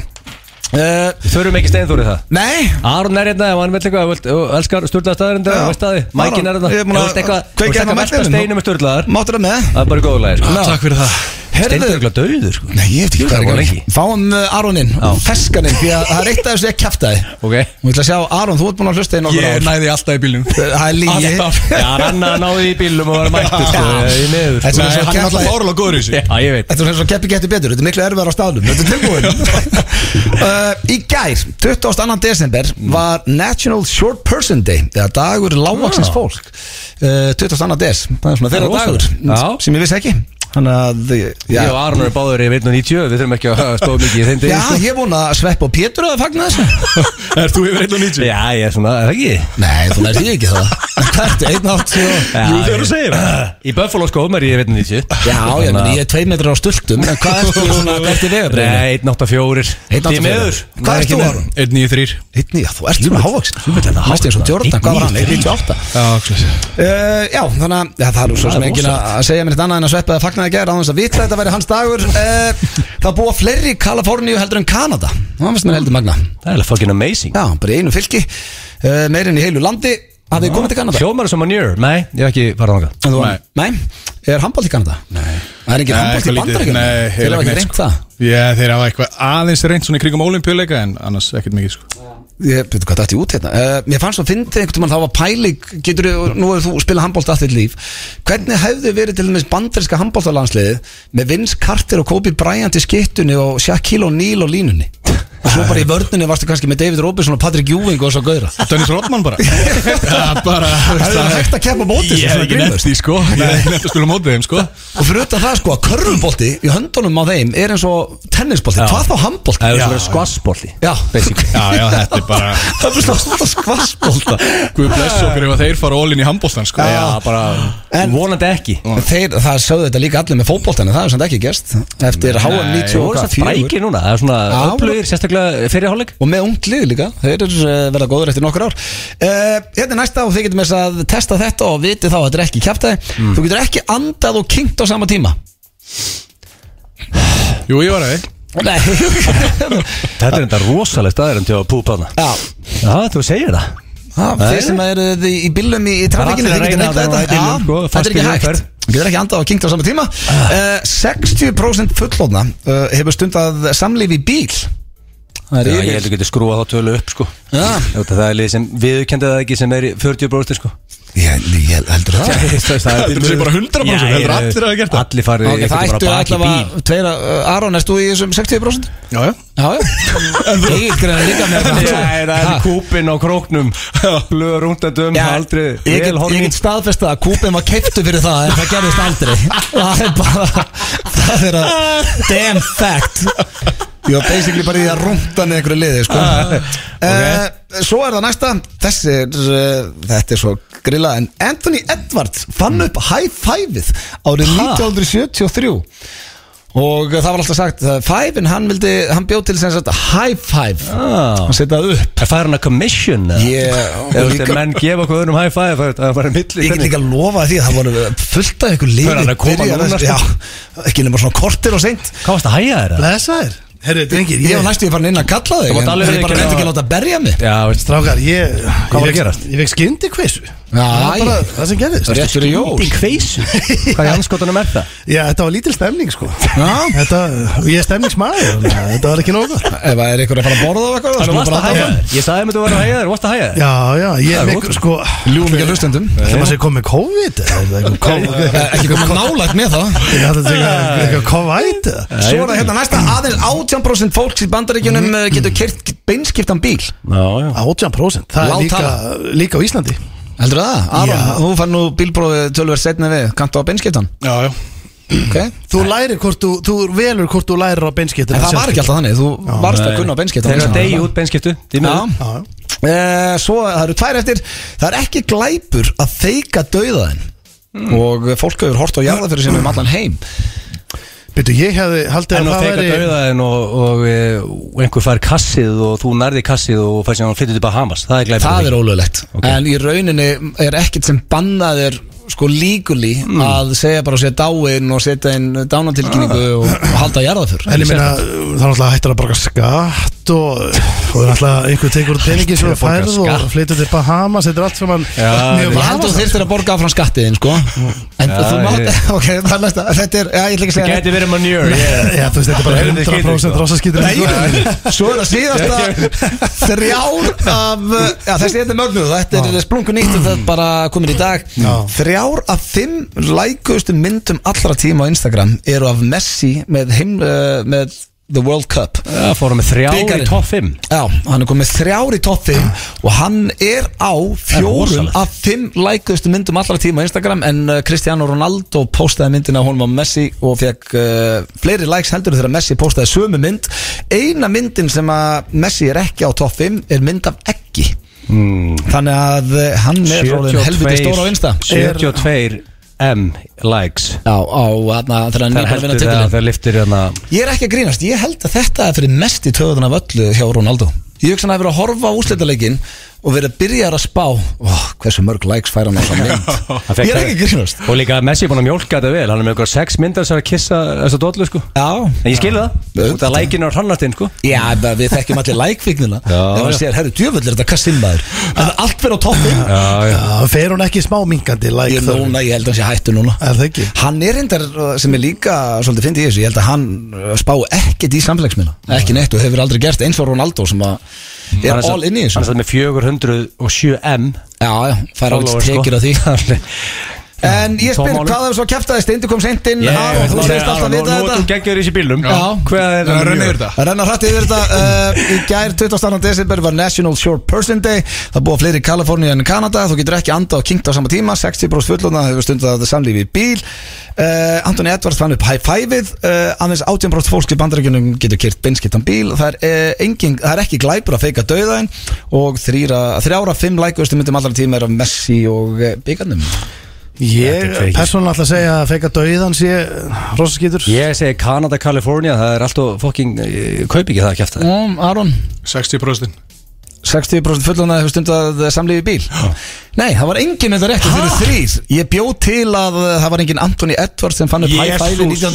Speaker 1: uh,
Speaker 3: Við þurfum ekki steinþúrið það
Speaker 1: Nei
Speaker 3: Aron er hérna, ef hann vil eitthvað, vilt- ef þú elskar sturlaðar staðarindu,
Speaker 1: Já.
Speaker 3: veist það þið, mækin er hérna,
Speaker 1: Ég
Speaker 3: ef
Speaker 1: er
Speaker 3: þú
Speaker 1: búin að
Speaker 3: vilt eitthvað, þú
Speaker 1: kveikja
Speaker 3: vilt
Speaker 1: hérna á
Speaker 3: eitthvað velta
Speaker 1: vellinum.
Speaker 3: steinu með sturlaðar,
Speaker 1: Máttur það með
Speaker 3: það er bara góðlega, sko.
Speaker 1: Takk
Speaker 7: fyrir það
Speaker 3: Steindur er
Speaker 1: Herðu
Speaker 3: eitthvað döður, sko.
Speaker 1: Nei, ég veit ekki
Speaker 3: Jú, það
Speaker 1: hvað er
Speaker 3: var
Speaker 1: ekki
Speaker 3: lengi.
Speaker 1: Fáum uh, Aroninn, feskaninn Því að það er eitt af þessu ég kjæftaði Og
Speaker 3: Ok.
Speaker 1: ég ætla að sjá, Aron, þú ert búin að hlusta í nokkur
Speaker 7: ég næði alltaf í bílnum
Speaker 1: Eh, Það er lígi
Speaker 7: Alltaf.
Speaker 3: Ah, Já, hann náði í bílum og var mættur, sko, í miður.
Speaker 1: Þetta
Speaker 7: Nei,
Speaker 1: er svo
Speaker 7: hann er alltaf
Speaker 1: kjæftaði
Speaker 7: fárlega góður í þessu
Speaker 3: Já, ég veit.
Speaker 1: Þetta er svona svo keppi getur betur, þetta er miklu erfiðar á staðnum Þetta er (laughs) tilbúin uh, Í gær, 22. desember var National Short Person Day eða dagur lágvaksins
Speaker 3: Já.
Speaker 1: fólk uh, 22. des, Ah. það er svona þeirra
Speaker 3: Það er
Speaker 1: dagur
Speaker 3: rosalegt. Já.
Speaker 1: sem ég vissi ekki Þannig að, já,
Speaker 3: Ég og Aron eru báður í 1.90, við þurfum ekki að stóða mikið í þeim
Speaker 1: já
Speaker 3: degi, sko.
Speaker 1: ég vona að Svepp og Pétur að fagna þessu
Speaker 7: er þú yfir 1.90?
Speaker 3: Já, ég er svona, er það ekki?
Speaker 1: (laughs) Nei, þú nærði ég ekki það Það ertu einn átt sko? og...
Speaker 3: Já,
Speaker 7: þegar þú
Speaker 3: ég-
Speaker 7: segir
Speaker 3: Í Buffalo skóm er ég 1.90
Speaker 1: Já, ég meni, ég er tvei metrar á stultum En hvað ertu svona, hvað ertu vegabreyðinu?
Speaker 3: Nei, 1.84 Því miður.
Speaker 1: Hvað
Speaker 3: Nei,
Speaker 1: ertu,
Speaker 3: ekki
Speaker 1: Aron?
Speaker 7: 1.93
Speaker 1: Einni, já, þú ert svona hérna, hávaksin Þú veit
Speaker 3: þetta
Speaker 1: Mest eins og
Speaker 3: hávaksin.
Speaker 1: Jordan, hvað var hann?
Speaker 3: 1,93?
Speaker 1: 1,98
Speaker 7: já,
Speaker 1: Uh, já, þannig að já, það er nú svo
Speaker 3: Það
Speaker 1: sem
Speaker 3: er
Speaker 1: enginn að segja mér þetta annað en að sveppa það fagnaði gerð á þess að vita að þetta væri hans dagur uh, Það búa fleiri í Kaliforníu heldur en Kanada Það finnst mér heldur magna
Speaker 3: Það er alveg fucking amazing
Speaker 1: Já, bara í einu fylki, uh, meirinn í heilu landi Hafið þið komið til Kanada?
Speaker 3: Hljómar er sem að njör Nei, ég hef ekki farað þangað
Speaker 1: En þú- Nei, er handbólt í Kanada? Nei Það er enginn handbólt í bandaríkjum?
Speaker 7: Nei,
Speaker 1: Þeir
Speaker 7: heila
Speaker 1: hafa ekki
Speaker 7: neitt,
Speaker 1: reynt
Speaker 7: sko.
Speaker 1: það
Speaker 7: Já, þeir hafa eitthvað aðeins reynd svona í krigum ólimpíuleika en annars ekkert mikið sko
Speaker 1: Ég veit hvað þetta er út hérna uh, Mér fannst svo að fyndi einhvern veginn þá var pæling Getur þú, nú hefur þú spilað handbólt allt þitt líf Hvernig hefðu verið til dæmis bandarinska handbóltalandsliðið Með Vince Carter og Kobe Bryant í skittunni Og Shaquille O'Neal og línunni Og svo bara í vörninni varstu kannski með David Robinson og Patrick Ewing og svo gauðra
Speaker 7: Dennis Rodman
Speaker 1: (laughs)
Speaker 7: bara Já, bara þú veist,
Speaker 1: Það er hægt að keppa mótið
Speaker 7: Ég hef ekki nefnt því sko Ég hef ekki nefnt að spila mótið þeim sko
Speaker 1: Og fyrir utan það sko að körfubolti í höndunum á þeim Er eins og tennisbolti,
Speaker 3: Já.
Speaker 1: hvað þá handbolti?
Speaker 3: Það er svona skvassbólti
Speaker 1: Já,
Speaker 3: Basically
Speaker 7: Já, já, þetta er bara
Speaker 1: (laughs) það er bara svona skvassbolta
Speaker 7: Guð bless okkur ef að þeir fara ólinn í handbóltan sko
Speaker 3: Já, bara
Speaker 1: En-
Speaker 3: Vonandi ekki
Speaker 1: En Þeir, það sögðu þetta líka allir með fótboltan en það er samt ekki gerst eftir HM
Speaker 3: Þeir voru
Speaker 1: 94
Speaker 3: satt frækir núna Það er svona
Speaker 1: Já.
Speaker 3: öflugir Sérstaklega fyrirháleik
Speaker 1: og með ungt lið líka þeir eru uh, verða góður eftir nokkur ár uh, hérna er næsta og þið getum þess að testa þetta og viti þá að þetta er ekki kjæftæði
Speaker 7: Mm.
Speaker 1: þú getur ekki andað og kynnt á sama tíma
Speaker 7: Jú, ég var að þig
Speaker 1: Nei
Speaker 3: Þetta er enda rosalega staðir En til að púpa hana
Speaker 1: (laughs) Já,
Speaker 3: Já, þú segir það
Speaker 1: Ha,
Speaker 3: Nei.
Speaker 1: þeir sem eru þið í bílum í, í trafíkinu
Speaker 3: Það er
Speaker 1: þið
Speaker 3: allir
Speaker 1: getur
Speaker 3: að
Speaker 1: neitt þetta
Speaker 3: reyna að vera í
Speaker 1: Já,
Speaker 3: bílnum, sko,
Speaker 1: þetta er
Speaker 3: fastir í
Speaker 1: ekki
Speaker 3: umferð.
Speaker 1: hægt Þú getur ekki andað og kynkt á sama tíma uh, 60% fullóna uh, hefur stundað samlífi í bíl Það
Speaker 3: Já,
Speaker 1: er
Speaker 3: ég
Speaker 1: yfir
Speaker 3: held að geta skrúa þá tölu upp sko
Speaker 1: Já.
Speaker 3: Þetta það er lið sem viðurkendið það ekki sem er í 40 bróðstir sko
Speaker 1: Ég, ég heldur það
Speaker 7: Heldur þú sé bara 100%? Heldur allir hafi gert það?
Speaker 3: Allir farið
Speaker 1: Ok, það ættu allavega tveira uh, Aron, erst þú í þessum 60%?
Speaker 7: Já, já
Speaker 1: Já, já (laughs) Egil greiði líka (laughs) með það
Speaker 3: (laughs) Nei, það er
Speaker 1: Ha?
Speaker 3: kúpin á króknum Lögur rúndandum,
Speaker 1: Já,
Speaker 3: aldrei
Speaker 1: Ég get,
Speaker 3: vel horfin.
Speaker 1: ég get staðfest að kúpin var keiptu fyrir það en það gerðist aldrei Það er bara Það er að Damn fact Ég var basically bara í að rúnta neð einhverju liði sko.
Speaker 3: Ah,
Speaker 1: okay. Svo er það næsta Þessi er, eh, Þetta er svo grilla En Anthony Edwards fann upp high five-ið árið 1973 Og það var alltaf sagt að Five-in hann vildi, hann bjóð til sem sagt high five
Speaker 3: Ah.
Speaker 1: Hann setja það upp
Speaker 3: Er það hann að commission? eða?
Speaker 1: Ég-
Speaker 3: Ef þú veist, ef menn gefa okkur öðrum high five Það er það bara milli
Speaker 1: Ég get líka lofa því að það voru fullt af ykkur liði
Speaker 3: Hver er hann að koma
Speaker 1: byrjaði
Speaker 3: núna,
Speaker 1: þessu- Já, ekki nema svona kortir og seint
Speaker 3: Hvað varst að hæja þér?
Speaker 2: Blessaður Herru, drengir,
Speaker 1: Ég var
Speaker 2: ég,
Speaker 1: næstu í farin inn að kalla þig
Speaker 3: Þú mátt
Speaker 1: en Ég
Speaker 3: alveg
Speaker 1: bara
Speaker 3: viðurkenna
Speaker 1: reyndi ekki að
Speaker 3: það.
Speaker 1: láta berja mig
Speaker 3: Já, veist
Speaker 2: strákar, ég
Speaker 3: Hvað var að
Speaker 2: ég
Speaker 3: gerast?
Speaker 2: fékk- Ég vekk skyndi kvissu
Speaker 1: Já,
Speaker 2: bara
Speaker 1: ég-
Speaker 2: það sem gerðist
Speaker 1: Rétt fyrir jól
Speaker 3: Í kveisu Hvað í anskotunum er það?
Speaker 2: Já, þetta var lítil stemning sko
Speaker 1: Já.
Speaker 2: Þetta, og ég er stemningsmaður þannig að Þetta var ekki nóg gott
Speaker 1: Ef það er ykkur að fara að borða á eitthvað þá
Speaker 3: Þannig
Speaker 1: skulum
Speaker 3: varst
Speaker 1: bara
Speaker 3: að
Speaker 1: hafa
Speaker 3: hæja
Speaker 1: það.
Speaker 3: þér Ég sagði mér þú var að hæja þér, varst að hæja þér
Speaker 2: Já, já, ég
Speaker 3: Það er
Speaker 2: er
Speaker 3: gott.
Speaker 2: mikil sko
Speaker 1: Ljúfum ekki að hlustendum
Speaker 2: Það maður sé komið COVID eða eitthvað COVID
Speaker 1: Eh, Ekki koma nálægt með það
Speaker 2: Ég hætti að segja eitthvað COVID eða?
Speaker 1: Svo er það hérna næsta aðeins 18% fólks í bandaríkjunum mm getur kert beinskiptan bíl
Speaker 3: Já, já
Speaker 2: 18% Það
Speaker 1: Lág
Speaker 2: er líka, líka á Íslandi
Speaker 1: Heldur það? Aron,
Speaker 2: Já.
Speaker 1: þú fann nú bílbróði tölver setna við Kantu á beinskiptan?
Speaker 7: Já, já
Speaker 1: Ok
Speaker 2: Þú lærir hvort þú, þú velur hvort þú lærir á beinskiptum
Speaker 1: En það var ekki alltaf þannig, þú varst að kunna á beinskiptan
Speaker 3: Þegar það degi út beinskiptu því miður.
Speaker 1: hérna? Já Eh, Svo það eru tvær eftir Það er ekki glæpur að feika dauðaðin
Speaker 3: Hmm.
Speaker 1: Og fólk hefur hort á jarða fyrir sinni um allan heim
Speaker 2: Býtu, ég hefði haldið
Speaker 3: En
Speaker 2: að
Speaker 3: að
Speaker 2: það
Speaker 3: feika
Speaker 2: væri
Speaker 3: dauðaðin og, og, eh, og einhver fær kassið og þú nærði kassið og fær sér hann flyttu til Bahamas Það er glæður
Speaker 1: Það er ólöglegt En í rauninni er ekkert sem bannað er sko líkuli
Speaker 3: Hmm.
Speaker 1: að segja bara að segja dáin og setja inn dánatilkynningu
Speaker 3: Ah.
Speaker 1: og, og halda jarða fyrr
Speaker 2: En ég meina, það er náttúrulega hættur að borga skatt og, og það er náttúrulega einhver tekur út peningi svo
Speaker 3: Hættur að borga
Speaker 2: færð og
Speaker 3: skatt.
Speaker 2: flytur til Bahamas, þetta er allt saman
Speaker 3: Já,
Speaker 1: Ég held
Speaker 2: mjög
Speaker 1: að þú
Speaker 2: vafasamt.
Speaker 1: þyrftir að borga áfram skattiðin sko En
Speaker 3: Já,
Speaker 1: þú mátt
Speaker 3: ég-
Speaker 1: (laughs) Ok, það er næsta Þetta er, já ég ætla ekki að
Speaker 3: Það
Speaker 1: segja
Speaker 3: gæti verið manjör
Speaker 2: Já, þú veist, þetta er bara
Speaker 3: Það er
Speaker 2: 100% rossaskýtur
Speaker 3: skítið,
Speaker 1: Nei, svo er það síðasta þrjár af uh, já, þessi þetta er mögnuð, þetta er splungun nýtt og það er bara komin í dag þrjár af fimm lækustu myndum allra tíma á Instagram eru af Messi með, heim, uh, með The World Cup
Speaker 3: Það fórum með þrjá
Speaker 1: Bikarinn.
Speaker 3: í topp 5
Speaker 1: Já, hann er komið þrjár í topp 5 og hann er á fjórum
Speaker 3: rosalegt.
Speaker 1: af fimm lækustu myndum allra tíma á Instagram en uh, Cristiano Ronaldo postaði myndina hún var Messi og fekk uh, fleiri likes heldur þegar Messi postaði sömu mynd eina myndin sem að Messi er ekki á topp 5 er mynd af ekki
Speaker 3: Hmm.
Speaker 1: mm. þannig að uh, hann er orðin helviti stór á Insta
Speaker 3: 72 M likes
Speaker 1: Já, á þarna þegar hann nýbúin
Speaker 3: Það
Speaker 1: að
Speaker 3: heldur
Speaker 1: vinna
Speaker 3: það
Speaker 1: titilin
Speaker 3: þegar liftir hérna
Speaker 1: Ég er ekki að grínast, ég held að þetta er fyrir mest í töðun af öllu hjá Ronaldo Ég hugsa hann að vera að horfa á úrslitaleikin og vera að byrja að spá Ó, hversu mörg likes fær hann á það
Speaker 2: (laughs)
Speaker 1: mynd
Speaker 3: Hann fékk
Speaker 1: Ég er ekki að grínast
Speaker 3: Og líka Messi er búin að mjólka þetta vel Hann er með okkur sex myndar sem er að kissa þessa dollu sko
Speaker 1: Já,
Speaker 3: En ég skilði það Út af lækinu á hrannartinn sko
Speaker 1: já bara við þekkjum allir like-fíknina
Speaker 3: Já,
Speaker 1: Ef hann
Speaker 3: já.
Speaker 1: sér, herru, djöfull er þetta kassinn maður En allt fyrir á toppin
Speaker 3: Já, já
Speaker 2: Það Ah, fer hún ekki smá minkandi like,
Speaker 1: Ég,
Speaker 2: þá-
Speaker 1: núna, ég held að hann sé hættu núna
Speaker 2: Er það ekki?
Speaker 1: Hann er reyndar uh, sem er líka svolítið fyndi í þessu, ég held að hann uh, spá ekkert í samfélagsmiðla, ekki neitt og hefur aldrei gert eins og Ronaldo sem að er all inni í þessu
Speaker 3: Hann er satt með 407 M
Speaker 1: Já, já, fær átt
Speaker 3: Followers, sko.
Speaker 1: tekir á
Speaker 3: (laughs)
Speaker 1: því En ég spyr,
Speaker 3: Tómálið.
Speaker 1: hvað er svo að kæfta þess Steindi kom seint inn,
Speaker 3: Ég-
Speaker 1: Aron, þú
Speaker 3: Nú-
Speaker 1: segist alltaf að
Speaker 3: nú-
Speaker 1: vita
Speaker 3: Nú er þú
Speaker 1: þetta
Speaker 3: geggjur í þessi bílum
Speaker 1: Já.
Speaker 3: Hvað er það
Speaker 7: Það er rennið
Speaker 3: mjög?
Speaker 7: yfir þetta
Speaker 1: Það renna hrætt yfir þetta uh, Í gær 22. desember var National Short Person Day Það búa fleiri í Kaliforníu en Kanada Þú getur ekki anda og kinkt á sama tíma 60% fullona hefur stundið að samlífi í bíl uh, Anthony Edwards fann upp high five-ið uh, Aðeins 18% fólk í bandarækjunum getur kert beinskiptan bíl Það er, uh, engin, það er ekki glæpur að feika dauðaðin Og þrýra, þrjára, fimm lækustu myndum allra tíma er af Messi og uh, byggarnum
Speaker 2: Ég
Speaker 3: fake.
Speaker 2: persónulega ætla að segja að feika dauðan sé rossaskýtur
Speaker 3: Ég segi Kanada, Kalifornia Það er alltaf fokking ég Kaup eh, ekki það að kæfta
Speaker 1: um, Aron
Speaker 7: 60%
Speaker 1: 60% fullana hefur stundað samlífi í bíl Nei, það var enginn þetta rétt Þetta eru þrýr Ég bjó til að uh, það var enginn Anthony Edwards sem fann upp high five
Speaker 3: Jesus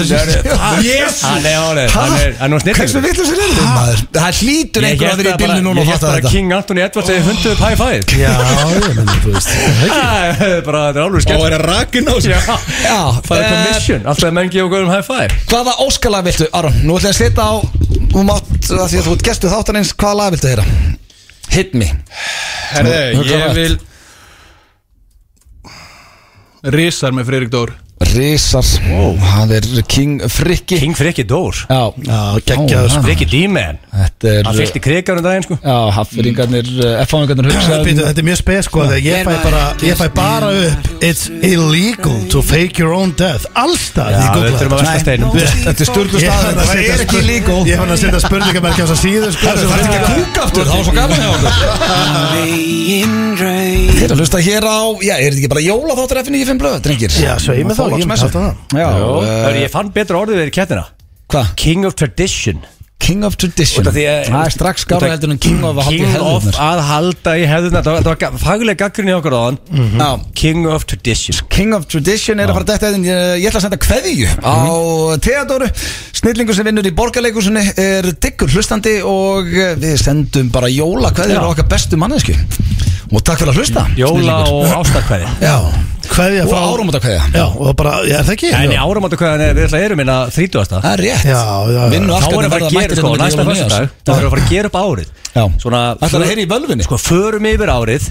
Speaker 3: Hann er árið Ah, Hann er hann er snillingur.
Speaker 1: Ah, Hversu vitlaus er þetta maður? Það hlýtur
Speaker 3: Ég
Speaker 1: einhver að
Speaker 3: held
Speaker 1: vera í
Speaker 3: að bara-
Speaker 1: bílinu núna og
Speaker 3: Ég held
Speaker 1: fatta
Speaker 3: bara að
Speaker 1: þetta
Speaker 3: King Anthony Edwards hefði fundið upp high five
Speaker 2: Já, ég menn, þú
Speaker 3: (laughs)
Speaker 2: veist
Speaker 3: Ah, bara þetta er alveg
Speaker 7: Og
Speaker 3: skemmt
Speaker 7: er að rakin á sig
Speaker 3: Já,
Speaker 1: Já,
Speaker 3: það er
Speaker 1: eh,
Speaker 3: commission Alltaf að menn gefa okkur um high five
Speaker 1: Hvaða óskalag viltu, Aron? Nú ætlum ég að setja á Þú mátt, að því að þú ert gestu þáttanins Hvaða lag viltu heyra? Hit me
Speaker 7: Herði,
Speaker 1: Nú, hvað
Speaker 7: ég
Speaker 1: var
Speaker 7: vil Rísar með Friðrik Dór
Speaker 1: Rísar Hann er King Frikki
Speaker 3: King Freki Dór
Speaker 1: Já,
Speaker 2: Já, geggjaður,
Speaker 1: Ó,
Speaker 2: sko.
Speaker 3: Freki D-man
Speaker 1: Þetta er
Speaker 3: Hann fylgti krigar um daginn sko
Speaker 1: Já, haffyringarnir F-fáingarnir
Speaker 3: (clears throat)
Speaker 1: um hugsaði
Speaker 2: Býtu, þetta er mjög spes sko þegar ég fæ bara, ég fæ bara upp It's illegal to fake your own death Allstað
Speaker 3: Já, við þurfum að velta steinum.
Speaker 1: Þetta er sturglu
Speaker 2: Ég
Speaker 1: stað
Speaker 2: fann að setja spurning- ég fann að setja spurningamerki á þess að síðu sko
Speaker 1: Það er ekki að kúka aftur, það var svo gaman hjá okkur Þið er að hlusta hér á, já, er þetta ekki bara jólaþáttur F95 blöð, drengir?
Speaker 2: Já, sveimi þá, ég myndi halda það.
Speaker 1: Já,
Speaker 3: Hörru,
Speaker 1: eh,
Speaker 3: Ég fann betra orðið við kettina
Speaker 1: hvað?
Speaker 3: King of Tradition
Speaker 1: King of Tradition
Speaker 3: Út af því að-
Speaker 1: Það er strax skára heldur en King of að halda í sko.
Speaker 3: King of
Speaker 1: hefðunar
Speaker 3: að halda í hefðunar Það var- það var ga- fagleg gaggrinni okkur á hann
Speaker 1: Já,
Speaker 3: King of Tradition
Speaker 1: King of Tradition er að fara að detta einn Ég ég ætla að senda kveðju á Theodóru Snillingur sem vinnur í borgarleikusinu er diggur hlustandi og eh, við sendum bara jóla kveðjur
Speaker 3: Já.
Speaker 1: á okkar bestu mannesku og takk fyrir að hlusta
Speaker 3: Jóla
Speaker 1: snillingur.
Speaker 3: og ástarkvæði
Speaker 1: Já,
Speaker 2: Kveðja
Speaker 1: og
Speaker 2: frá
Speaker 1: áramóta kveðja
Speaker 2: Já, og bara, já, er það ekki?
Speaker 3: En í
Speaker 2: já,
Speaker 3: áramáttakvæðan er við ætla erum minna 30.
Speaker 1: Það er rétt
Speaker 2: Já, já, já.
Speaker 1: Vinnu
Speaker 3: hérna Þá
Speaker 1: aftur
Speaker 3: erum við að fara að gera
Speaker 1: hérna
Speaker 3: sko, næsta fyrstudag Þá erum við að fara að gera upp árið
Speaker 1: Já.
Speaker 3: Svona
Speaker 1: Ætlarðu að heyra í völvunni? Hmm.
Speaker 3: Sko, förum yfir árið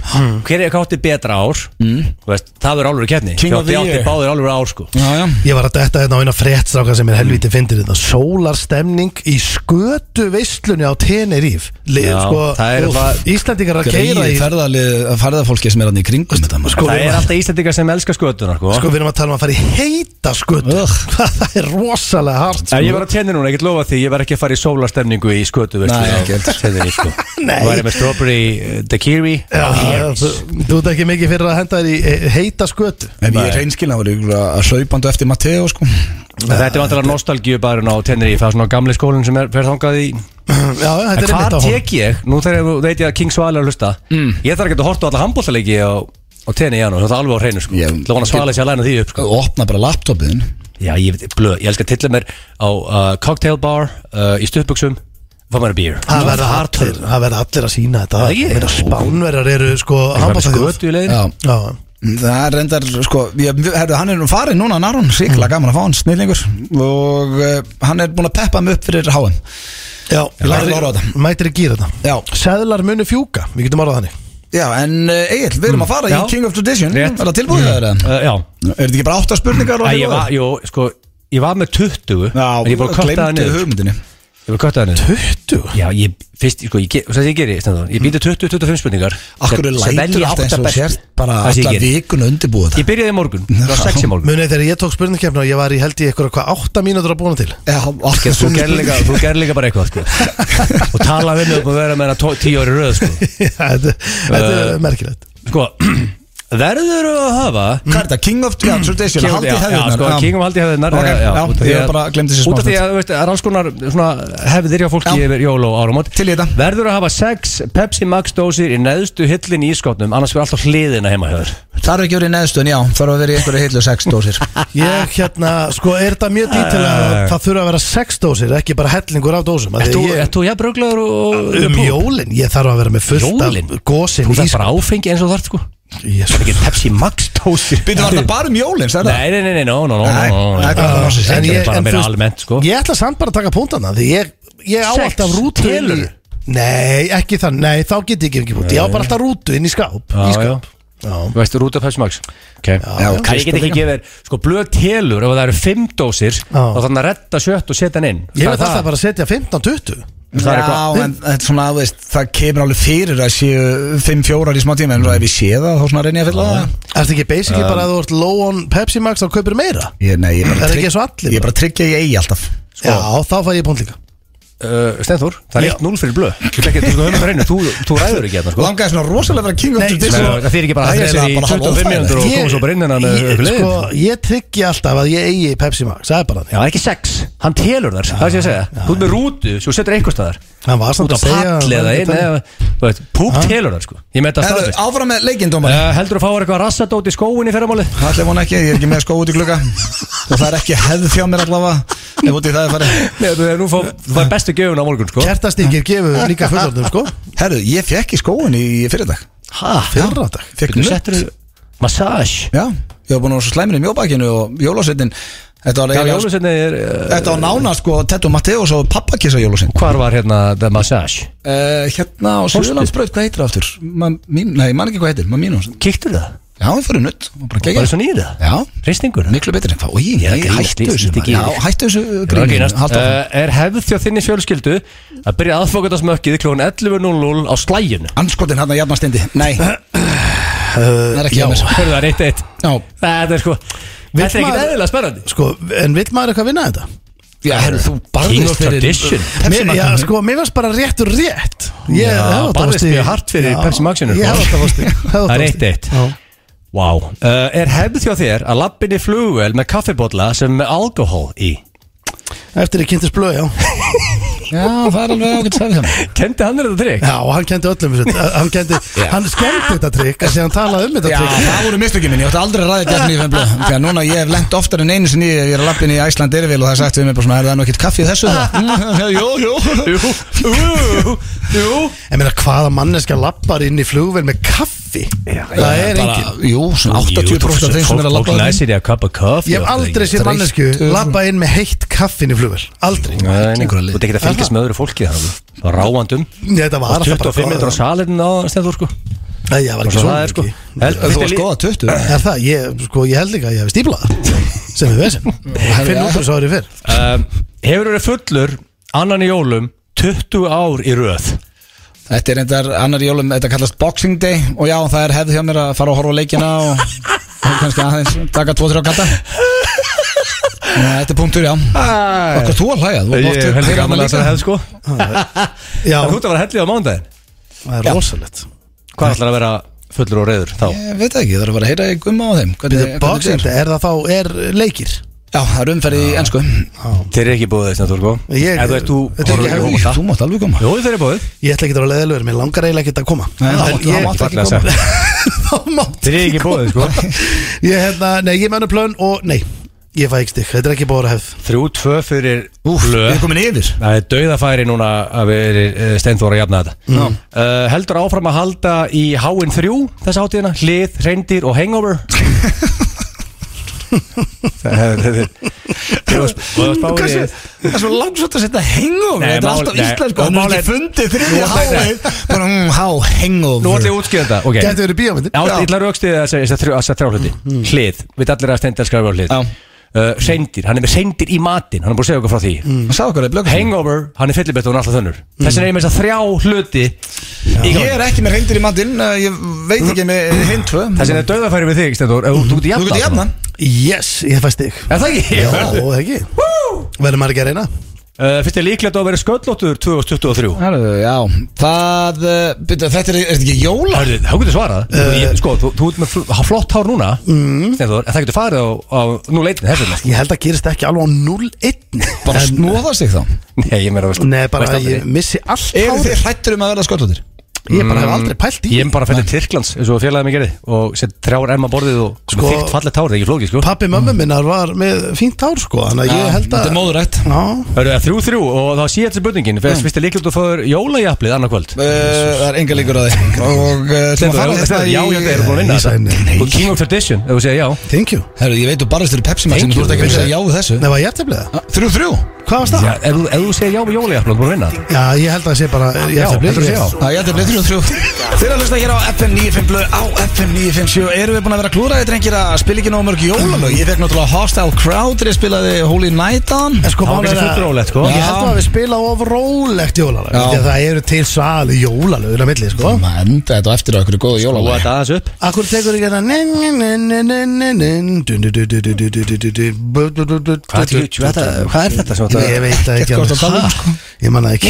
Speaker 3: Hver er kátti betra ár Þú veist, það verður álur í keppni
Speaker 1: King of the
Speaker 3: Þið átti
Speaker 1: year.
Speaker 3: báðir álur ár sko
Speaker 1: Já, já
Speaker 2: Ég var að detta hérna á eina frettstráka sem er
Speaker 3: Mm.
Speaker 2: helvítið fyndir þetta Sólarstemning í skötu veislunni á Teneríf Lið,
Speaker 3: Já,
Speaker 2: sko,
Speaker 3: það er
Speaker 2: úff,
Speaker 3: bara-
Speaker 2: Íslendingar að keira
Speaker 1: Greið
Speaker 2: í
Speaker 1: ferðalið ferðafólki sem er hann í kringum þetta maður.
Speaker 2: Sko,
Speaker 3: Það
Speaker 2: við
Speaker 3: er
Speaker 2: erum að-
Speaker 3: alltaf Íslandingar sem elskar skötunar sko.
Speaker 2: sko, við erum að tala um að fara í heita skötu (laughs) Það er rosalega hart sko.
Speaker 1: sko-
Speaker 3: En ég var að tenni núna, ég get lofa því Ég verð ekki að fara í sólastemningu í skötu veist,
Speaker 1: Nei, ekki heldur.
Speaker 3: Tenni
Speaker 1: (laughs)
Speaker 3: sko
Speaker 2: Nei.
Speaker 3: Væri með strawberry eh, daiquiri
Speaker 2: Já, þú þú ert ekki mikið fyrir að henda þér í eh, heita skötu
Speaker 1: Ef ég er reynskilna var ég að hlaupandu eftir Matteo sko.
Speaker 3: Þetta er vantilega nostalgíu bara á tenni Það er svona gamli skólinn sem er, fer þangað í
Speaker 2: Já, þetta er einmitt
Speaker 3: Hvað
Speaker 2: á hún
Speaker 3: tek ég? Nú þegar ég veit ég að King Svala er að hlusta Ég þarf ekki að horta á alla handbóltaleiki á, á tenni í janúar, þetta er alveg á hreinu sko
Speaker 1: Ég-
Speaker 3: Það vona Svala sé að læna því upp sko
Speaker 1: og opna bara laptopin
Speaker 3: Já, ég veit, blöð, ég elska að tilla mér á uh, cocktail bar uh, í stuðbuxum Fá mér að býr
Speaker 2: Það verða allir, það verða allir að sína þetta
Speaker 3: Það ekki?
Speaker 2: Ég meina, Spánverjar eru sko handboltaþjóð.
Speaker 3: Skötu í leiðin
Speaker 1: Já.
Speaker 2: Já,
Speaker 1: það er reyndar sko, ég, herru, hann er nú farin núna Narun,
Speaker 2: Mm.
Speaker 1: sikla gaman að fá hann, snillingur og uh, hann er búin að peppa mig upp fyrir háum
Speaker 2: já,
Speaker 1: Ég lærði að horfa á þetta.
Speaker 2: mætir í gýra þetta
Speaker 1: Já.
Speaker 2: Seðlar munu fjúka, við getum orðað þannig
Speaker 1: já, en uh, Egil, við
Speaker 2: Mm.
Speaker 1: erum að fara
Speaker 3: Já.
Speaker 1: í King of Tradition
Speaker 3: Rétt.
Speaker 1: er það tilbúið það er
Speaker 3: uh, Já,
Speaker 1: er þetta ekki bara átta spurningar og
Speaker 3: Æ, ég var, jú, sko Ég var með 20 En ég búið að kötta það
Speaker 1: glemdi
Speaker 3: niður
Speaker 1: hugmyndinni
Speaker 3: Ég búið að kötta það niður
Speaker 2: 20?
Speaker 3: Já, ég, fyrst, sko, ég, ge- það sem ég geri, stendur, ég býti 20-25 spurningar
Speaker 1: Akkur er
Speaker 3: sem- sem
Speaker 1: lætur
Speaker 3: velji
Speaker 1: alltaf eins
Speaker 3: átta
Speaker 1: og
Speaker 3: bestu.
Speaker 1: sért bara
Speaker 3: Það sem ég
Speaker 1: alltaf
Speaker 3: geri.
Speaker 1: vikun undirbúið
Speaker 3: Ég
Speaker 1: það
Speaker 3: byrjaði í morgun, það var 6 í morgun
Speaker 2: Munið þegar ég tók spurningkefna og ég var í held í eitthvað hvað átta mínútur að búna til (laughs)
Speaker 1: Já,
Speaker 3: Gerð- Þú
Speaker 1: allt-
Speaker 3: gerir líka, þú gerir líka bara eitthvað sko.
Speaker 1: (laughs)
Speaker 3: og tala við mig um að vera með hana tó- tíu ári röð sko.
Speaker 2: Þetta þetta er merkilegt
Speaker 3: sko (clears throat) verður að hafa
Speaker 1: Hvað er þetta? King of yeah, Tradition
Speaker 3: King of-
Speaker 1: Haldi
Speaker 3: já,
Speaker 1: hefðirnar
Speaker 3: já, sko, King of haldi hefðirnar
Speaker 1: Ok,
Speaker 3: eh,
Speaker 1: já,
Speaker 3: út af því
Speaker 1: ég
Speaker 3: að-
Speaker 1: bara glemdi þessu smá
Speaker 3: Út af því að þú veist, það er alls konar svona, hefðir hjá fólki
Speaker 1: Já.
Speaker 3: yfir jól og áramót
Speaker 1: Til í þetta.
Speaker 3: Verður að hafa sex Pepsi Max dósir í neðstu hillin í skotnum annars fyrir alltaf hliðina heima hjá þér
Speaker 1: Það er ekki verið neðstun, já Það er að vera í einhverju heilu sex
Speaker 3: (laughs)
Speaker 1: dósir
Speaker 3: Ah.
Speaker 2: Ég hérna, sko, er þetta mjög dítilega Það þurfa að vera sex dósir, ekki bara hellingur af dósum af
Speaker 3: Eh. Ert
Speaker 2: því
Speaker 3: þú-
Speaker 2: ég-
Speaker 3: Ert þú jafn röglegar og
Speaker 2: Um jólin, ég þarf að vera með fullt af
Speaker 3: Jólin?
Speaker 2: gósin
Speaker 3: Þú þarf bara áfengi eins og þart sko
Speaker 2: Jésus
Speaker 3: Ekki Pepsi Max dósir
Speaker 1: Býtum var þetta bara um jólins, er það?
Speaker 3: Nei, nei, nei, nei, no, no, no,
Speaker 1: Nei,
Speaker 3: no, Ah, no,
Speaker 1: nei,
Speaker 3: no.
Speaker 1: hvað er það sem
Speaker 3: Þetta
Speaker 2: En
Speaker 3: er
Speaker 2: ég-
Speaker 3: bara
Speaker 2: en
Speaker 3: meira
Speaker 2: þú veist,
Speaker 3: almennt, sko.
Speaker 2: Ég ætla samt bara að taka punktana Því ég, ég á
Speaker 3: Sex,
Speaker 2: alltaf rútu inn í-
Speaker 3: telurðu?
Speaker 2: Nei, ekki þann Nei, þá get ég ekki punkt Ég á bara alltaf rútu inn í skáp
Speaker 3: Já,
Speaker 2: Í skáp
Speaker 3: Þú veist, rúta Pepsi Max okay. já,
Speaker 1: já,
Speaker 3: Ég get ekki gefið, þér- sko blöð telur ef það eru fimm dósir
Speaker 2: Já.
Speaker 3: þá þannig að redda sjött og setja hann inn
Speaker 2: Ég veit
Speaker 3: Það er
Speaker 2: alltaf bara að setja 15-20
Speaker 3: Það er
Speaker 1: Já,
Speaker 3: eitthvað-
Speaker 1: en þetta er svona, þú veist, það kemur alveg fyrir að séu 5-4 í smá tíma en svo ef ég sé það, þá svona reyni ég að fylla það
Speaker 2: Ertu ekki basically bara að þú ert low on Pepsi Max þá kaupir meira?
Speaker 1: Ég, nei, ég bara
Speaker 2: Það er
Speaker 1: trygg-
Speaker 2: ekki svo allir
Speaker 1: Ég bara tryggja að ég eigi alltaf
Speaker 2: Já, þá fæ ég punkt líka
Speaker 3: uh, Stenþór, það er
Speaker 2: Já.
Speaker 3: 1-0 fyrir blöð Þú veist ekki, þú sko höfum það reynu, þú, þú ræður ekki hérna sko
Speaker 1: Langaði svona rosalega að vera king of
Speaker 2: Nei,
Speaker 1: the
Speaker 2: sko,
Speaker 1: dish
Speaker 3: Það fyrir ekki bara að hægja sér í 25 minútur og
Speaker 2: Ég-
Speaker 3: koma svo bara inn hennan
Speaker 2: ég- Sko,
Speaker 3: Já,
Speaker 2: ég tryggi alltaf að ég eigi Pepsi Max Það er bara þannig
Speaker 3: það er ekki sex, hann telur þar Það er sem ég að segja, þú ert með rútu svo setur eitthvað staðar
Speaker 2: Hann var samt
Speaker 3: Út á
Speaker 2: að segja-
Speaker 3: pall eða inn eða- þú veit, Púp telur þar sko Ég með þetta
Speaker 1: Herru,
Speaker 3: staðfest
Speaker 1: Áfram með leikindómar
Speaker 3: Uh, Heldur þú að fá þér eitthvað rassadót í skóin í fyrramálið?
Speaker 1: Það ætla ég vona ekki, ég er ekki með skó út í glugga og það er ekki hefð hjá mér allavega ef út í það er farið
Speaker 3: Nei, þú nú fá, þú fær bestu gjöfun á morgun sko
Speaker 2: Kertastikir gefur líka fullorðnum sko
Speaker 1: Herru, ég fekk í skóin í fyrirdag
Speaker 2: Hæ? Fyrradag
Speaker 1: Fekk
Speaker 3: Þú
Speaker 1: nutt
Speaker 3: settur massage
Speaker 1: Já, ég var búin að vera svo slæmur í mjóbakinu og jólasveitin Þetta var,
Speaker 3: Já,
Speaker 1: eiginlega-
Speaker 3: jólusinni er uh,
Speaker 1: þetta var nána sko Tettu Matteus og pappakissa jólasvein
Speaker 3: Hvar var hérna the massage?
Speaker 1: uh, Hérna á Suðurlandsbraut, hvað heitir það aftur? Man, mín, nei, ég man ekki hvað heitir, maður mínum
Speaker 3: Kíktur það?
Speaker 1: Já, við fyrir nutt og bara
Speaker 3: Bara
Speaker 1: gegja
Speaker 3: svona í það
Speaker 1: Já,
Speaker 3: Hristingur
Speaker 1: miklu betri en það Og ég,
Speaker 3: Já,
Speaker 1: ég
Speaker 3: grínast,
Speaker 1: hættu þessu
Speaker 3: grínast
Speaker 1: maður.
Speaker 3: ekki.
Speaker 1: Já, hættu þessu
Speaker 3: Grín,
Speaker 1: grín
Speaker 3: uh,
Speaker 1: Haltu áfram.
Speaker 3: er hefð hjá þinni fjölskyldu að byrja aðfókandasmökkið klón 11.00 á slæginu
Speaker 1: Anskotin hann að jafna stendi hérna, (clears throat) Nei Það er ekki hjá mér
Speaker 3: Hörðu það er 1-1
Speaker 1: Já,
Speaker 3: Þetta er sko Þetta er ekkert
Speaker 2: maður-
Speaker 3: eðlilega spennandi
Speaker 2: Sko, en vill maður eitthvað vinna þetta?
Speaker 1: já, herru, þú
Speaker 3: King of
Speaker 1: barðist fyrir
Speaker 3: Tradition.
Speaker 2: Mér, já,
Speaker 1: Pepsi-magninu.
Speaker 2: sko, mér varst bara réttur rétt Ég hefði
Speaker 3: Já,
Speaker 2: átt að fá
Speaker 3: barðist
Speaker 2: stig.
Speaker 3: mjög hart fyrir
Speaker 2: Já,
Speaker 3: Pepsi Max-inu, sko.
Speaker 2: Ég hefði átt að fá (laughs) stig. Hefði átt
Speaker 3: Það
Speaker 2: að
Speaker 3: er
Speaker 2: fá
Speaker 3: eitt
Speaker 2: stig.
Speaker 3: eitt Vá wow. uh, Er hefð hjá þér að lappinni flugvel með kaffibotla sem er með alkohól í?
Speaker 2: Eftir ég kynntist blöð, já
Speaker 1: Já, það er alveg ágætt sæðið það
Speaker 3: Kendi hann þér þetta trygg?
Speaker 2: Já, og hann kendi öllum þetta Hann kendi, hann skemmt þetta trikk Þessi hann talaði um þetta
Speaker 1: Já,
Speaker 2: trikk
Speaker 1: það voru mistökjum minn, ég ætti aldrei að ræða gert nýjum blöð (laughs) Því að núna ég hef lent oftar en einu sinni í- Ég er að lappin í Æsland Erfil og það sagt við mér bara svona Er það nú ekkert kaffi í (laughs) þessu það? Mm, Jú, jú
Speaker 3: Jú, jú, jú
Speaker 2: En meina, hvaða manneska lappar inn í flugvél með kaffi? það
Speaker 1: Bara,
Speaker 2: er engin
Speaker 1: Jú, svona 80% af þeim sem er að labba
Speaker 3: Fólk
Speaker 1: þarna.
Speaker 3: læsir í að kappa kaff
Speaker 2: Ég hef aldrei séð
Speaker 1: þreytt,
Speaker 2: mannesku
Speaker 1: öfum.
Speaker 2: lappa inn með heitt kaffin í flugvél Aldrei
Speaker 3: Þú ert ekki að
Speaker 2: Er
Speaker 3: fylgjast með öðru fólki þannig Bara ráandum
Speaker 2: Nei, þetta var alltaf bara
Speaker 3: 25 metrar á salirinn á Stenþór sko
Speaker 2: Nei, ég var
Speaker 3: Og
Speaker 2: ekki
Speaker 3: svo
Speaker 2: svona
Speaker 3: það er sko
Speaker 2: ekki.
Speaker 3: Held-
Speaker 1: Þú
Speaker 3: þetta er
Speaker 1: varst
Speaker 3: lí-
Speaker 1: góða 20
Speaker 2: Er það, ég, sko, ég held líka að ég hefði stíplað það. (laughs) Sem við veisum Finn út úr þessu árið fyrr
Speaker 3: Um, Hefur verið fullur annan í jólum 20 ár í röð
Speaker 1: Þetta er einnig annar jólum, þetta kallast Boxing Day og já, það er hefð hjá mér að fara og horfa á leikina og, og kannski aðeins taka 2-3 kanta Nei, Þetta er punktur, já Okkur þú að hlæja, þú mátt
Speaker 3: heldur
Speaker 1: heyra
Speaker 3: gaman
Speaker 1: hana
Speaker 3: að það
Speaker 1: líka
Speaker 3: hefð sko
Speaker 2: Já,
Speaker 3: Það þú ert að vera hellið á mándaginn
Speaker 2: það er rosalegt
Speaker 3: Hvað ætlar að vera fullur og reyður þá?
Speaker 1: Ég veit það ekki, það er að fara að heyra í gumma á þeim hvernig,
Speaker 2: Býtu, boxing,
Speaker 1: er?
Speaker 2: er það þá, er leikir?
Speaker 1: Já, það er umferð í ennsku
Speaker 3: Þeir eru ekki búið þess að þú sko
Speaker 2: Ég-
Speaker 3: Ef þú ert þú
Speaker 2: Þetta er ekki
Speaker 3: horfir
Speaker 2: hefð.
Speaker 3: á þetta.
Speaker 1: Þú mátt alveg koma
Speaker 3: Jú þeir eru búið
Speaker 2: Ég ætla ekki að vera leðilegur, mér langar eiginlega ekki að koma
Speaker 1: Nei, það
Speaker 2: En
Speaker 1: mátt-
Speaker 2: ég-
Speaker 1: það mátt ekki koma
Speaker 3: Fallega sagt.
Speaker 2: (laughs) þá mátt
Speaker 3: Þeir eru ekki búið sko
Speaker 2: Ég hérna, nei, ég menna plön og nei Ég fæ ekki stikk, þetta er ekki bóra hefð
Speaker 3: Þrjú tvö fyrir
Speaker 1: Við erum
Speaker 3: blöð
Speaker 1: komin yfir
Speaker 3: Það er dauðafæri núna að við erum steinþóra að jafna þetta mm. Heldur áfram að halda í háin þrjú þessa hátíðina Hlið, reyndir og
Speaker 1: (laughs)
Speaker 3: hangover Það er þetta er- Og spáir í-
Speaker 1: Það er svo langsótt að setja hangover
Speaker 3: Nei,
Speaker 1: Þetta er
Speaker 3: mál-
Speaker 1: alltaf
Speaker 3: nei,
Speaker 1: íslensku Það
Speaker 3: og
Speaker 1: er
Speaker 3: málið-
Speaker 1: ekki fundið þriðja
Speaker 3: Nú ætla ég-
Speaker 1: háið Bara, mm, há,
Speaker 3: Nú ætlum ég
Speaker 1: hangover
Speaker 3: að útskýra þetta okay.
Speaker 2: Gæti verið bíómyndin.
Speaker 3: Já,
Speaker 2: Já.
Speaker 3: ég ætla að raukstýða þess að þrjá hluti Hlið, við allir að steinda að skrifa á
Speaker 1: Mm.
Speaker 3: hlið
Speaker 1: Já.
Speaker 3: uh, Reyndir, hann er með reyndir í matinn Hann er búin að segja okkur frá því
Speaker 1: Sá okkur það í blöggum
Speaker 3: Hangover, hann er fyllibett og hann er alltaf þönnur
Speaker 1: Mm.
Speaker 3: Þessi er ég með þess að þrjá hluti í gangi.
Speaker 1: Ég er ekki með reyndir í mandinn eh, Ég veit ekki með hinn tvö
Speaker 3: Þessi er döðafæri við þig, Stendur Þú getur
Speaker 1: Þú
Speaker 3: jafna
Speaker 1: getur jafnan
Speaker 2: Yes, ég fæ stikk
Speaker 3: Er það ekki?
Speaker 2: Já, það ekki Verður maður ekki að reyna
Speaker 3: Uh, Fyrst er líklegt að vera sköllóttur 2023
Speaker 1: Herðu, já Það, eh, byrju, þetta er, er þetta ekki jóla?
Speaker 3: Hörðu, þá getur svarað uh, Sko, þú, þú ert með fl- ha- flott hár núna mm. Stendur, en það getur farið á, á nú leitin Þessi með
Speaker 2: Ég held að gerist ekki alveg á 0-1
Speaker 1: Bara
Speaker 2: En-
Speaker 1: snóða sig þá
Speaker 3: Nei, ég meira veist
Speaker 2: Nei,
Speaker 3: veist
Speaker 2: bara
Speaker 3: aldrei.
Speaker 2: ég missi allt
Speaker 1: Eru þið
Speaker 2: hárið
Speaker 1: hrættur um að verða sköldlóttir?
Speaker 2: Mm. Ég bara hef aldrei pælt í
Speaker 3: Ég er bara fættið Tyrklands eins og félagið mig gerði og sett þrjár emma borðið og sko,
Speaker 2: Sko-
Speaker 3: þygt fallið tár, það er ekki flókið sko
Speaker 2: Pappi mömmu minnar var með fínt hár sko Þannig að ég held að
Speaker 1: Þetta er móðurætt
Speaker 2: Já,
Speaker 3: Hörru, það er þrjú þrjú og þá sé ég þetta spurningin fyrst fyrst er líklegt að þú fóður jólajaplið annað kvöld
Speaker 1: Eh, Það er enga líkur (laughs) að þið Og eh, ætlum að
Speaker 3: Stendur,
Speaker 1: fara hérna
Speaker 3: já, stendur,
Speaker 1: í-
Speaker 3: já, já, það er búin að vinna
Speaker 2: Lýsa henni.
Speaker 3: þetta Og King of Tradition, ef þú segir já
Speaker 2: thank you
Speaker 1: Herru, ég veit þú barist þér í Pepsi Max en
Speaker 3: Thank
Speaker 1: Þú ert
Speaker 3: you.
Speaker 1: ekki að segja já við þessu
Speaker 2: Nei, var ég tefnið það?
Speaker 1: Þrjú, þrjú
Speaker 2: Hvað var það?
Speaker 3: Já, ef, þú- ef þú segir já við jólajaplið, þú búin að vinna þetta
Speaker 2: Já, ég held að það sé bara Ég
Speaker 3: Já,
Speaker 2: tefnið
Speaker 3: heldur þú að segja já?
Speaker 1: Já, ég ætla að blið þrjú, þrjú Þeir að hlusta hér á FM 95 blöð Á FM 957 Erum við búin að vera klúraði drengir að spila ekki nóg mörg jólalög Ég fekk náttúrulega Hostile Crowd Þegar ég spilaði Holy Night on
Speaker 2: En sko,
Speaker 3: Það var
Speaker 2: málið er
Speaker 3: kannski
Speaker 2: að-
Speaker 3: fullrólegt, sko.
Speaker 2: Ég
Speaker 1: Já.
Speaker 2: held að við spila of rólegt jólalag
Speaker 1: Já.
Speaker 2: Þegar það eru til sali jólalögur að milli, sko
Speaker 1: maður enda þetta á eftir á einhverju góðu
Speaker 3: Og
Speaker 1: jólalagi
Speaker 3: þetta aðeins upp
Speaker 2: Akkur tekur ekki hérna þetta nin, nin, nin, nin, nin, nin, dun, dun, dun, dun, dun, dun, dun, dun, dun, dun, bu, bu, bu, bu,
Speaker 3: Hvað er
Speaker 2: dun,
Speaker 3: þetta-
Speaker 2: dun, dun,
Speaker 3: hvað er þetta sem
Speaker 2: dun. Ég
Speaker 3: þetta
Speaker 2: veit það ekki
Speaker 1: Ekkert hvort að tala um,
Speaker 2: Ha?
Speaker 1: sko.
Speaker 2: Ég manna ekki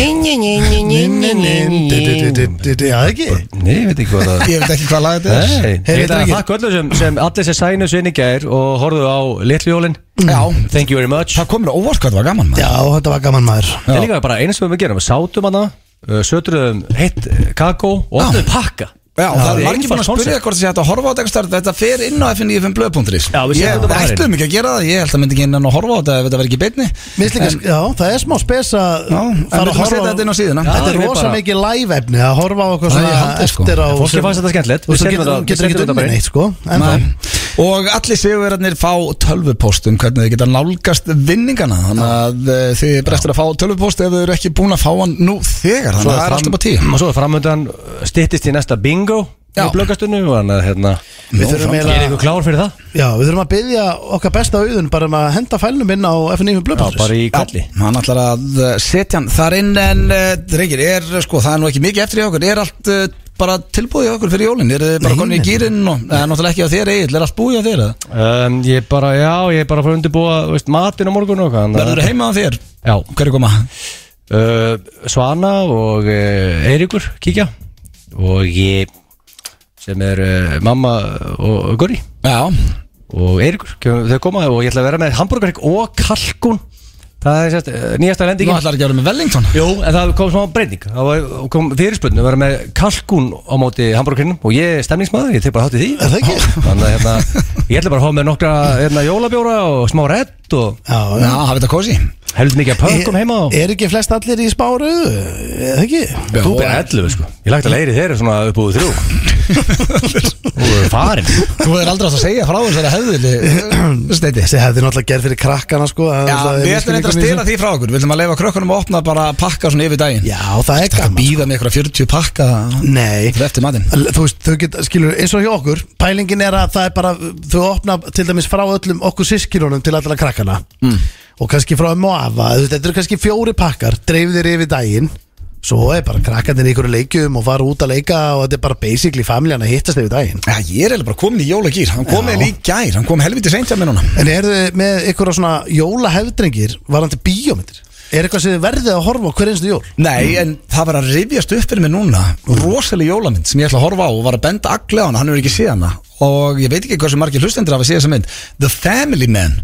Speaker 2: Nin, nin, nin, dun, dun, dun, dun, dun, dun, Já, ekki
Speaker 3: Nei, ég veit ekki hvað það er
Speaker 1: Ég veit ekki hvað lag þetta er
Speaker 2: Heyrðu,
Speaker 3: Nei, ég ætla að
Speaker 2: drengir.
Speaker 3: þakka öllum sem, sem allir sem sænu sinni gær og horfðu á litlu jólin
Speaker 1: Mm. Já.
Speaker 3: Thank you very much
Speaker 1: Það komur að óvart hvað það var gaman maður
Speaker 2: Já, þetta var gaman maður
Speaker 3: Það er líka bara eina sem við gerum, við sátum hana, uh, sötruðum heitt eh, kakó og opnum pakka.
Speaker 1: Já, það er margir búin að
Speaker 3: einfalt
Speaker 1: spyrja
Speaker 3: concept.
Speaker 1: hvort þessi hægt að horfa á þetta einhvers staðar. Þetta fer inn á fn95blöð.is
Speaker 3: Já, við setjum
Speaker 1: Ég
Speaker 3: þetta bara inn.
Speaker 1: ætlum ekki að gera það, ég held að myndi ekki inn að horfa á þetta ef þetta verði ekki í beinni
Speaker 2: Mér finnst líka- Já, það er smá spes að
Speaker 1: Já, en við
Speaker 2: fara að
Speaker 1: ætlum að
Speaker 2: horfa
Speaker 1: setja
Speaker 2: á-
Speaker 1: þetta inn á síðuna
Speaker 3: Já,
Speaker 2: Þetta er
Speaker 3: ég veit
Speaker 2: rosa
Speaker 3: bara-
Speaker 2: mikið live efni að horfa á okkur
Speaker 1: Það er
Speaker 2: svona
Speaker 1: í haldi, sko.
Speaker 2: eftir á
Speaker 3: En fólki
Speaker 2: sem-
Speaker 3: fannst þetta skemmtilegt.
Speaker 2: Þú
Speaker 3: Við
Speaker 2: getur-
Speaker 3: setjum þetta- við
Speaker 2: getur
Speaker 3: setjum
Speaker 2: ekki
Speaker 3: þetta bara
Speaker 2: unnið
Speaker 3: inn.
Speaker 2: neitt, sko En
Speaker 1: Nei. Og allir sigurverðarnir fá tölvupóst um hvernig þið geta nálgast vinningana Þannig að eh, þið er brestur að fá tölvupóst ef þið eru ekki búin að fá hann nú þegar Þannig að það er
Speaker 3: fram-
Speaker 1: alltaf bara tíu
Speaker 3: Og svo er framöndan uh, styttist í næsta bingo í blöggastunni og hann að hérna
Speaker 2: Við þurfum
Speaker 3: Er
Speaker 2: eiginlega-
Speaker 3: ykkur klár fyrir það?
Speaker 2: Já, við þurfum að byggja okkar besta auðun bara um að henda fælnum inn á FNF
Speaker 3: Já,
Speaker 2: Blöðbásis
Speaker 3: bara í kalli
Speaker 1: Hann ætlar að uh, setja hann þar inn en uh, drengir, er, uh, sko, það er nú ekki mikið eftir í okkur er allt uh, bara tilbúið í okkur fyrir jólin er þið bara
Speaker 2: Nei,
Speaker 1: konið í
Speaker 2: nei,
Speaker 1: gýrin og eh, náttúrulega ekki á þér eigin, er allt búið á þér eða?
Speaker 3: um, Ég bara, já, ég bara fór að undirbúa veist, matinn á morgun og hvað
Speaker 1: verður þú heima á þér?
Speaker 3: Já,
Speaker 1: hverju koma?
Speaker 3: uh, Svana og uh, Eiríkur kíkja og ég sem er uh, mamma og Guri
Speaker 1: Já,
Speaker 3: og Eiríkur, kem- þau koma og ég ætla að vera með hamburgarík og kalkun það er sérst, eh, nýjasta
Speaker 1: þú
Speaker 3: lendingin
Speaker 1: ætlar ekki að vera með Wellington
Speaker 3: Jú, en það kom smá breyning það var, kom fyrirspöndu að vera með kalkun á móti hamburgarinnum og ég er stemningsmaður, ég tek bara hátt í því
Speaker 2: Er það ekki?
Speaker 3: þannig að hérna, ég ætla bara að hafa með nokkra hérna, jólabjóra og smá redd og
Speaker 2: Já,
Speaker 1: Já, hafið þetta kósi
Speaker 3: heldur mikið að
Speaker 1: Eh,
Speaker 3: pökkum heima og
Speaker 2: Er ekki flest allir í spáru? Eða ekki?
Speaker 1: eh,
Speaker 3: Þú byrja 11 sko Ég lagt að leiri þeir svona upp úr þrjú (laughs) Þú eru farin
Speaker 1: Þú verður aldrei átt að segja frá þessari
Speaker 2: (clears throat)
Speaker 1: hefðili Steiti
Speaker 2: Þessi hefði náttúrulega gerð fyrir krakkana sko það er
Speaker 1: Já,
Speaker 2: náttúrulega
Speaker 1: við ætlum eitthvað að
Speaker 2: misskilningur í
Speaker 1: stela því frá okkur Við ætlum að leifa krökkunum að opna bara að pakka svona yfir daginn
Speaker 2: þessu. Já, það er
Speaker 1: Þetta
Speaker 2: gaman
Speaker 1: býða með eitthvað 40 pakka
Speaker 2: Nei
Speaker 1: Fyrir eftir matinn
Speaker 2: L- Þú veist, þau geta, skilur, eins og hjá okkur Pælingin er að það er bara Þau opna til dæmis frá öllum okkur sískilunum til allra krakkana mm. Og kannski frá um og afa þú veist, Þetta eru kannski fjóri pakkar Dreifðir yfir daginn Svo er bara krakkarnir í ykkur leikjum og fara út að leika Og þetta er bara basically familjan að hittast yfir daginn
Speaker 1: Já, ég er eiginlega bara komin í jólagýr Hann kom með lík gær, hann kom helviti seint hjá mér núna
Speaker 2: En eru þið með ykkur á svona jólahefdrengir varandi bíómyndir? Er eitthvað sem þið verðið að horfa á hver einstu jól?
Speaker 1: Nei, en það var að rifjast upp fyrir mig núna Rosaleg jólamynd sem ég ætla að horfa á og var að benda agli á hana, hann er ekki séð hana Og ég veit ekki hversu margir hlustendur hafa séð þessa mynd The Family Man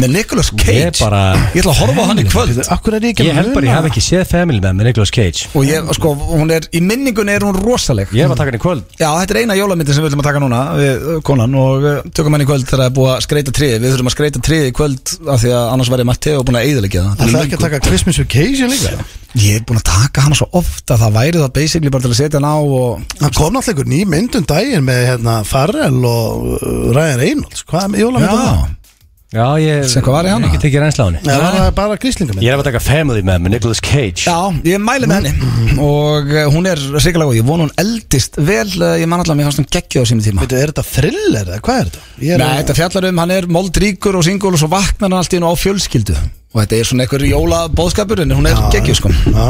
Speaker 1: með Nicolas Cage
Speaker 3: Ég bara-
Speaker 1: Ég ætla að horfa á hann í kvöld
Speaker 2: Akkur er ég ekki
Speaker 3: Ég held bara ég hef ekki séð Family Man með Nicolas Cage
Speaker 1: Og ég, sko, hún er, í minningunni er hún rosaleg
Speaker 3: Ég var að taka hann í kvöld
Speaker 1: Já, þetta er eina jólamyndin sem við ætlum að taka núna við uh, konan og uh, tökum hann í kvöld þegar það er búið að skreita tríði Við þurfum að skreita tríði í kvöld af því að annars var ég Matteo búin að eigðilegja það
Speaker 2: Það er ekki að taka Christmas Vacation líka
Speaker 1: Ég er búin að taka hana svo ofta það væri það basically bara til að setja hann á og
Speaker 2: Það kom náttúrulega ykkur ný mynd um daginn með hérna Farrell og uh, Ryan Reynolds Hvað er jólamynd um það?
Speaker 3: Já, ég
Speaker 1: Sem hvað var í hana?
Speaker 3: Ekki tekið reynsla á henni
Speaker 2: Nei, það var bara gríslingamynd
Speaker 3: Ég er að taka Family Man með Nicolas Cage
Speaker 1: Já, ég mæli með henni og uh, hún er hrikalega góð, ég vona hún eldist vel, uh, ég man allan mér hans hún geggju á sínum tíma
Speaker 2: Veitu, er þetta thriller eða hvað er þetta? Ég er
Speaker 1: Nei, þetta fjallar um, hann er moldríkur og singul og svo vaknar hann allt í hennu á fjölskyldu og þetta er svona einhver jólabóðskapur en hún er geggju sko
Speaker 2: Já,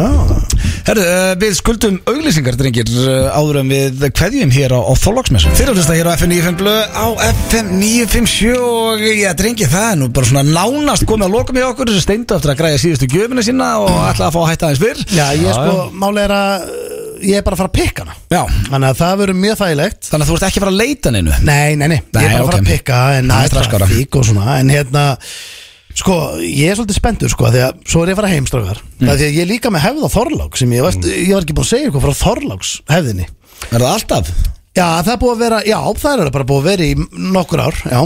Speaker 1: Herðu, uh, við skuldum auglýsingar, drengir, uh, áður en við kveðjum hér á, á Þorlóksmessu. Þeir eru að hlusta hér á FM 95 blöð á FM 957 og já, drengir, það er nú bara svona nánast komið að lokum í okkur þessu steindu eftir að græja síðustu gjöfina sína og ætla að fá að hætta aðeins fyrr.
Speaker 2: já ég sko, máli er að uh, ég er bara að fara að pikka hana
Speaker 1: Já,
Speaker 2: Þannig að það verður mjög þægilegt
Speaker 1: þannig að þú ert ekki að fara að leita neinu.
Speaker 2: Nei, nei, nei, ég
Speaker 1: Nei,
Speaker 2: er bara að
Speaker 1: ok.
Speaker 2: fara að pikka
Speaker 1: Það er
Speaker 2: en það er
Speaker 1: strax skárra.
Speaker 2: trafík og svona en hérna, sko, ég er svolítið spenntur sko, því að svo er ég að fara heimstrafgar mm. því að ég er líka með hefð á Þorlák sem ég, veist, ég var ekki búin að segja eitthvað frá Þorláks hefðinni
Speaker 1: Er það alltaf?
Speaker 2: Já, það er búið að vera, já, það er bara búið að vera í nokkur ár, já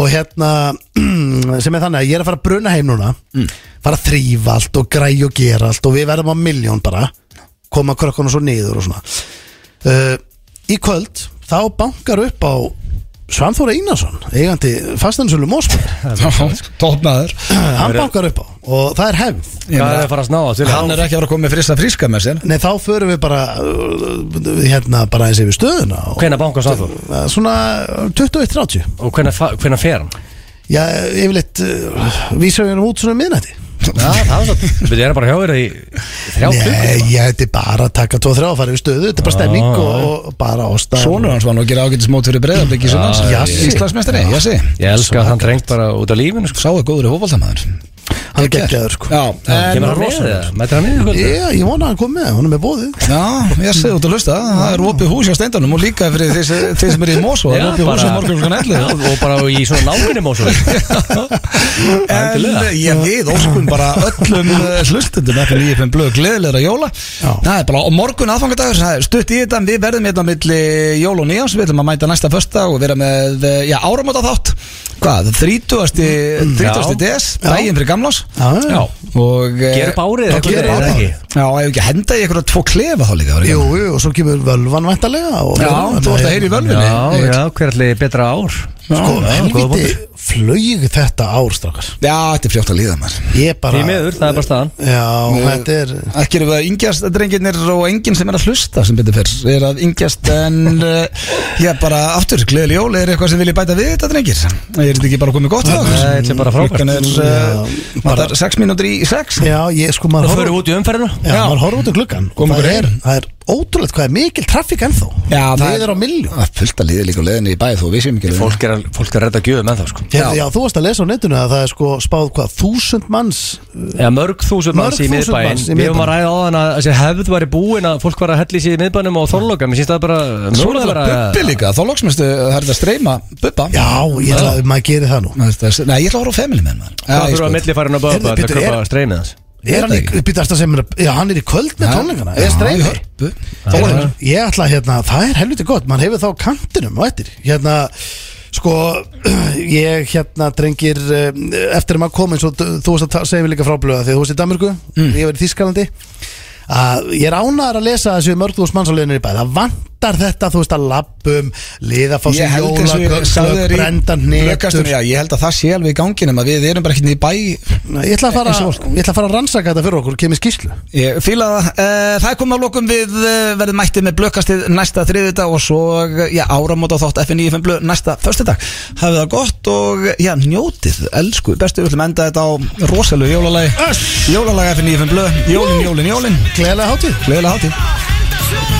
Speaker 2: og hérna, (clears throat) sem er þannig að ég er að fara að bruna heim núna fara að þrýfa allt og græja og gera allt og við verðum á miljón bara koma krökkunum svo niður og svona uh, Í kvöld, þá bankar upp á Svanþóra Einarsson, eigandi fastaninsölu Mósberg,
Speaker 1: (laughs) Tópnaður.
Speaker 2: hann bankar upp á og það er hefð
Speaker 3: Hvað er það að fara að sná á til
Speaker 1: Hann er ekki að fara að koma með frista fríska með sér.
Speaker 2: Nei, þá förum við bara uh, hérna bara eins yfir stöðuna og,
Speaker 3: Hvenær bankar sá þú?
Speaker 2: uh, svona 21.30
Speaker 3: Og hvenær fa- hvenær fer hann?
Speaker 2: Já, yfirleitt uh, vísum við hann út svona um miðnætti
Speaker 3: Já, það er svo Við erum bara hjá þér í þrjá klukkur sko.
Speaker 2: Nei, ég þetta er bara að taka 2-3 og fara yfir stöðu Þetta er bara stemning
Speaker 3: Ah,
Speaker 2: og, og bara ástæð
Speaker 1: Sónur hans var nú að gera ágætis mót fyrir breyðarbyggi sem hans.
Speaker 2: Já, Jassi.
Speaker 1: Íslandsmeistari, Jassi.
Speaker 3: Ég elska að hann drengt bara út af lífinu sko.
Speaker 1: Sáðu góður í hófaldamaður.
Speaker 2: Hann er geggjaður sko
Speaker 1: Já, en
Speaker 3: Kemur hann með það? Mætir hann með það?
Speaker 2: Já, ég vona að hann kom með, hann er með bóðið
Speaker 1: Já, ég segi út að hlusta, það er opið hús hjá steindanum og líka fyrir þeir, sem- þeir sem eru í Mosó, það er opið hús hjá morgun klukkan 11
Speaker 3: og bara í svona náminum og (laughs)
Speaker 1: En eh,
Speaker 3: Endilega.
Speaker 1: ég við óskum bara
Speaker 2: (laughs)
Speaker 1: öllum eh, hlustendum eftir nýjum fimm blöð gleðilegra jóla Það er bara, og morgun aðfangadagur, það er stutt í þetta, við verðum hérna milli jól og nýjáns, við ætlum að mæta næsta fösta og vera með, eh, já, áramóta þátt Hvað, 30. 30. DS, daginn fyrir samlás
Speaker 2: Mm, Já, já.
Speaker 1: og
Speaker 3: Gera upp árið,
Speaker 1: þá
Speaker 3: eitthvað
Speaker 1: gera
Speaker 3: er
Speaker 1: upp
Speaker 3: það
Speaker 1: árið
Speaker 3: ekki?
Speaker 1: já, ef ekki henda í einhverja tvo klefa þá líka
Speaker 2: Jú, jú, og svo kemur völvan væntalega og-
Speaker 1: já, þú ert að heyra í völvinni
Speaker 3: Já, já, hver allir betra ár
Speaker 2: Sko,
Speaker 3: Já, góða
Speaker 2: helviti
Speaker 3: punktur.
Speaker 2: flög þetta ár, strákar
Speaker 1: já, þetta er fljótt að líða mér
Speaker 2: Ég bara
Speaker 3: Því miður, það er bara staðan
Speaker 2: Já, þetta er
Speaker 1: ekki eru það yngjast drengirnir og enginn sem er að hlusta sem betur fyrr er að yngjast en uh, ég bara aftur, gleðil jól er eitthvað sem vilji bæta við þetta drengir er þetta ekki bara komið gott það?
Speaker 3: Nei, þetta er bara frábært.
Speaker 1: klukkan er
Speaker 2: Já,
Speaker 1: uh, vantar 6 mínútur í 6
Speaker 2: Já, ég sko,
Speaker 3: Það
Speaker 2: maður
Speaker 3: fyrir
Speaker 2: horfður
Speaker 3: út í umferðina
Speaker 2: Já, maður horfður út um gluggan
Speaker 1: Kom
Speaker 2: það
Speaker 1: okkur
Speaker 2: er,
Speaker 1: heim.
Speaker 2: það er ótrúlegt hvað er mikil traffík ennþá
Speaker 1: Já, það
Speaker 2: Liðir
Speaker 1: er-
Speaker 2: á milljón
Speaker 1: það er Ah, fullt að líða líka á leðinni í bæð þó við séum ekki leiðinni.
Speaker 3: Fólk er að, fólk er að redda gjöðum en það sko
Speaker 2: Hérna, Já. Já, þú varst að lesa á netinu að það er sko spáð hvað, þúsund manns
Speaker 3: Já, mörg þúsund
Speaker 2: Mörg
Speaker 3: manns í
Speaker 2: þúsund
Speaker 3: miðbæin
Speaker 2: manns í
Speaker 3: Við höfum að
Speaker 2: miðbæinn.
Speaker 3: ræða á þann að þessi hefð væri búin að fólk var að hella í sig í miðbænum og þorloka Mér syns það bara
Speaker 1: Svo er það
Speaker 3: mögulega bara-
Speaker 1: bubbi líka, þá loksmestu það er þetta að streyma bubba
Speaker 2: Já, ég ætla að maður gerir það nú
Speaker 1: Nei, þetta er- nei, ég ætla að horfa á family menn
Speaker 3: Það fyrir
Speaker 1: sko.
Speaker 3: að milli farin að böpa
Speaker 2: Heyrðu,
Speaker 3: Þetta
Speaker 2: sko- Pétur,
Speaker 3: köpa
Speaker 2: er-
Speaker 3: streymið hans
Speaker 2: Er hann í,
Speaker 1: Ég veit
Speaker 2: býttu eftir að segja mér að, já, hann er í kvöld með tónleikana Er
Speaker 1: í
Speaker 2: streymi?
Speaker 1: hörpu
Speaker 2: Þá er- Ég ætla að, hérna, það er helviti gott, mann hefur þá kantinum og eftir Hérna, sko, (clears throat) ég, hérna, drengir, eh, eftir að maður komin Svo þú þú varst að ta- segja mér líka fráblöða því þú varst í Danmörku
Speaker 1: Mm.
Speaker 2: Ég var í Þískalandi að ég er ánæður að lesa þessu mörg þús mannsáleginir í bæð það vantar þetta, þú veist, að lappum liða fá
Speaker 1: Ég
Speaker 2: sér
Speaker 1: held eins og ég sagði
Speaker 2: jólakökslög,
Speaker 1: þér í
Speaker 2: brendan
Speaker 1: blökastunni,
Speaker 2: hnetur
Speaker 1: já, Ég held að það sé alveg í ganginum að við erum bara ekki í bæ
Speaker 2: ég ætla að fara ég ætla að fara að rannsaka þetta fyrir okkur, kemur skýrslu
Speaker 1: Ég fíla það uh, Það er komið að lokum við uh, verðum mættið með blökastið næsta þriðudag og svo eh, já, áramóta þátt FN95 blöð næsta föstudag Hafið það gott og eh, já, njótið elsku bestu, við ætlum að enda þetta á rosalegu jólalagi Jólalagi FN95 blöð Jólin, jólin, jólin
Speaker 2: gleðilega hátíð
Speaker 1: Gleðilega hátíð
Speaker 8: Something to